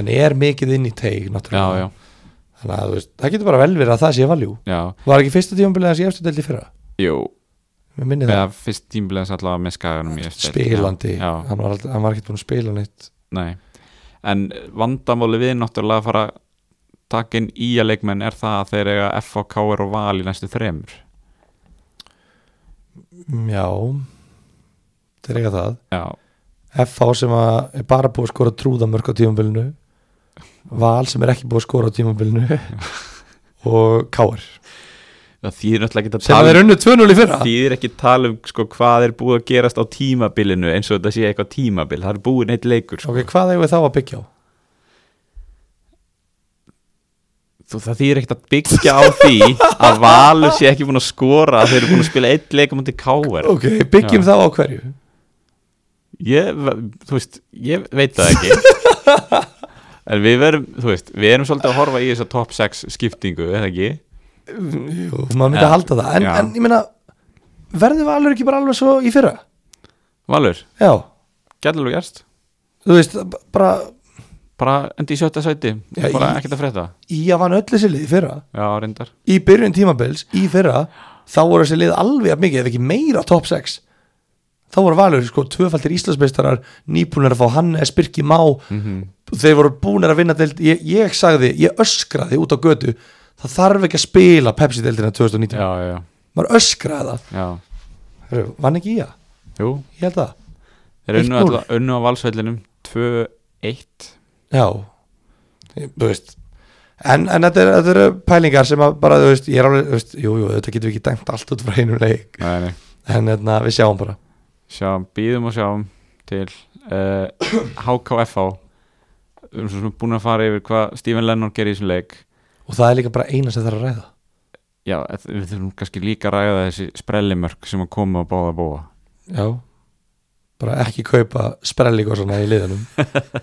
Speaker 2: en er mikið inn í teig,
Speaker 1: já, já,
Speaker 2: náttúrulega þannig að þú veist, það getur bara vel verið að það sé valjú
Speaker 1: já,
Speaker 2: var ekki fyrsta tíumbilið að sé eftir deldi fyrra
Speaker 1: jú
Speaker 2: mér minni það,
Speaker 1: eða fyrst tímbilegans allavega með skaganum í eftir.
Speaker 2: spilandi
Speaker 1: já, já,
Speaker 2: Hann, var aldrei, hann var ekkert búin að spila neitt
Speaker 1: nei en vandamáli við náttúrulega að fara takin í að leikmenn er það að þeir eiga FH, KR og Val í næstu þremur
Speaker 2: já, þetta er eitthvað það
Speaker 1: já,
Speaker 2: FH sem að er bara búið að skora trúðamörk á tíumbilinu Val sem er ekki búið að skora á [LAUGHS] tíumbilinu og Káar
Speaker 1: það þýðir náttúrulega ekki að um-
Speaker 2: sem að þeir unnu 2-0 í fyrra
Speaker 1: þýðir ekki tala um sko, hvað er búið að gerast á tímabilinu eins og þetta sé eitthvað tímabil það er búin eitt leikur sko.
Speaker 2: ok, hvað eigum við þá að byggja á?
Speaker 1: þú, það þýðir ekkert að byggja á því að Valur sé ekki búin að skora að þeir eru búin að spila eitt leik á mútið káver
Speaker 2: ok, byggjum
Speaker 1: Já.
Speaker 2: þá á hverju?
Speaker 1: ég, ve- þú veist, ég veit það ekki en við verum þú veist, við erum svolítið að horfa í þessa top 6 skiptingu, eða ekki
Speaker 2: Jú, maður myndi
Speaker 1: Já.
Speaker 2: að halda það en,
Speaker 1: Já.
Speaker 2: en ég meina, verður Valur ekki bara alveg svo í fyrra?
Speaker 1: Valur,
Speaker 2: já,
Speaker 1: gætilega gerst
Speaker 2: þú veist, b- bara
Speaker 1: bara endi í sjötta sæti,
Speaker 2: Já,
Speaker 1: bara
Speaker 2: í-
Speaker 1: ekkert að frétta
Speaker 2: í að vann öll þessi lið í fyrra
Speaker 1: já, reyndar,
Speaker 2: í byrjun tímabils, í fyrra þá voru þessi lið alveg að mikið ef ekki meira top 6 þá voru valur sko tvöfaldir Íslandsmeistarar nýbúnar að fá Hannes, Birki Má þeir voru búnir að vinna deild ég, ég sagði, ég öskraði út á götu það þarf ekki að spila Pepsi deildina 2019,
Speaker 1: já, já,
Speaker 2: maður öskraði það
Speaker 1: já
Speaker 2: Heru, vann ekki í það,
Speaker 1: jú,
Speaker 2: ég held það
Speaker 1: þeir unnu,
Speaker 2: 1-0.
Speaker 1: alltaf, unnu á valsvellinum 2-1
Speaker 2: Já Ég- Þú veist En, en þetta, er, þetta eru pælingar sem að bara, þú veist, ég er alveg, þú veist, jú, jú, þetta getum við ekki dæmt allt út frá einu leik,
Speaker 1: nei, nei
Speaker 2: en hérna, við sjáum bara.
Speaker 1: sjáum, býðum og sjáum til uh, HKFH við erum svo sem búin að fara yfir hvað Stephen Lennon gerir í þessum leik
Speaker 2: Og það er líka bara eina sem það er að ræða.
Speaker 1: já, ef- við þurfum kannski líka að ræða þessi sprellimörk sem að koma og báða að búa
Speaker 2: Já. Bara ekki kaupa sprellig og svona í liðanum.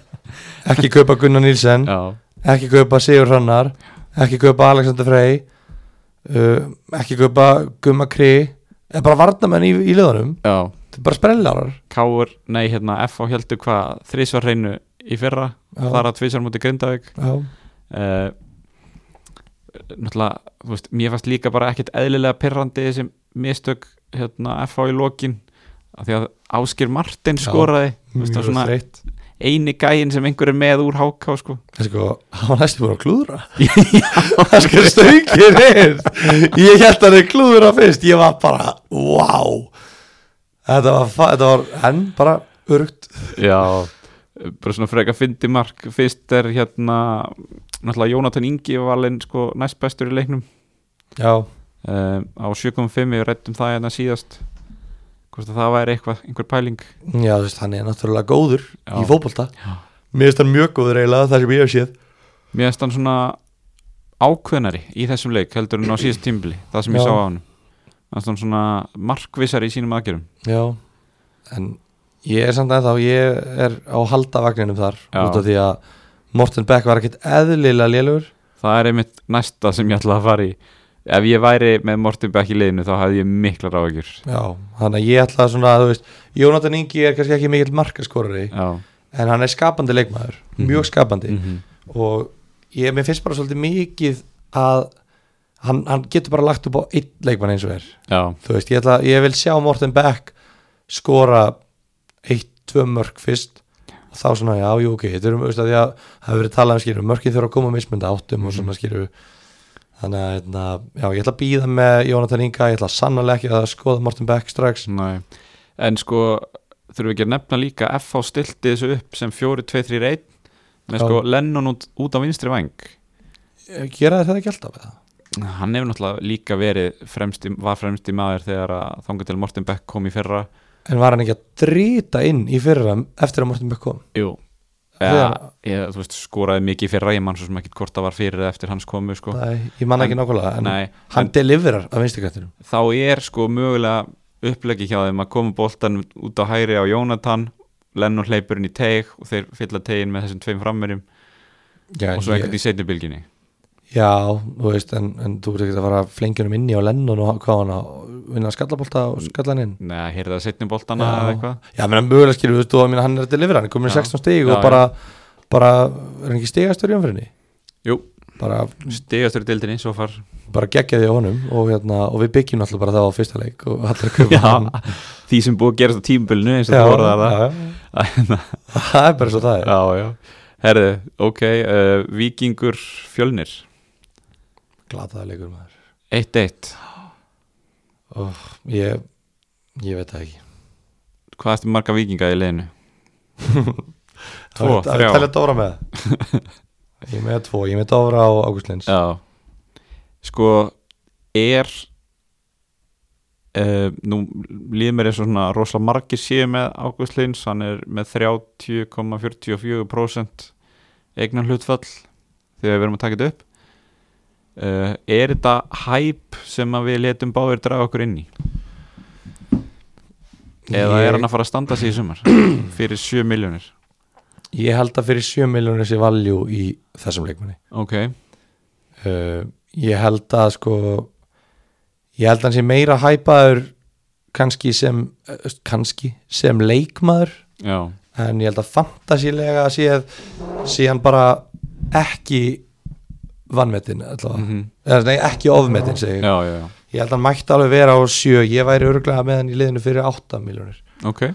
Speaker 2: [LAUGHS] ekki kaupa Gunnar Nílsen,
Speaker 1: já,
Speaker 2: ekki kaupa Sigur Hrannar, ekki kaupa Alexander Frey, uh, ekki kaupa Gumma Kri, eða bara varnamenn í, í liðanum.
Speaker 1: já,
Speaker 2: Þetta er bara sprellarar.
Speaker 1: Káur, nei hérna FH heldur hvað, þrísvar hreinu í fyrra,
Speaker 2: Já.
Speaker 1: þar að tvísvar múti Grindavík
Speaker 2: Já.
Speaker 1: uh, náttúrulega, þú veist, mér fannst líka bara ekkert eðlilega pirrandi þessi mistök hérna FH í lokin af því að Áskir Martin
Speaker 2: Já,
Speaker 1: skoraði þú veist,
Speaker 2: Mjög
Speaker 1: það svona
Speaker 2: þreytt.
Speaker 1: eini gæin sem einhver er með úr háká sko.
Speaker 2: [LAUGHS] Það er sko, hann var næstu búin að klúðra [LAUGHS] Það er sko stöngir inn Ég held að hann er klúðra fyrst Ég var bara, wow Þetta var, fa- þetta var enn bara örugt
Speaker 1: já bara svona freka fyndi mark fyrst er hérna náttúrulega Jónatan Ingi var valinn sko, næst bestur í leiknum
Speaker 2: Já,
Speaker 1: um, á 7.5 við rættum það hérna síðast hvort að það væri eitthvað, einhver pæling
Speaker 2: já þú veist, hann er náttúrulega góður
Speaker 1: Já.
Speaker 2: í fótbolta
Speaker 1: Já.
Speaker 2: Mér finnst hann mjög góður eiginlega það sem ég hef séð
Speaker 1: mér finnst hann svona ákveðnari í þessum leik heldur en á síðast tímbili það sem ég
Speaker 2: Já.
Speaker 1: sá á hann mér finnst hann svona markvissari í sínum aðgerum
Speaker 2: Já, en ég er samt að þá Ég er á halda vagninum þar
Speaker 1: Já.
Speaker 2: Út af því að Morten Beck var ekkit eðlilega lélugur
Speaker 1: það er einmitt næsta sem ég ætla að fara í ef ég væri með Morten Beck í liðinu þá hefði ég mikla ráðugjur
Speaker 2: já, þannig að ég ætla svona að þú veist Jónatan Ingi er kannski ekki mikill markaskorari
Speaker 1: já,
Speaker 2: en hann er skapandi leikmaður,
Speaker 1: Mhm.
Speaker 2: mjög skapandi og ég, mér finnst bara svolítið mikið að hann, hann getur bara lagt upp á einn leikmann eins og er
Speaker 1: já,
Speaker 2: þú veist, ég, ætla, ég vil sjá Morten Beck skora eitt, tvö mörg fyrst og þá svona, já, jú, ok, þetta eru, veist að því að það hefur verið talað um skýru, mörgin þurfa að koma mismunda áttum og svona skýru þannig að, hérna, já, ég ætla að býða með Jónatan Inga, ég ætla sannarlega ekki að skoða Morten Beck strax
Speaker 1: næ en sko, þurfum við ekki að nefna líka FH stilti þessu upp sem 4-2-3-1 með
Speaker 2: Já.
Speaker 1: sko Lennon út, út á vinstri vang
Speaker 2: Eh, gera þér þetta ekki alltaf eða?
Speaker 1: hann hefur náttúrulega líka verið fremsti, var fremsti maður þegar að þanga til Morten Beck kom í fyrra
Speaker 2: en var hann ekki að drita inn í fyrra eftir að Morten Beck kom
Speaker 1: Jú
Speaker 2: Þegar-
Speaker 1: ja, ég, þú veist, skoraði mikið í fyrra ég mann svo sem ekki hvort það var fyrir eða eftir hans komu sko.
Speaker 2: Nei, ég manna ekki
Speaker 1: En-
Speaker 2: nákvæmlega en
Speaker 1: Nei,
Speaker 2: hann deliverar af vinstikantinum
Speaker 1: þá er sko mögulega upplegi hjá þeim að koma boltan út á hæri á Jónatan Lennon hleypurinn í teig og þeir fylla tegin með þessum tveim frammerjum
Speaker 2: já,
Speaker 1: og svo einhvern í seinni bylginni
Speaker 2: já, þú veist, en, en þú ert ekki að fara flengjunum inni á Lennon og hvað hann að vinna skallabólta og skallan inn
Speaker 1: Nei, að heyrða seinni boltana eða
Speaker 2: já,
Speaker 1: eitthvað
Speaker 2: já menn mögulega skilur, þú veist, þú að minna hann er að delivera hann er komin í
Speaker 1: Já.
Speaker 2: 16 stig
Speaker 1: Já,
Speaker 2: og bara, bara er hann ekki stigastur í umfyrinni
Speaker 1: Jú,
Speaker 2: bara,
Speaker 1: stigastur í dildinni, svo far
Speaker 2: bara geggja því á honum og, hérna, og við byggjum alltaf bara það á fyrsta leik og allir að kaupa
Speaker 1: Já, [LAUGHS]
Speaker 2: hann
Speaker 1: því sem búið að gerast á tímabilinu eins og þú orðaði það [LAUGHS] uh,
Speaker 2: já, já. það er bara svo það er
Speaker 1: Já, já Herðu, ok, uh, vikingur fjölnir
Speaker 2: glataða leikur maður
Speaker 1: 1-1
Speaker 2: oh, ég, ég veit það ekki
Speaker 1: Hvað ertu marga vikinga í liðinu? Tvo,
Speaker 2: Það er
Speaker 1: þrjá.
Speaker 2: að tala Dóra
Speaker 1: [LAUGHS]
Speaker 2: með það. Ég er með tvo, ég er með Dóra og Ágúst Lins
Speaker 1: Já Sko, er uh, Nú líður mér eins og svona rosalega margir séu með Ágúst Lins Hann er með 30,44% eignan hlutfall þegar við erum að taka þetta upp uh, Er þetta hæp sem að við letum báðir draga okkur inn í? Eða er hann að fara að standa sig í sumar fyrir 7 miljónir
Speaker 2: Ég held að fyrir 7 miljónir sé valjú í þessum leikmanni
Speaker 1: Ok,
Speaker 2: uh, Ég held að sko Ég held að hann sé meira hæpaður kannski sem uh, kannski sem leikmaður
Speaker 1: já,
Speaker 2: en ég held að fantasílega séð sé hann bara ekki vannmetin mm
Speaker 1: Mhm.
Speaker 2: eða nei, ekki ofmetin segi. ég.
Speaker 1: já, já, já.
Speaker 2: ég held að hann mætti alveg vera á 7 ég væri örglega með hann í liðinu fyrir 8 miljónir
Speaker 1: ok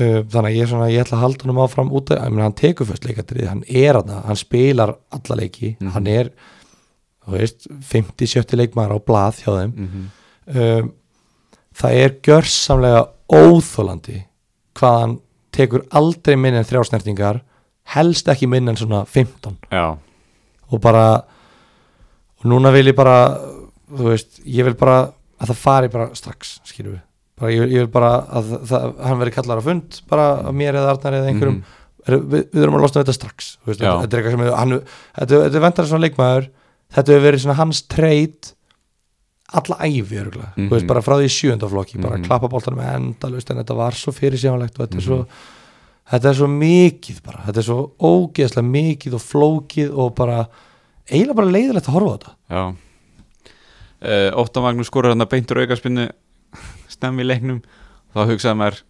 Speaker 2: Uh, þannig að ég, er svona, ég ætla að halda hann áfram út að, meni, hann tekur fyrst leikadrið, hann er hann hann spilar alla leiki
Speaker 1: Mhm.
Speaker 2: hann er, þú veist 50-70 leikmaður á blað hjá þeim
Speaker 1: mm -hmm.
Speaker 2: um, það er gjörsamlega óþólandi hvað hann tekur aldrei minni en þrjá snertingar helst ekki minni en svona 15
Speaker 1: Já,
Speaker 2: og bara og núna vil ég bara þú veist, ég vil bara að það fari bara strax, skilur við bara, ég, ég vil bara að það, það, hann veri kallar á fund bara að mér eða Arnar eða einhverjum
Speaker 1: Mhm.
Speaker 2: er, við, við erum að losna við þetta strax þú veist,
Speaker 1: Já.
Speaker 2: þetta er eitthvað sem hann, þetta, þetta er vendar svona leikmaður þetta hefur verið svona hans treyt alla æfi örgulega,
Speaker 1: Mhm.
Speaker 2: þú veist bara frá því í sjöundaflokki, bara
Speaker 1: Mhm.
Speaker 2: klappa boltanum endalaust en þetta var svo fyrirsjáanlegt og þetta er svo
Speaker 1: Mhm.
Speaker 2: þetta er svo mikið bara, þetta er svo ógeðslega mikið og flókið og bara eiginlega bara leiðilegt að horfa á þetta
Speaker 1: já uh, Óttan Magnús skorur hann að beintur aukarspinnu stemmi í leiknum þá hugsaði maður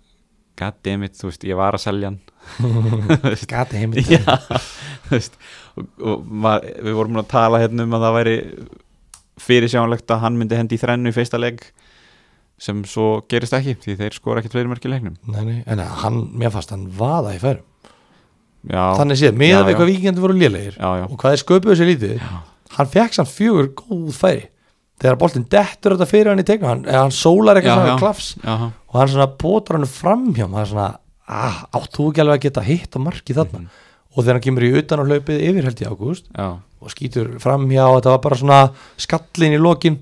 Speaker 1: goddammit, þú veist, ég var að selja
Speaker 2: [LAUGHS]
Speaker 1: hann
Speaker 2: gati heimilt
Speaker 1: Já, þú veist og, og maður, við vorum búin að tala hérna um að það væri fyrirsjánlegt að hann myndi hendi í þrennu í fyrsta leik sem svo gerist ekki því þeir skora ekki tveir mörk í leiknum
Speaker 2: nei, nei, en hann, mér fannst hann vaða í færum
Speaker 1: Já,
Speaker 2: þannig séð, miðað
Speaker 1: Já,
Speaker 2: við
Speaker 1: já.
Speaker 2: hvað vikingandi voru lélegir
Speaker 1: já, já,
Speaker 2: og hvað er sköpuðu sér lítið hann fekk samt fjögur góð færi þegar boltinn dettur þetta fyrir hann í tegna hann, eða hann sólar
Speaker 1: Já,
Speaker 2: eitthvað
Speaker 1: já.
Speaker 2: svona klafs
Speaker 1: já,
Speaker 2: og hann svona potar hann fram hjá hann svona, ah, átt þú ekki alveg að geta hitt á marki þarna og þegar hann kemur í utan og hlaupið yfir held í ágúst
Speaker 1: já
Speaker 2: og skýtur fram hjá þetta var bara svona skallin í lokin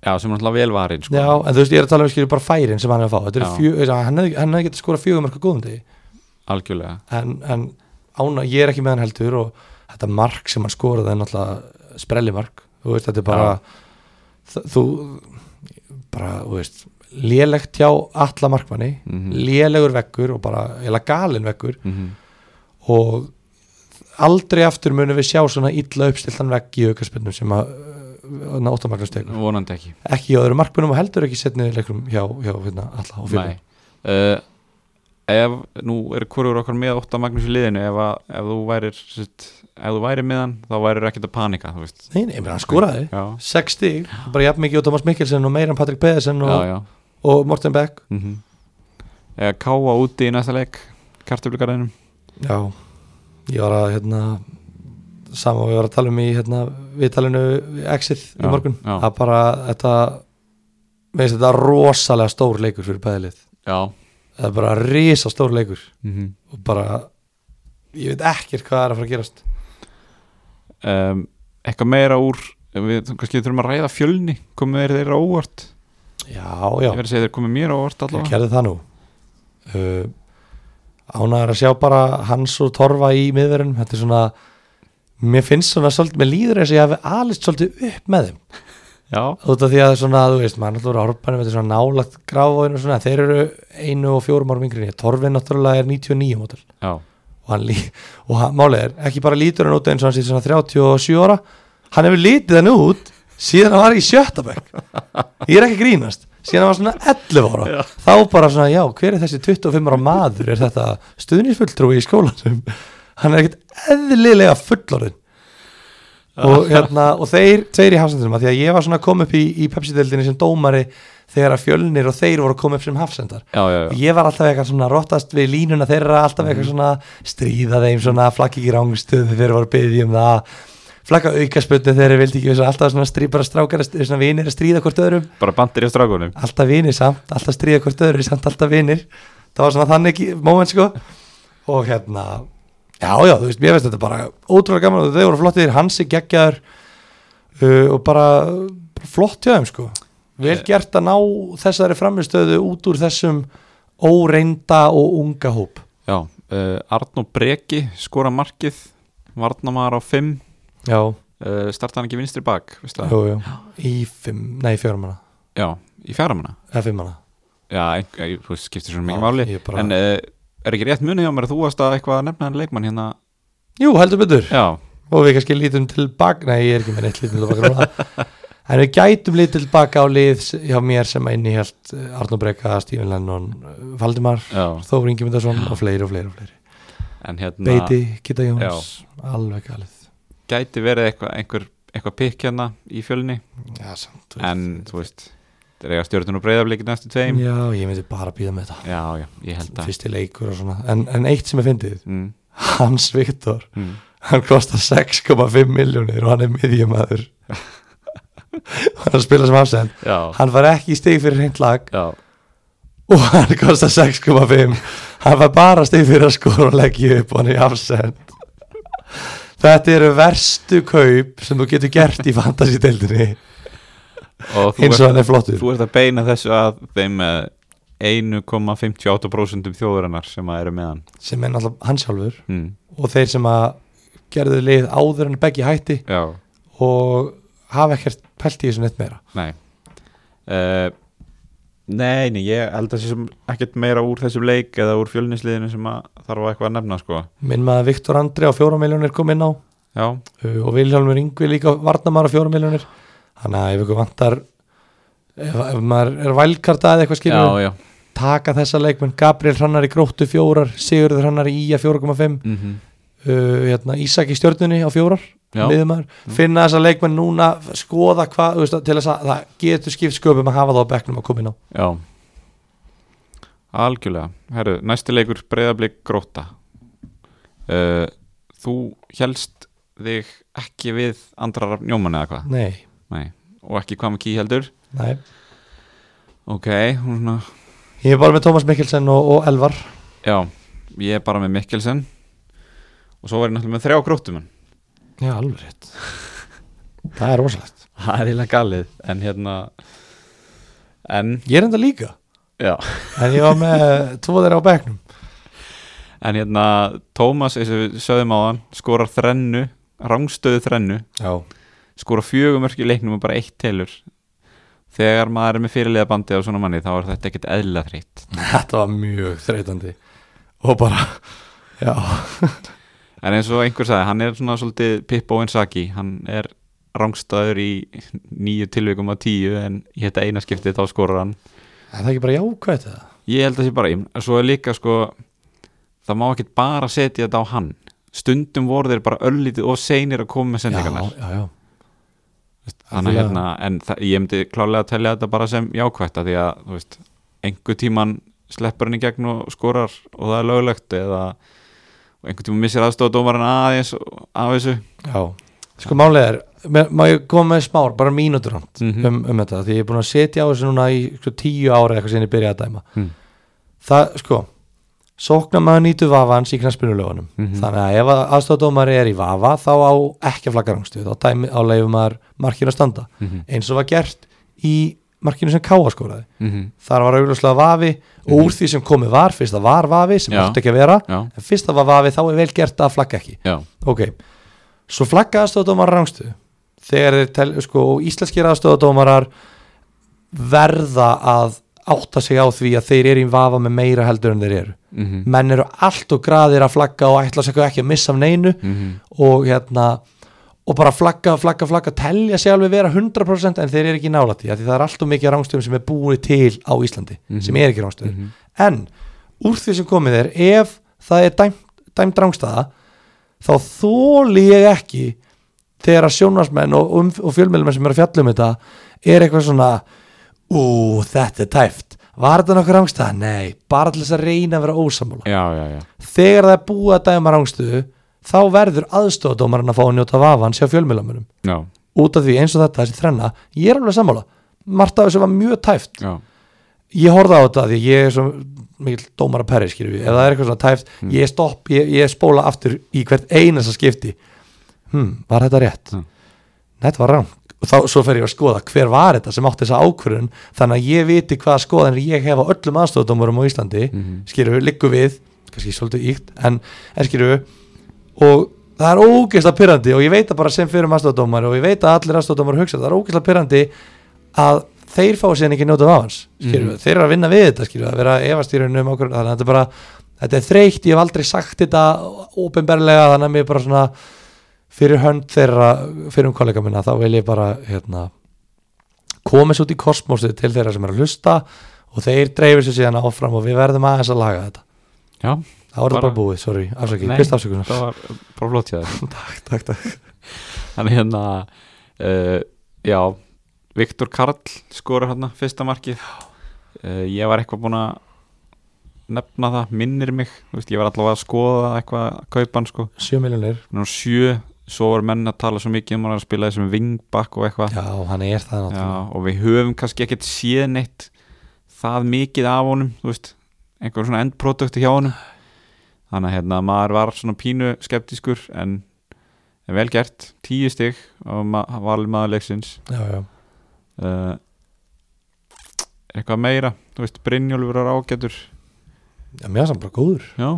Speaker 1: Já, sem er alltaf velvarinn sko.
Speaker 2: já, en þú veist ég er að tala um skilur bara færin sem hann er að fá Þetta eru
Speaker 1: Já.
Speaker 2: fjö, þessi- hann hefði hef getað skorað fjögur mörg á góðum degi
Speaker 1: algjörlega
Speaker 2: en, en ána, ég er ekki með hann heldur og þetta mark sem hann skoraði er náttúrulega sprellimark þú veist, þetta er bara þ- þú, bara, þú veist lélegt hjá alla markmanni
Speaker 1: Mhm.
Speaker 2: lélegur vekkur og bara eða galin vekkur
Speaker 1: mm
Speaker 2: og aldrei aftur munum við sjá svona illa uppstiltan vekk í aukarspennum sem að uh, náttamagnastegum
Speaker 1: vonandi ekki
Speaker 2: ekki á öðrum markmunum og heldur ekki setni leikrum hjá, hjá hérna, alla og fyrir
Speaker 1: Nei uh, Ef, nú er hvorur okkar með 8 Magnús í liðinu ef, að, ef þú værir sitt, ef þú værir með hann, þá værir ekkert að panika þú veist
Speaker 2: Nei, nei, ég meina, hann skoraði
Speaker 1: Já,
Speaker 2: 6 stíg, bara jafn mikið og Thomas Mikkelsen og meira en Patrik Pedersen
Speaker 1: já,
Speaker 2: og,
Speaker 1: já
Speaker 2: og Morten Beck
Speaker 1: mm Eða káa úti í næsta leik kartöflugarðinum
Speaker 2: Já, ég var að hérna sama og ég var að tala um í hérna, viðtalinu Exit
Speaker 1: Já,
Speaker 2: í morgun
Speaker 1: já.
Speaker 2: að bara þetta mér finnst þetta rosalega stór leikur fyrir bæðilið
Speaker 1: Já
Speaker 2: það er bara risa stór leikur
Speaker 1: mm
Speaker 2: og bara ég veit ekkert hvað er að fara að gerast
Speaker 1: um, Eitthvað meira úr við kannski þurfum að ræða fjölni komið þeir þeirra á óvart
Speaker 2: Já, já,
Speaker 1: ég verið að segja þeir komið mér á óvart
Speaker 2: ég
Speaker 1: allavega
Speaker 2: gerði það nú uh, ánæður að sjá bara hans og torfa í miðverðin þetta er svona mér finnst svona svolítið, mér líður þess að ég hafi alist svolítið upp með þeim
Speaker 1: Já,
Speaker 2: út af því að svona, þú veist, maður náttúrulega árbanum, þetta er svona nálagt gráfóin og svona þeir eru einu og fjórum árum yngri en ég. Torfinn náttúrulega er 99 mótel
Speaker 1: já,
Speaker 2: og hann, lí- og hann málið er, ekki bara lítur hann út eins og hann sé svona 37 ára hann hefur lítið hann út síðan hann var í sjötta bekk ég er ekki að grínast, síðan hann var svona 11 ára
Speaker 1: Já.
Speaker 2: þá bara svona, já, hver er þessi 25 ára maður, er þetta stuðnisfulltrúi í skólanum hann er ekkert eðlilega fullorinn og, hérna, og þeir, þeir í hafsendunum að því að ég var svona að koma upp í, í Pepsi-deldinni sem dómari þegar að fjölnir og þeir voru að koma upp sem hafsendar
Speaker 1: já, já,
Speaker 2: og
Speaker 1: já.
Speaker 2: ég var alltaf eitthvað svona rottast við línuna þeirra alltaf eitthvað svona stríða þeim svona flakki ekki rángstöð þegar þeir voru að byggja um það flakka aukaspötnu þegar þeir vildi ekki þessu alltaf svona strípara strákar að- svona vinir að stríða hvort öðrum
Speaker 1: bara bandir í strákunum
Speaker 2: alltaf vinir samt, alltaf stríða hvort öðru samt alltaf vinir, það var svona þannig í- moment sko og hérna já já, þú veist, mér veist þetta bara ótrúlega gaman og þau voru flottir, Hansi geggjaður uh, og bara, bara flott hjá þeim sko vel
Speaker 1: Eh.
Speaker 2: gert að ná þessari framistöðu út úr þessum óreinda og unga hóp
Speaker 1: Já, uh, Arnó Breki skora markið, Varnamar á 5
Speaker 2: já,
Speaker 1: uh, starta hann ekki vinstri bak veistu það?
Speaker 2: jú, jú. í fimm, nei fjórum hana
Speaker 1: Já, í fjármanna
Speaker 2: eða fimm hana
Speaker 1: Já, ein- ég, þú veist, skiptir svona mikið
Speaker 2: Já,
Speaker 1: máli
Speaker 2: ég bara-
Speaker 1: En uh, er ekki rétt munið hjá mér að þú varst að eitthvað að nefna hann leikmann hérna
Speaker 2: jú, heldur betur
Speaker 1: Já,
Speaker 2: og við kannski lítum tilbaka nei, ég er ekki með neitt lítum tilbaka núna en við gætum lítið tilbaka á lið s- hjá mér sem innihjalt Arnur Breka, Stephen Lennon, eh, Valdimar
Speaker 1: já,
Speaker 2: Þór Ingi Myndarsson og fleiri og fleiri og fleiri
Speaker 1: en hérna
Speaker 2: Beiti, Kitta Jóns, alveg galið
Speaker 1: Gæti verið eitthvað, einhver, eitthvað pikk hérna í fjölni
Speaker 2: já, samt, þú veist.
Speaker 1: En, þú veist, þeir eiga stjórnum og breyðafleikin eftir tveim Já,
Speaker 2: já, ég myndi bara býða með þetta
Speaker 1: já, ég held að
Speaker 2: fyrsti leikur og svona en, en eitt sem er fyndið,
Speaker 1: mm,
Speaker 2: Hans Viktor
Speaker 1: mm.
Speaker 2: hann kostar 6,5 miljónir og hann er miðjumæður hann er að spila sem afsend
Speaker 1: Já,
Speaker 2: hann var ekki í stig fyrir hreint lag
Speaker 1: já,
Speaker 2: og hann kostar 6,5 hann var bara stig fyrir að skora og leggja upp og hann er afsend þetta eru verstu kaup sem þú getur gert í fantasy-deildinni
Speaker 1: og þú
Speaker 2: eins og
Speaker 1: ert,
Speaker 2: hann er flottur
Speaker 1: þú ert að beina þessu að þeim eh, 1,58% þjóðurinnar um sem að eru með hann
Speaker 2: sem er náttúrulega hann sjálfur
Speaker 1: mm,
Speaker 2: og þeir sem að gerðu lið áður en beggi hætti
Speaker 1: Já,
Speaker 2: og hafa ekkert pælt í þessu neitt meira
Speaker 1: Nei uh, Nei, nei, ég held að þessum ekkert meira úr þessum leik eða úr fjölnisliðinu sem að þarf að eitthvað að nefna sko.
Speaker 2: minn maður Viktor Andri á 4 miljónir kom inn á
Speaker 1: Já,
Speaker 2: Uh, og Vilhjálmur Yngvi líka varnamar á fjórum miljónir þannig að ef ykkur vantar ef, ef maður er vælkarta eða eitthvað skilur
Speaker 1: já, já
Speaker 2: taka þessa leikmenn, Gabriel Hrannar í gróttu fjórar Sigurður Hrannar í Ía 4,5
Speaker 1: mm
Speaker 2: uh, hérna, Ísak í stjörnunni á fjórar
Speaker 1: Já.
Speaker 2: miðumar, finna þessa leikmenn núna skoða hvað, þú veist, til þess að það getur skipt sköpum að hafa það á bekknum að koma inn á
Speaker 1: Já Algjörlega, herru, næsti leikur breyðablík gróta uh, Þú helst þig ekki við andrar njóman eða hvað?
Speaker 2: nei,
Speaker 1: Nei, og ekki hvað með ký heldur
Speaker 2: nei,
Speaker 1: Ok, hún svona
Speaker 2: ég er bara með Tómas Mikkelsen og, og Elvar
Speaker 1: Já, ég er bara með Mikkelsen og svo var ég náttúrulega með þrjá gróttumenn
Speaker 2: já, alveg rétt [LAUGHS] það er rosalegt,
Speaker 1: [LAUGHS] Það er eiginlega galið En hérna En
Speaker 2: ég er enda líka
Speaker 1: Já
Speaker 2: en ég var með tvo þeirra á bekknum
Speaker 1: En hérna Tómas eins og við sögðum á hann Skorar þrennu Rangstöðu þrennu
Speaker 2: já,
Speaker 1: Skorar fjögumörk í leiknum og bara eitt telur Þegar maður er með fyrirliða bandi á svona manni Þá er þetta ekkert eðla þreytt
Speaker 2: Þetta var mjög þreytandi og bara já,
Speaker 1: En eins og einhver sagði Hann er svona svolítið Pippo Insaki Hann er rangstæður í nýju tilvikum að tíu en í þetta eina skipti þá skorur hann
Speaker 2: Er það ekki bara jákvætt eða?
Speaker 1: ég held að sé bara, ég- svo er líka sko það má ekki bara setja þetta á hann stundum voru þeir bara öllítið og seinir að koma með sendingarnar
Speaker 2: já, já,
Speaker 1: þannig að
Speaker 2: Algjörlega.
Speaker 1: hérna, en það, ég myndi klálega að telja þetta bara sem jákvætt að því að, þú veist, einhver tíman sleppur hann í gegn og skorar og það er löglegt eða og einhver tíman missir aðstofa dómarinn aðeins af þessu
Speaker 2: já. Sko málega er, me- má ég koma með smár, bara mínútur hann
Speaker 1: Mhm.
Speaker 2: um, um þetta, því ég er búin að setja á þessu núna í sko, tíu ára eitthvað sinni byrja að dæma
Speaker 1: Mm.
Speaker 2: það, sko sóknar maður nýtu vafans í knarspinulögunum
Speaker 1: Mhm.
Speaker 2: þannig að ef aðstofdómari er í vafa þá á ekki að flagga rangstuð þá dæmi, á leifum maður markinu að standa
Speaker 1: Mhm.
Speaker 2: eins og var gert í markinu sem Káa skóraði
Speaker 1: mm -hmm.
Speaker 2: þar var augljóslega vafi og úr því sem komið var, fyrst það var vafi sem
Speaker 1: Mhm. Já.
Speaker 2: átti ekki að vera,
Speaker 1: já,
Speaker 2: en fyrst það var vafi þá er vel gert að flagga ekki
Speaker 1: já,
Speaker 2: ok, svo flagga aðstofadómar rangstuðu þegar þeir tel, sko, og íslenskir aðstofadómarar verða að átta sig á því að þeir eru í vafa með meira heldur en þeir eru
Speaker 1: mm -hmm.
Speaker 2: menn eru allt og graðir að flagga og ætla sig ekki að missa af neinu
Speaker 1: mhm,
Speaker 2: og hérna og bara flagga, flagga, flagga, telja sig alveg vera 100% en þeir eru ekki nálætti því það er allt og mikið af rángstöðum sem er búið til á Íslandi sem er ekki rángstöður
Speaker 1: Mhm.
Speaker 2: en úr því sem komið er ef það er dæmt, dæmt rángstæða þá þóli ég ekki þegar að sjónarsmenn og, og, og fjölmjölmenn sem eru að fjalla um þetta er eitthvað svona ú, þetta er tæft var þetta nokkuð rángstæða? Nei, bara til þess að reyna að vera ósammála
Speaker 1: já, já, já
Speaker 2: þegar það er búið að dæma rángstöðu þá verður aðstofadómarinn að fá að njóta vafan hjá fjölmiðlamönnum
Speaker 1: já,
Speaker 2: út af því eins og þetta, þessi þrenna ég er alveg sammála, margt af þessu var mjög tæft
Speaker 1: já,
Speaker 2: ég horfði á þetta af því ég er svo mikil dómar að perri skilju ef það er eitthvað svona tæft, ég stopp ég, ég spóla aftur í hvert einasta skipti hmm, var þetta rétt?
Speaker 1: Mm.
Speaker 2: Nei, þetta var rám og þá, svo fer ég að skoða hver var þetta sem átti þessa ákvörðun þannig að ég viti hvaða skoðanir ég hef á öllum aðstofadómurum á Íslandi
Speaker 1: Mhm.
Speaker 2: skilju, liggu við, kannski svolítið íkt en, en skilju og það er ógeðslega pyrrandi og ég veit það bara sem fyrir aðstofadómar og ég veit að allir aðstofadómar hugsa, það er ógeðslega pyrrandi að þeir fá síðan ekki njóta af hans skilju,
Speaker 1: Mhm.
Speaker 2: þeir eru að vinna við þetta skilju, að vera efastýrunum um okkur, þannig að þetta er bara þetta er þreytt, ég hef aldrei sagt þetta ópenbarlega, þannig að mér bara svona fyrir hönd þeirra fyrir um kollega minna, þá vil ég bara hérna, koma svo út í kosmosið til þeirra sem eru að hlusta og þeir dreifir sér síðan áfram og við verðum aðeins að laga þetta
Speaker 1: já
Speaker 2: þá er
Speaker 1: Bara-
Speaker 2: þetta bara búið, sorry, afsakið,
Speaker 1: Nei,
Speaker 2: byrst afsökunar
Speaker 1: það var bara flott hjá þér
Speaker 2: takk, takk, takk
Speaker 1: Þannig hérna uh, Já, Viktor Karl skorur hérna fyrsta markið uh, Ég var eitthvað búinn að nefna það, minnir mig Þú veist, Ég var allavega að skoða eitthvað að kaupa hann sko
Speaker 2: 7 miljonir,
Speaker 1: Nú sjö, svo var menn að tala svo mikið um hann að spila þessum vingbakk og eitthvað
Speaker 2: já, hann er það náttúrulega
Speaker 1: Já, og við höfum kannski ekkert séð neitt það mikið af honum þú veist, einhver svona endprodukti hjá honum þannig að hérna, maður var svona pínu skeptiskur en, en vel gert, tíu stig og ma var maður leiksins
Speaker 2: já, já,
Speaker 1: uh, eitthvað meira þú veist, Brynjólfur er ágætur
Speaker 2: já, mér er það bara góður
Speaker 1: já,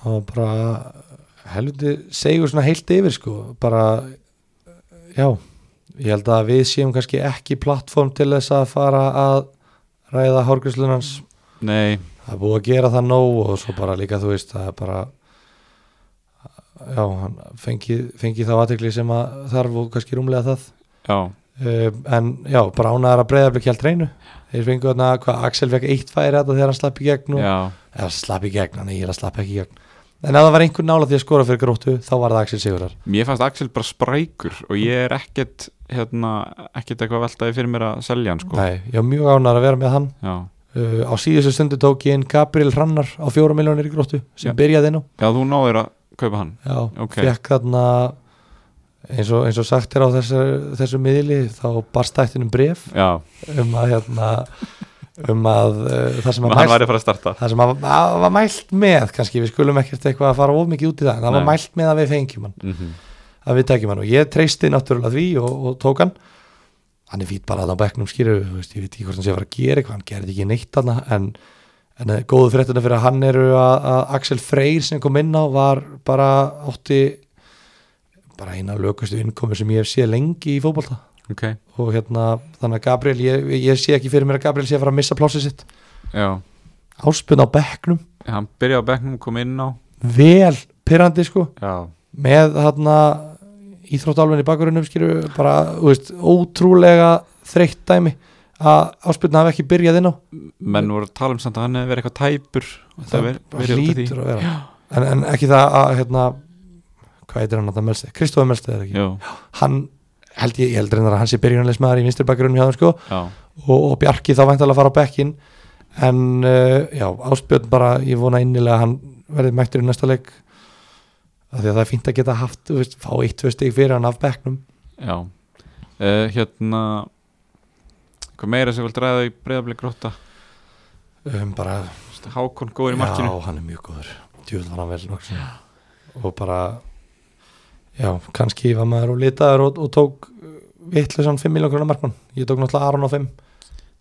Speaker 2: það var bara helviti segur svona heilt yfir sko bara já, ég held að við séum kannski ekki plattform til þess að fara að ræða hárgríslunans
Speaker 1: nei,
Speaker 2: það er búið að gera það nóg og svo bara líka þú veist það er bara já, hann fengi, fengi þá aðtekli sem að þarf og kannski rúmlega það
Speaker 1: já,
Speaker 2: uh, en já, bara ánæðar að breyða ekki allt reynu þeir fengu þarna, hvað Axel fekk eitt færi þetta þegar hann slapp í gegn og
Speaker 1: já
Speaker 2: eða slapp í gegn, nei, ég er að slapp ekki í gegn en ef það var einhver nála því að skora fyrir gróttu þá var það Axel Sigurar
Speaker 1: mér fannst Axel bara sprækur og ég er ekkert hérna, ekkert eitthvað veltaði fyrir mér að selja hann sko,
Speaker 2: nei, ég var mjög ánægður að vera með hann
Speaker 1: já
Speaker 2: uh, á síðustu stundu tók ég inn Gabriel Hrannar á fjóra miljónir í gróttu sem
Speaker 1: Já.
Speaker 2: byrjaði inn á
Speaker 1: já, þú náður að kaupa hann
Speaker 2: já,
Speaker 1: Ok.
Speaker 2: fekk þarna eins og, eins og sagt er á þessu, þessu miðli þá barst ættinum bref
Speaker 1: já,
Speaker 2: um að hérna um að uh, það sem að
Speaker 1: hann væri að fara að starta
Speaker 2: það sem að, að var mælt með kannski við skulum ekkert eitthvað að fara of mikið út í það en það var
Speaker 1: Nei.
Speaker 2: mælt með að við fengjum hann
Speaker 1: Mhm.
Speaker 2: að við tekjum hann og ég treysti náttúrulega því og, og tók hann hann er fýtt bara að á bekknum skýru veist, ég veit ekki hvort hann sé að fara að gera eitthvað hann gerði ekki neitt hann en, en eh, góðu fréttina fyrir að hann eru að, að Axel Freyr sem kom inn á var bara átti bara eina lökustu innkomi sem ég hef séð lengi í fótbolta
Speaker 1: ok,
Speaker 2: og hérna þannig að Gabriel ég, ég sé ekki fyrir mér að Gabriel sé að fara að missa plásið sitt
Speaker 1: já
Speaker 2: áspun á bekknum,
Speaker 1: hann byrjaði á bekknum, kom inn á
Speaker 2: vel pyrrandi sko
Speaker 1: já,
Speaker 2: með þarna íþróttálfin í bakurinnum skilur bara, þú veist, ótrúlega þreytt dæmi að áspilna hafi ekki byrjað inn á
Speaker 1: menn voru að tala um samt að hann hefði verið eitthvað tæpur og það
Speaker 2: það
Speaker 1: veri- verið út af
Speaker 2: hlýtur að vera en, en ekki það að hérna, hvað heitir hann að það melsti, Kristófi melsti
Speaker 1: því
Speaker 2: er ekki,
Speaker 1: já,
Speaker 2: hann held ég, ég held reyndar að hann sé byrjunarleismæður í vinstri bakurinnum hjá þeim sko
Speaker 1: já,
Speaker 2: og, og Bjarki þá væntalega að fara á bekkin en uh, já, Áspjörn bara ég vona innilega að hann verði mættur í næsta leik af því að það er fínt að geta haft, þú veist, fá eitt, tvö stig fyrir hann af bekknum
Speaker 1: já. Uh, hérna hvað meira sem vilt ræða í breyðablik gróta
Speaker 2: um, bara,
Speaker 1: Hákon góður í markinu
Speaker 2: já, hann er mjög góður djúvel var hann vel nokkuð sinni. og bara já, kannski var maður og litaður og, og tók vittlusan 5 miljón grunar markmann ég tók náttúrulega Aron á 5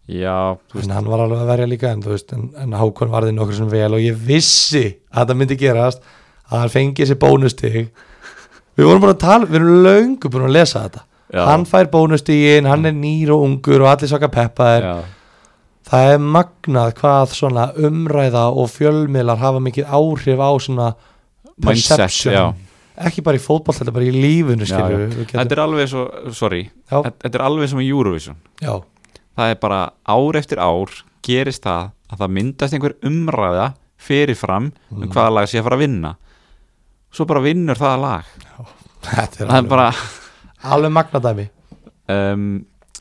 Speaker 1: já, þú veist,
Speaker 2: en hann var alveg að verja líka en, þú veist, en, en Hákon varði nokkur sem vel og ég vissi að það myndi gerast að hann fengi þessi bónustig við vorum búin að tala, við erum löngu búin að lesa þetta
Speaker 1: já,
Speaker 2: hann fær bónustigin, hann er nýr og ungur og allir svaka peppaðir
Speaker 1: já,
Speaker 2: það er magnað hvað svona umræða og fjölmiðlar hafa mikið áhrif á svona
Speaker 1: mindset,
Speaker 2: perception
Speaker 1: já.
Speaker 2: ekki bara í fótboll, þetta bara í lífinu
Speaker 1: Já,
Speaker 2: skilur
Speaker 1: já.
Speaker 2: við, við
Speaker 1: þetta
Speaker 2: getum,
Speaker 1: er alveg svo, sorry
Speaker 2: Já.
Speaker 1: þetta þetta er alveg sem í Eurovision
Speaker 2: já,
Speaker 1: það er bara ár eftir ár gerist það að það myndast einhver umræða fyrirfram
Speaker 2: Mhm.
Speaker 1: um hvaða lag sé að fara að vinna svo bara vinnur það lag
Speaker 2: þetta er
Speaker 1: það er
Speaker 2: alveg,
Speaker 1: bara
Speaker 2: alveg magnað dæmi
Speaker 1: um,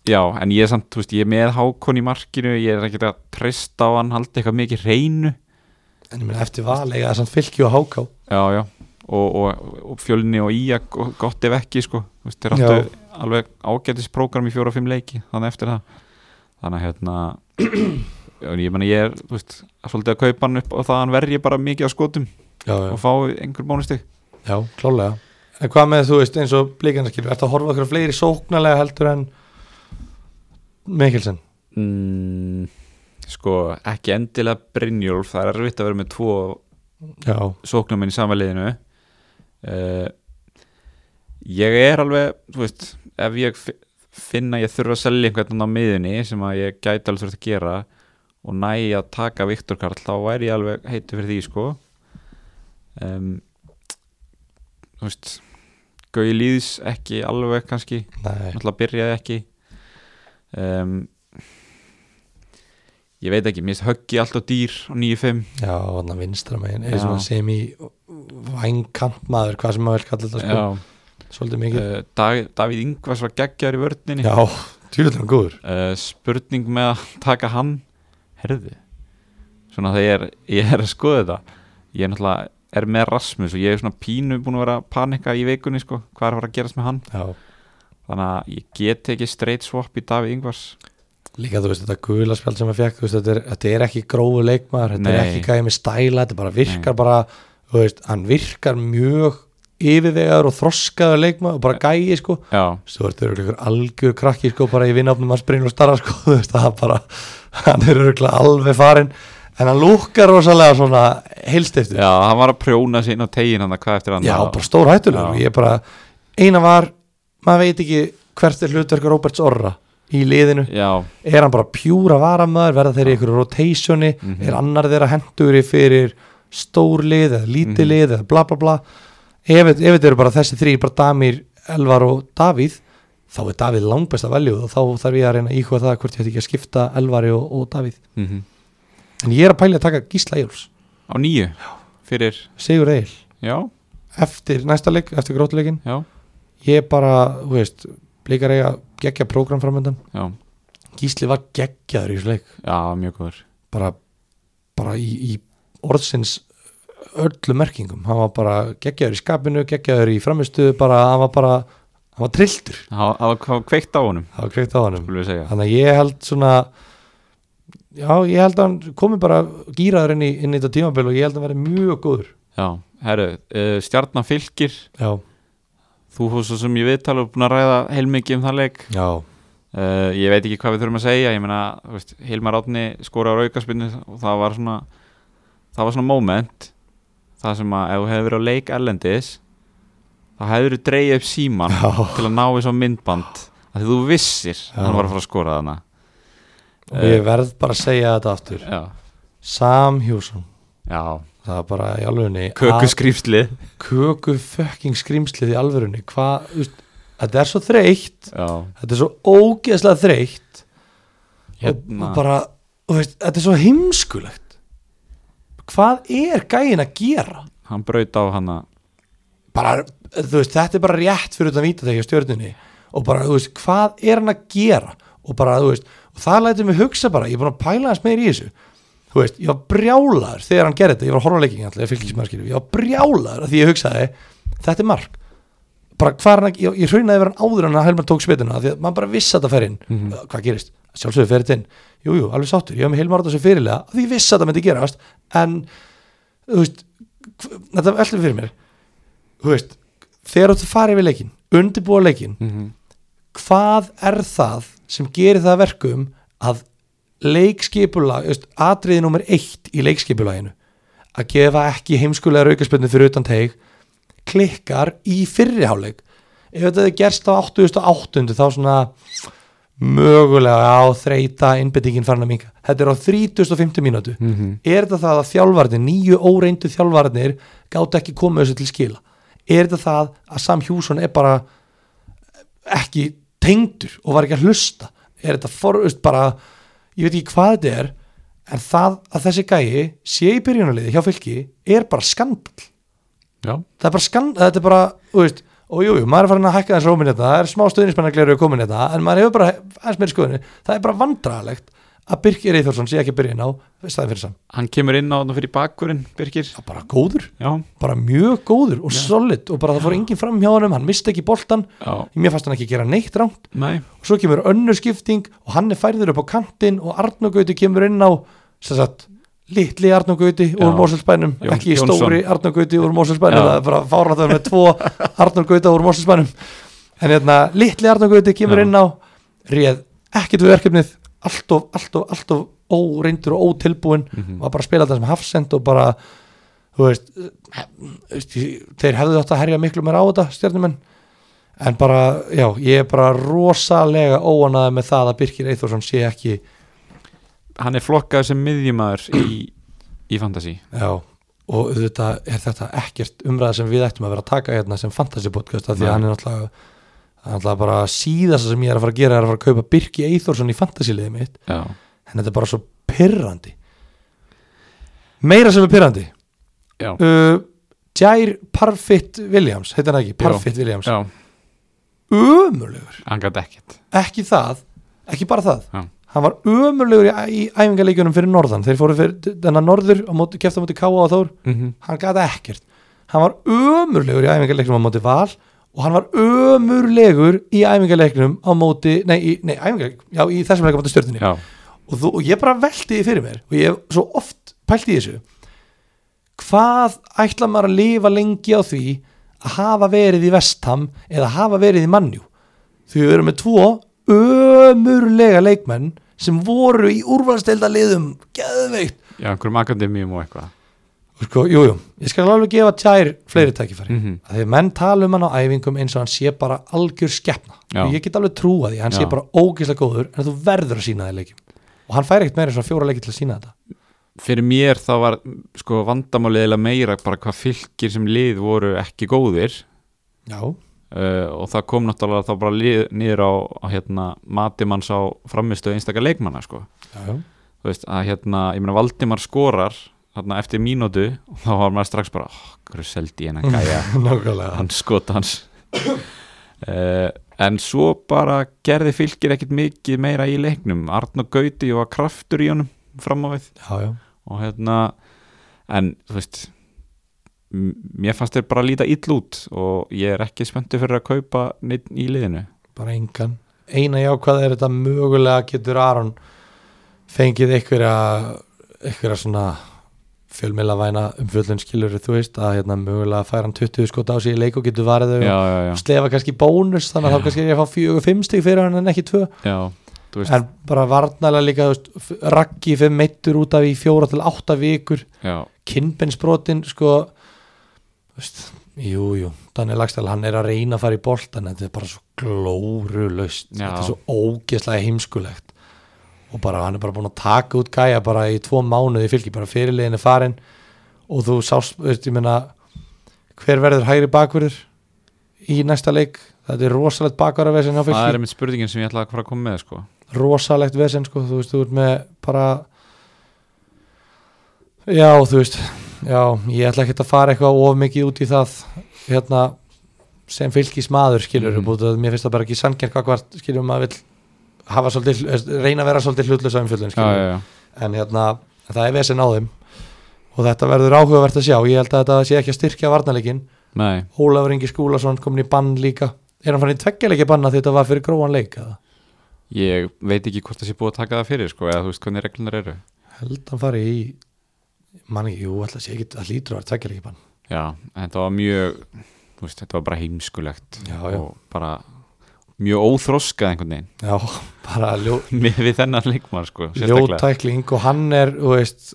Speaker 1: já, en ég er samt, þú veist, ég er með hákon í markinu, ég er ekkert að treysta á hann, halda eitthvað mikið hreinu
Speaker 2: en ég meina eftir valega, þessan fylki og háká
Speaker 1: já, já, og, og, og fjölni og íja, gott ef ekki sko, þú veist, þeir
Speaker 2: Já.
Speaker 1: áttu alveg ágætis prógram í fjóra og fimm leiki, þannig eftir það þannig að hérna [CLEARS THROAT] já, en ég meina ég er, þú veist, svolítið að kaupa hann upp og það að hann verji bara mikið á skotum
Speaker 2: já, já.
Speaker 1: og fá einhver bónustig
Speaker 2: Já, klálega En hvað með þú veist eins og blíkanskilur Ertu að horfa okkur fleiri sóknarlega heldur en Mikkelsen
Speaker 1: mm, sko, ekki endilega Brynjólf, það er erfitt að vera með tvo
Speaker 2: Já,
Speaker 1: sóknumenn í samanliðinu uh, ég er alveg þú veist, ef ég fi- finn að ég þurfa að selja einhvern veginn á miðunni sem að ég gæti alveg þurft að gera og næ að taka Viktor Karl þá væri ég alveg heitu fyrir því sko um, þú veist Gauði Lýðs ekki alveg kannski
Speaker 2: nei
Speaker 1: náttúrulega byrjaði ekki um, ég veit ekki, mér finnst höggi alltaf dýr á 9-5
Speaker 2: Já, hann að vinstra megin
Speaker 1: Já.
Speaker 2: Eða svona sem í vængkantmaður Hvað sem maður vil kalla þetta sko
Speaker 1: Já.
Speaker 2: Svolítið mikið
Speaker 1: uh, Dag, Davíð Ingvars var geggjar í vördninni
Speaker 2: Já, tjúlega góður
Speaker 1: uh, spurning með að taka hann herði svona þegar ég er, ég er að skoða þetta ég er náttúrulega er með Rasmus og ég er svona pínu búin að vera að panika í vikunni sko, hvað er að fara að gerast með hann
Speaker 2: Já,
Speaker 1: þannig að ég get ekki straight swap í Davíð Ingvars
Speaker 2: líka þú veist þetta gula spjald sem að fekk þú veist, þetta, er, þetta er ekki grófu leikmaður Þetta er
Speaker 1: Nei.
Speaker 2: ekki gæði með stæla Þetta bara virkar bara, þú veist, hann virkar mjög yfirvegaður og þroskaður leikmaður og bara gæði sko
Speaker 1: já,
Speaker 2: Þú veist, það eru ykkur algjör krakki sko bara í vinnafnum hans Brynjólf Starra sko [LAUGHS] þú veist, það er bara, hann er örgulega alveg farinn en hann lúkkar rosalega svona heilstiftur
Speaker 1: já, hann var að prjóna sig inn á tegin hann að hvað eftir hann
Speaker 2: Já, bara stór hættulegur
Speaker 1: Já.
Speaker 2: ég bara, eina var, maður veit ekki hvert er hlutverk Róberts Orra í liðinu,
Speaker 1: já,
Speaker 2: er hann bara pjúra varamöður, verða þeir í ykkur rotationi er annar þeirra henduri fyrir stór lið eða lítið
Speaker 1: Mhm.
Speaker 2: lið eða bla bla bla ef, ef þetta eru bara þessi þrý, bara Damir, Elvar og Davíð þá er Davíð langbest að velju og þá þarf ég að reyna að íhuga það hvort ég ætti ekki að skipta Elvari og, og Davíð
Speaker 1: mhm.
Speaker 2: en ég er að pæla að taka Gísla Jóls
Speaker 1: á nýju fyrir,
Speaker 2: Sigur Egil,
Speaker 1: já,
Speaker 2: eftir næsta leik eftir grótleikin,
Speaker 1: já,
Speaker 2: ég bara þú veist, blikar eiga geggja prógram framöndan,
Speaker 1: já
Speaker 2: Gísli var geggjaður í þessu leik
Speaker 1: já, mjög góður
Speaker 2: bara, bara í, í orðsins öllu merkingum hann var bara geggjaður í skapinu geggjaður í framistu, bara hann var bara hann var trilltur,
Speaker 1: það það var kveikt á honum,
Speaker 2: það var kveikt á honum
Speaker 1: skulum við segja
Speaker 2: þannig að ég held svona já, ég held að hann komi bara gýraður inn í, inn í þetta tímabil og ég held að hann verði mjög góður
Speaker 1: Já, herru, uh, stjarnan fylgir
Speaker 2: já,
Speaker 1: þú fórst svo sem ég viðtal og búin að ræða heilmikið um það leik
Speaker 2: já,
Speaker 1: uh, ég veit ekki hvað við þurfum að segja ég meina, þú veist, Hilmar Átni skora á aukaspinnu og það var svona það var svona moment það sem að ef þú hefur verið á leik erlendis þá hefur þú dreigð upp síman
Speaker 2: já.
Speaker 1: til að ná þessu á myndband af því þú vissir
Speaker 2: Já.
Speaker 1: að hann var að fara að skora þarna
Speaker 2: og ég verð bara að segja þetta aftur
Speaker 1: Já,
Speaker 2: Sam Hjússon
Speaker 1: Já,
Speaker 2: það er bara í alvörunni
Speaker 1: kökuskrýfslið
Speaker 2: köku fucking skrýmslið í alvörunni hvað, þú veist, þetta er svo þreytt
Speaker 1: Já,
Speaker 2: þetta er svo ógeðslega þreytt
Speaker 1: Hérna.
Speaker 2: og bara, þú veist, þetta er svo heimskulegt hvað er gæin að gera
Speaker 1: hann braut á hana
Speaker 2: bara, þú veist, þetta er bara rétt fyrir utan víta þegar stjörnunni og bara, þú veist, hvað er hann að gera og bara, þú veist, og það lætur mig hugsa bara, ég er búin að pæla hans meir í þessu þú veist, ég var brjálaður þegar hann gerði þetta ég var að horfa á leikingin alltaf, ég fylgis maður skilur ég var brjálaður að því ég hugsaði, þetta er mark bara hvað er hann að, ég, ég hraunnaði verið hann áður en að Helmar tók spituna, af því að maður bara vissi að þetta fer inn, hvað gerist, sjálfsögur fer þetta inn jújú, jú, alveg sáttur, ég hef með Helmar átt þessu fyrirlega, af því ég vissi að þetta myndi gerast en, þú veist hv- þetta er alltaf fyrir mér þú veist, þegar þú farið við leikin undirbúa leikin, hvað er það sem gerir það að verkum að leikskipulag, þú veist, atriði nummer eitt í leikskipulaginu að gefa ekki heimskulega raukaspöndu fyrir utan teig klikkar í fyrriháleik ef þetta hefði gerst á 88. þá svona mögulega á þreita innbyttingin farin að minka þetta er á 3050 mínútu er þetta það að þjálfarnir, nýju óreindu þjálfarnir gátt ekki komið þessu til skila er þetta það að Sam Hjússon er bara ekki tengdur og var ekki að hlusta er þetta forust bara ég veit ekki hvað þetta er en það að þessi gæi sé í byrjunarliði hjá fylki er bara skandal
Speaker 1: Já,
Speaker 2: það er bara skandal, þetta er bara þú veist, og jú, jú, maður er farin að hækka þessu rómin þetta það er smá stöðnismennagleru að komin þetta en maður hefur bara aðeins meiri skoðinu það er bara vandræðalegt að Birkir Eithórsson sé ekki að byrja ná staðin fyrir sam
Speaker 1: hann kemur inn á hann fyrir bakkurinn, Birgir
Speaker 2: það er bara góður,
Speaker 1: Já,
Speaker 2: bara mjög góður og solid og bara það fór enginn fram hjá honum hann misti ekki boltan,
Speaker 1: já,
Speaker 2: mér fannst hann ekki gera neitt rámt
Speaker 1: nei
Speaker 2: og svo kemur önnur skipting og hann er færður upp á kantinn og Arnogauti kemur inn á sem sagt, litli Arnogauti úr
Speaker 1: Já.
Speaker 2: Mósilsbænum,
Speaker 1: Jón-
Speaker 2: ekki
Speaker 1: Jónsson.
Speaker 2: stóri Arnogauti úr Mósilsbænum,
Speaker 1: Já.
Speaker 2: það er bara fárnátt að vera með tvo Arnogauta úr Mósilsbænum en hérna, litli Arnogauti kemur
Speaker 1: Já.
Speaker 2: inn á réð ekkert við verkefnið allt of, allt of, allt of óreindur og ótilbúinn var bara að spila þetta sem hafsend og bara þú veist, eh, þú veist ég- þeir hefðu átt að herja miklu meira á þetta stjarnumenn en bara, já, ég er bara rosalega óanaði með það að Birkir Eithórsson sé ekki
Speaker 1: Hann er flokkað sem miðjumæður í, í Fantasí
Speaker 2: já, og þetta er þetta ekkert umræða sem við ættum að vera að taka hérna sem fantasy podcast að því að
Speaker 1: Nei.
Speaker 2: hann er náttúrulega hann er náttúrulega bara síðasta sem ég er að fara að gera er að fara að kaupa Birki Eithórsson í fantasy liðið mitt
Speaker 1: Já,
Speaker 2: en þetta er bara svo pyrrandi meira sem er pyrrandi
Speaker 1: já,
Speaker 2: uh, Jair Parfit Williams heitir hann ekki, Parfit Williams
Speaker 1: já
Speaker 2: ömurlegur,
Speaker 1: Hann gæti ekkert
Speaker 2: ekki það ekki bara það,
Speaker 1: Já.
Speaker 2: hann var ömurlegur í, í æfingarleikjunum fyrir norðan þeir fóru fyrir þennan norður á móti, kefta á móti Káa og Þór,
Speaker 1: Mhm.
Speaker 2: hann gata ekkert hann var ömurlegur í æfingarleikjunum á móti Val og hann var ömurlegur í æfingarleikjunum á móti nei, í, nei æfingarleik, já, í þessum leikum á móti stjörnunni
Speaker 1: Já,
Speaker 2: og, þú, og ég bara velti því fyrir mér og ég hef svo oft pælt í þessu hvað ætla maður að lifa lengi á því að hafa verið í Vestham eða hafa verið í Mannjú því við erum með tvo ömurlega leikmenn sem voru í úrvalstelda liðum geðveikt
Speaker 1: já, einhverjum akademíum og eitthvað
Speaker 2: Og sko, jú, jú, ég skal alveg gefa tjær fleiri tækifæri, mm
Speaker 1: Mhm.
Speaker 2: þegar menn tala um hann á æfingum eins og hann sé bara algjör skepna
Speaker 1: Já.
Speaker 2: og ég get alveg trúa því, hann sé
Speaker 1: Já.
Speaker 2: bara ógeðslega góður en þú verður að sína það í leikjum og hann fær ekkert meira en svona fjóra leiki til að sína þetta
Speaker 1: Fyrir mér þá var sko vandamálið eiginlega meira bara hvað fylgir sem lið voru ekki góðir
Speaker 2: Já,
Speaker 1: uh, og það kom náttúrulega þá bara lið, niður á, á hérna, matimanns á framistu einstakar leikmanna sko.
Speaker 2: já, já,
Speaker 1: þú veist að hérna, ég meina Valdimar skorar þarna eftir mínútu og þá var maður strax bara, oh, hverju seldi ég hennan gæja
Speaker 2: [LAUGHS] nákvæmlega
Speaker 1: hann skot hans uh, en svo bara gerði fylgir ekkit mikið meira í leiknum Arn og Gauti og kraftur í honum fram á við
Speaker 2: Já, já,
Speaker 1: og hérna en þú veist m- mér fannst þeir bara líta ill út og ég er ekki spenntu fyrir að kaupa neitt í liðinu
Speaker 2: bara engan Eina jákvæða er þetta mögulega getur Aron fengið einhverja einhverja svona fjölmila væna umfjöllun skilur þú veist að hérna, mögulega fær hann 20 skot á sig í leik og getur varðið
Speaker 1: já, já, já,
Speaker 2: slefa kannski bónus þannig að þá kannski er ég að fá fjögur fimm stig fyrir hann en ekki tvö
Speaker 1: já, þú veist
Speaker 2: en bara varnalega líka þú veist, f- raggi fimm meittur út af í fjóra til átta vikur
Speaker 1: já,
Speaker 2: kinnbensbrotin sko þú veist, jú, jú Daniel Axtel hann er að reyna að fara í bolt en þetta er bara svo glórulaust
Speaker 1: Já.
Speaker 2: þetta er svo ógeðslega heimskulegt og bara hann er bara búin að taka út gæja bara í tvo mánuði fylgi bara fyrirliðin er farin og þú sást, veist, ég meina hver verður hægri bakverður í næsta leik, þetta er rosalegt bakvarðarvesen hjá
Speaker 1: það er
Speaker 2: fylki,
Speaker 1: einmitt spurningin sem ég ætlaði að fara að koma með sko.
Speaker 2: rosalegt vesen sko, þú veist, þú ert með bara já, þú veist já, ég ætla ekki að fara eitthvað of mikið út í það hérna sem fylgis maður skilur
Speaker 1: Mhm.
Speaker 2: mm. að mér finnst það bara ekki sangjart kakvart skilur maður vill hafa svolítið, hl- reyna að vera svolítið hlutlösa umfjöldin
Speaker 1: já,
Speaker 2: skilur
Speaker 1: já, já.
Speaker 2: en hérna, það er vesen á þeim og þetta verður áhugavert að sjá ég held að þetta sé ekki að styrkja varnarleikin
Speaker 1: Nei,
Speaker 2: Ólafur Ingi Skúlason komin í bann líka er hann fann í tveggjarleiki banna því þetta var fyrir gróan leik eða?
Speaker 1: ég veit ekki hvort það sé búið að taka það fyrir sko, eða þú veist hvernig reglunar eru
Speaker 2: held hann fari í mann ekki, jú, alltaf sé ekki að lítur að vera tveggjarleiki bann
Speaker 1: Já, en þetta var mjög þú veist, þetta var bara heimskulegt
Speaker 2: já, já,
Speaker 1: og bara mjög óþroskað einhvern veginn [LAUGHS]
Speaker 2: já, [LAUGHS] bara ljó,
Speaker 1: með við þennan leikmann sko, sérstaklega
Speaker 2: ljótækling og hann er, þú veist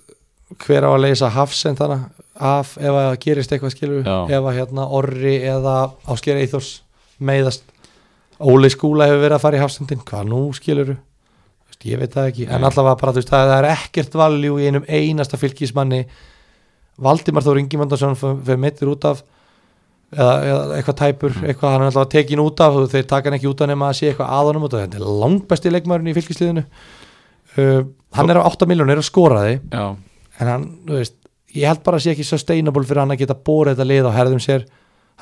Speaker 2: hver á að leysa hafsend þannig af ef að gerist eitthvað skilur
Speaker 1: Já.
Speaker 2: ef að hérna Orri eða Ásker Eithors meiðast Óli Skúla hefur verið að fara í hafsendin hvað nú skilur veist, ég veit það ekki, en
Speaker 1: Nei.
Speaker 2: allavega bara þú veist það, það er ekkert valjú í einum einasta fylgismanni Valdimar Þór Ingimandarsson fyrir meittir út af eða, eða eitthvað tæpur, eitthvað hann er allavega tekin út af og þeir taka hann ekki út af nema að sé eitthvað aðanum út af þetta er langbesti leikmaðurinn í fylgisliðinu uh, hann er á 8 miljónir að skora því
Speaker 1: Já,
Speaker 2: en hann, þú veist, ég held bara að sé ekki sustainable fyrir hann að geta borið þetta lið á herðum sér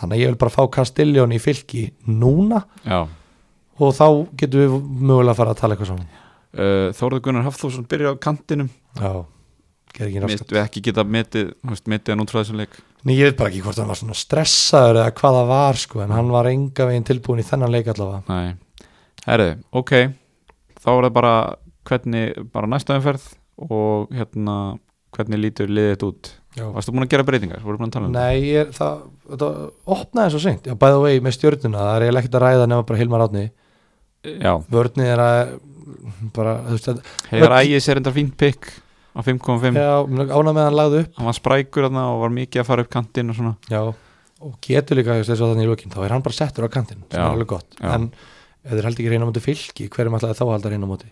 Speaker 2: þannig að ég vil bara fá Castelljón í fylki núna
Speaker 1: já
Speaker 2: og þá getum við mögulega að fara að tala eitthvað saman
Speaker 1: Uh, Þórður Gunnar Hafþórsson byrjar á kantinum
Speaker 2: já, gerði ekki
Speaker 1: Met,
Speaker 2: raskat
Speaker 1: við ekki geta metið, þú veist, metið hann út frá þessum leik
Speaker 2: Ný, ég veit bara ekki hvort hann var svona stressaður eða hvað það var sko, en hann var enga veginn tilbúin í þennan leik allavega
Speaker 1: Nei, herðu, ok þá er það bara hvernig bara næsta umferð og hérna hvernig lítur liðið þetta út
Speaker 2: já.
Speaker 1: Varstu búin að gera breytingar? Voru búin að tala um
Speaker 2: nei, ég er, það, það opnaði svo seint, já, by the way, með stjórnuna það er eiginlega ekkert að ræða nema bara Hilmar Átni
Speaker 1: það? Já,
Speaker 2: vörnið er að bara, þú veist, að-
Speaker 1: Heiðar
Speaker 2: Öll-
Speaker 1: Ægis er enda fínt pikk á 5.5,
Speaker 2: já, ána með hann lagði upp
Speaker 1: hann var sprækur þarna og var mikið að fara upp kantinn og svona
Speaker 2: Já, og getur líka þess að þannig í lokin, þá er hann bara settur á kantinn sem
Speaker 1: Já,
Speaker 2: er alveg gott,
Speaker 1: já.
Speaker 2: en ef þeir haldi ekki reyna á móti fylki, hverjum ætlaði þá að halda reyna á móti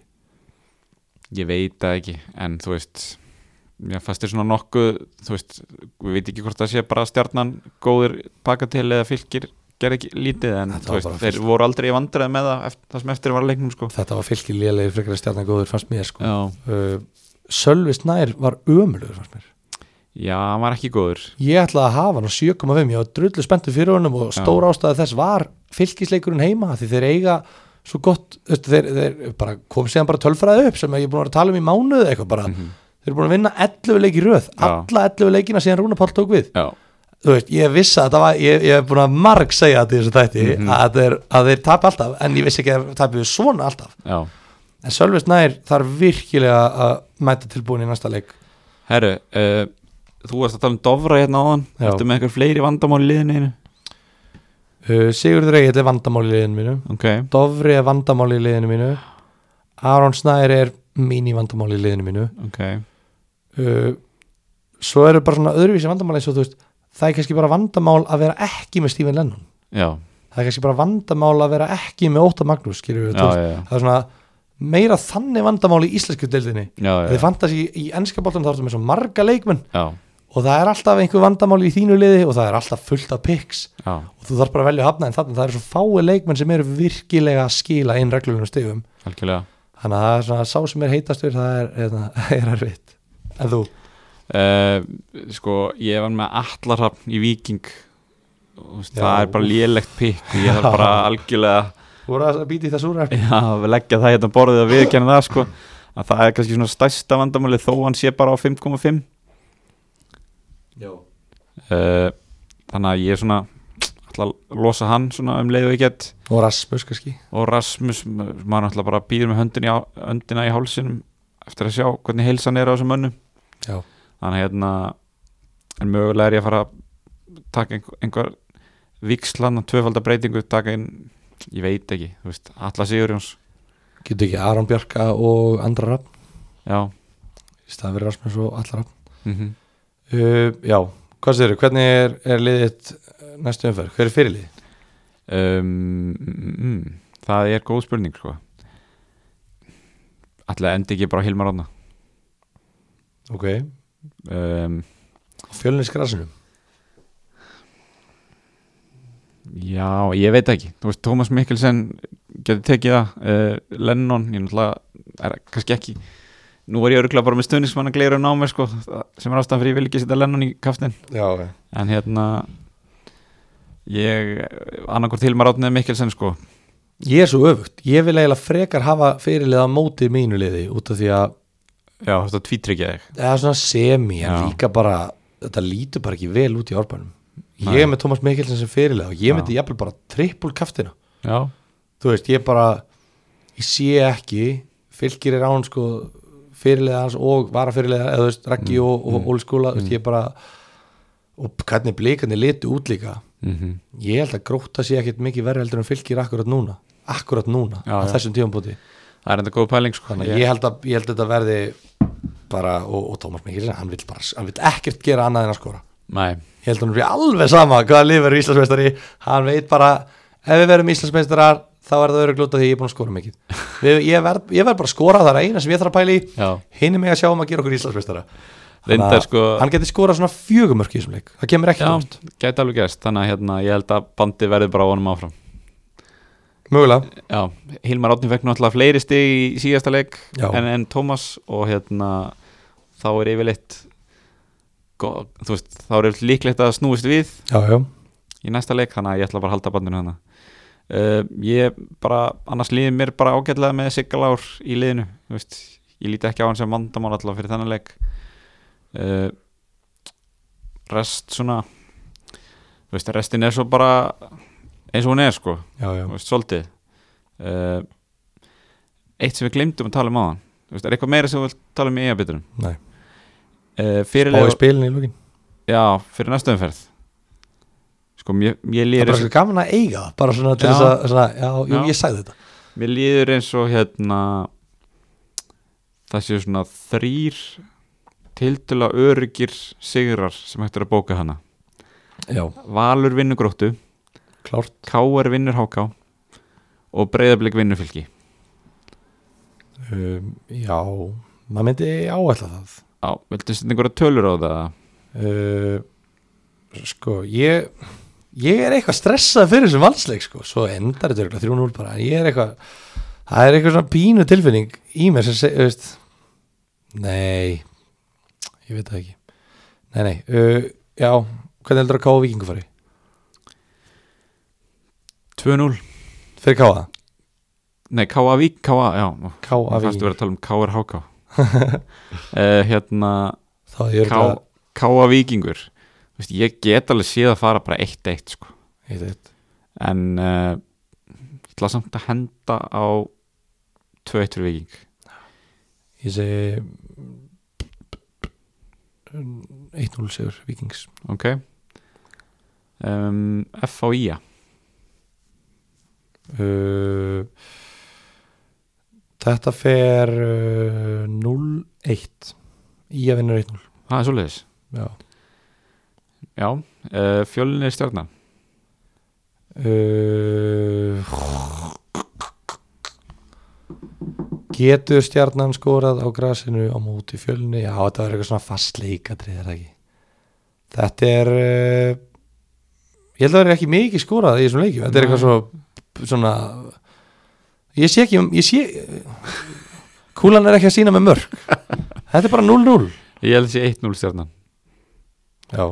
Speaker 1: Ég veit það ekki, en þú veist mér fastir svona nokkuð þú veist, við veit ekki hvort það sé bara stjarnan góðir baka til eða fylgir gerði ekki lítið en
Speaker 2: Þetta
Speaker 1: þú
Speaker 2: var
Speaker 1: veist,
Speaker 2: bara
Speaker 1: þeir
Speaker 2: fyrst.
Speaker 1: voru aldrei vandræði með það eftir, það sem eftir var að leiknum sko
Speaker 2: Þetta var fylki lélegi frekar að stjarnan góður fannst mér sko.
Speaker 1: Já,
Speaker 2: uh, Sölvi Snær var ömulugur fannst mér,
Speaker 1: já, hann var ekki góður
Speaker 2: ég ætlaði að hafa hann á 7,5, ég var drullu spenntur fyrir honum og
Speaker 1: Já.
Speaker 2: stóra ástæði þess var fylkisleikurinn heima því þeir eiga svo gott veistu, þeir, þeir bara kom síðan bara tölfræði upp sem ég er búin að vera að tala um í mánuð eitthvað bara, þeir eru búin að vinna 11 leiki í röð,
Speaker 1: Mhm. Já.
Speaker 2: alla 11 leikina síðan Rúna Páll tók við
Speaker 1: Já,
Speaker 2: þú veist, ég vissi að þetta var ég, ég hef búin að marg segja þetta í þessu þætti
Speaker 1: Mhm.
Speaker 2: að, þeir, að þeir tapa alltaf, en ég vissi ekki að þeir tapið svona alltaf,
Speaker 1: já
Speaker 2: en Sölvis Nær þarf virkilega að mæta tilbúin í næsta leik
Speaker 1: Herru, uh, þú varst að tala um Dovra hérna áðan
Speaker 2: Já.
Speaker 1: Ertu með eitthvað fleiri vandamál í liðinu þínu?
Speaker 2: uh, Sigurður Egil er vandamál í liðinu mínu
Speaker 1: Ok,
Speaker 2: Dofri er vandamál í liðinu mínu Aron Snær er mini vandamál í liðinu mínu
Speaker 1: ok
Speaker 2: uh, svo eru bara svona öðruvísi vandamál eins og þú veist, það er kannski bara vandamál að vera ekki með Stephen Lennon
Speaker 1: Já,
Speaker 2: það er kannski bara vandamál að vera ekki með Óta Magnús, skilur
Speaker 1: já,
Speaker 2: við, þú veist,
Speaker 1: já, já,
Speaker 2: það er svona meira þannig vandamál í íslensku deildinni
Speaker 1: já, já,
Speaker 2: þið fantast í, í ennska bóltan þá ertu með svo marga leikmenn
Speaker 1: já,
Speaker 2: og það er alltaf einhver vandamál í þínu liði og það er alltaf fullt af picks
Speaker 1: já,
Speaker 2: og þú þarf bara að velja að hafna en þannig það eru svo fái leikmenn sem eru virkilega að skila inn reglunum stegum
Speaker 1: algjörlega
Speaker 2: þannig að það er svona sá sem er heitastur [LAUGHS] það er, er, er erfitt en þú,
Speaker 1: uh, sko ég var með allarhafn í Viking Þú veist,
Speaker 2: Já.
Speaker 1: það er bara lélegt pikk og ég þarf bara algjörlega
Speaker 2: þú voru að býti það súra
Speaker 1: að leggja það hérna á borðið að viðkjanna það sko að það er kannski svona stærsta vandamáli þó hann sé bara á 5,5 uh,
Speaker 2: já,
Speaker 1: Eh, þannig að ég er svona ætla að losa hann svona um leið og ég get
Speaker 2: og Rasmus kannski
Speaker 1: og Rasmus, maður náttúrulega bara býður með höndin í, há- höndina í hálsinum eftir að sjá hvernig heilsan er á þessum mönnum
Speaker 2: já,
Speaker 1: þannig að hérna en mögulega er ég að fara að taka einhver, einhver vikslan að tvöfalda breytingu, taka inn ég veit ekki, þú veist, Alla Sigurjóns
Speaker 2: getur ekki Aron Bjarka og Andra Rapp
Speaker 1: já,
Speaker 2: í staðan fyrir Rasmus og Allar Rapp
Speaker 1: mm
Speaker 2: uh, já, hvað séru, hvernig er, er liðið eh, næstu umferð, hver er fyrirlið?
Speaker 1: um, mm, mm, það er góð spurning sko ætla að endi ekki bara á Hilmar Rána
Speaker 2: Ok,
Speaker 1: um,
Speaker 2: fjölnisgrasinu
Speaker 1: Já, ég veit ekki Þú veist, Thomas Mikkelsen getur tekið það uh, Lennon, ég náttúrulega er kannski ekki Nú er ég örgulega bara með stöðnismann að gleira um námi sko, það- sem er ástæðan fyrir ég vil ekki setja Lennon í kaftin
Speaker 2: já, já.
Speaker 1: en hérna ég annarkort til maður átnið Mikkelsen sko
Speaker 2: ég er svo öfugt, ég vil eiginlega frekar hafa fyrirlið á móti mínu liði út af því að
Speaker 1: Já, þetta tvítryggja þig
Speaker 2: það er svona semi en
Speaker 1: Já.
Speaker 2: líka bara, þetta lítur bara ekki vel út í árbænum ég er með Tómas Mikkelsen sem fyrirlið og ég
Speaker 1: Já.
Speaker 2: myndi jafnvel bara trippul kaftina
Speaker 1: Já,
Speaker 2: þú veist, ég bara ég sé ekki, fylgir er án sko fyrirlega hans og vara fyrirlega, eða þú veist, Raggi og, og mm. Ólskóla, þú veist, ég bara og hvernig blikandi litu út líka
Speaker 1: mm -hmm.
Speaker 2: ég held að gróta sé ekkit mikið verið heldur en fylgir akkurat núna, akkurat núna
Speaker 1: Já,
Speaker 2: á
Speaker 1: já.
Speaker 2: þessum tífambúti,
Speaker 1: það er enda góð pæling sko
Speaker 2: þannig að ég held að ég held að þetta verði bara, og, og Tómas Mikkelsen, hann vil bara, hann vil ekkert gera annað en að skora
Speaker 1: Nei,
Speaker 2: ég held að hann fyrir alveg sama hvaða lið verður Íslandsmeistari hann veit bara, ef við verðum Íslandsmeistarar þá er það örugglega út af því að ég er búin að skora
Speaker 1: [LAUGHS]
Speaker 2: mikið við, ég, verð, ég verð bara að skora það er eina sem ég þarf að pæla í,
Speaker 1: Já.
Speaker 2: hinn er mig að sjá um að gera okkur Íslandsmeistara Þannig
Speaker 1: Reyndar
Speaker 2: að
Speaker 1: sko-
Speaker 2: hann getur skorað svona fjögumörk í þessum leik það kemur ekki
Speaker 1: já,
Speaker 2: tónst,
Speaker 1: gæti alveg gerst þannig að hérna, ég held að bandi verði bara á honum áfram
Speaker 2: mögulega
Speaker 1: Já, Hilmar Átni fekk náttúrulega fleiri stig í síðasta leik
Speaker 2: Já.
Speaker 1: en, en Thomas og hérna þá er yfirleitt go- þú veist, þá er yfirleitt líklegt að það snúist við
Speaker 2: já, já,
Speaker 1: í næsta leik þannig að ég ætla bara að halda bandinu hana uh, ég bara, annars líði mér bara ágætlega með Sigalár í liðinu þú veist, ég líti ekki á hann sem vandamál alltaf fyrir þennan leik uh, rest svona þú veist, restin er svo bara eins og hún er sko
Speaker 2: já, já.
Speaker 1: þú veist, svolítið uh, eitt sem við glemdum að tala um áðan þú veist, er eitthvað meira sem við vilt tala um í EA-bitunum
Speaker 2: Nei.
Speaker 1: uh,
Speaker 2: og í
Speaker 1: fyrirlega,
Speaker 2: spilinu í lókin
Speaker 1: já, fyrir næstu umferð sko, mér, mér
Speaker 2: það er
Speaker 1: líður
Speaker 2: bara
Speaker 1: eins,
Speaker 2: svo gaman að eiga það, bara svona til
Speaker 1: Já.
Speaker 2: þess að svona, já, jú,
Speaker 1: Já.
Speaker 2: ég sagði þetta
Speaker 1: mér líður eins og hérna það séu svona þrýr tildulega öryggir sigrar sem hægt er að bóka hana
Speaker 2: já,
Speaker 1: Valur vinnur gróttu,
Speaker 2: klárt,
Speaker 1: Káar vinnur háká og breyðablik vinnur fylki
Speaker 2: um, já maður myndi áætla það
Speaker 1: Já, viltu setja einhverja tölur á það?
Speaker 2: uh, sko ég ég er eitthvað stressað fyrir þessum valsleik sko, svo endar þetta örugglega 3-0 bara, en ég er eitthvað það er eitthvað svona pínu tilfinning í mér sem segir, veist nei, ég veit það ekki nei, nei, uh, já hvernig heldur að káa vikingu fari?
Speaker 1: 2-0
Speaker 2: fyrir káa,
Speaker 1: Nei, K.A. Vík, K.A. já
Speaker 2: káa
Speaker 1: Mér fannst þú
Speaker 2: vikingu
Speaker 1: verið að tala um K.R.
Speaker 2: [LAUGHS]
Speaker 1: Háká uh, Hérna
Speaker 2: þá er ég
Speaker 1: K-
Speaker 2: örugglega-
Speaker 1: K.A. Víkingur Þú veist, Ég get alveg séð að fara bara 1-1 sko.
Speaker 2: ég veit,
Speaker 1: En uh, Ég ætla samt að henda á 2-1 fyrir Víking
Speaker 2: ég segi 1-0 sigur vikings
Speaker 1: Ok um, F.A.I.A.
Speaker 2: Uh, Þetta fer uh, 0-1 Í að vinna 1-0
Speaker 1: Það er svoleiðis
Speaker 2: Já.
Speaker 1: Já, uh, fjölinni stjarnan
Speaker 2: uh, Getur stjarnan skorað á grasinu á móti fjölni Já, þetta er eitthvað svona fast leikatrið er það ekki Þetta er uh, Ég held að það er ekki mikið skorað í þessum leikjum Þetta er eitthvað svo, svona Ég sé ekki ég sé, Kúlan er ekki að sína með mörg Þetta er bara 0-0
Speaker 1: Ég held þessi 1-0 stjarnan
Speaker 2: Já,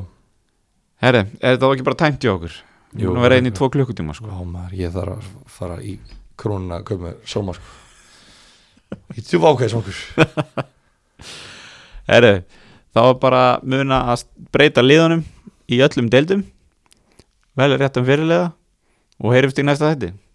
Speaker 1: Herri, er þetta þá ekki bara tæmt í okkur?
Speaker 2: Jú.
Speaker 1: Jú, Nú verið einn í tvo klukkutíma sko.
Speaker 2: Vá maður, ég þarf að fara í krónuna að kaupa mér sóma sko. Ég tjú vákæði svangur
Speaker 1: Herru, þá er bara muna að breyta liðunum í öllum deildum velja réttan fyrirliða um og heyrumst í næsta þætti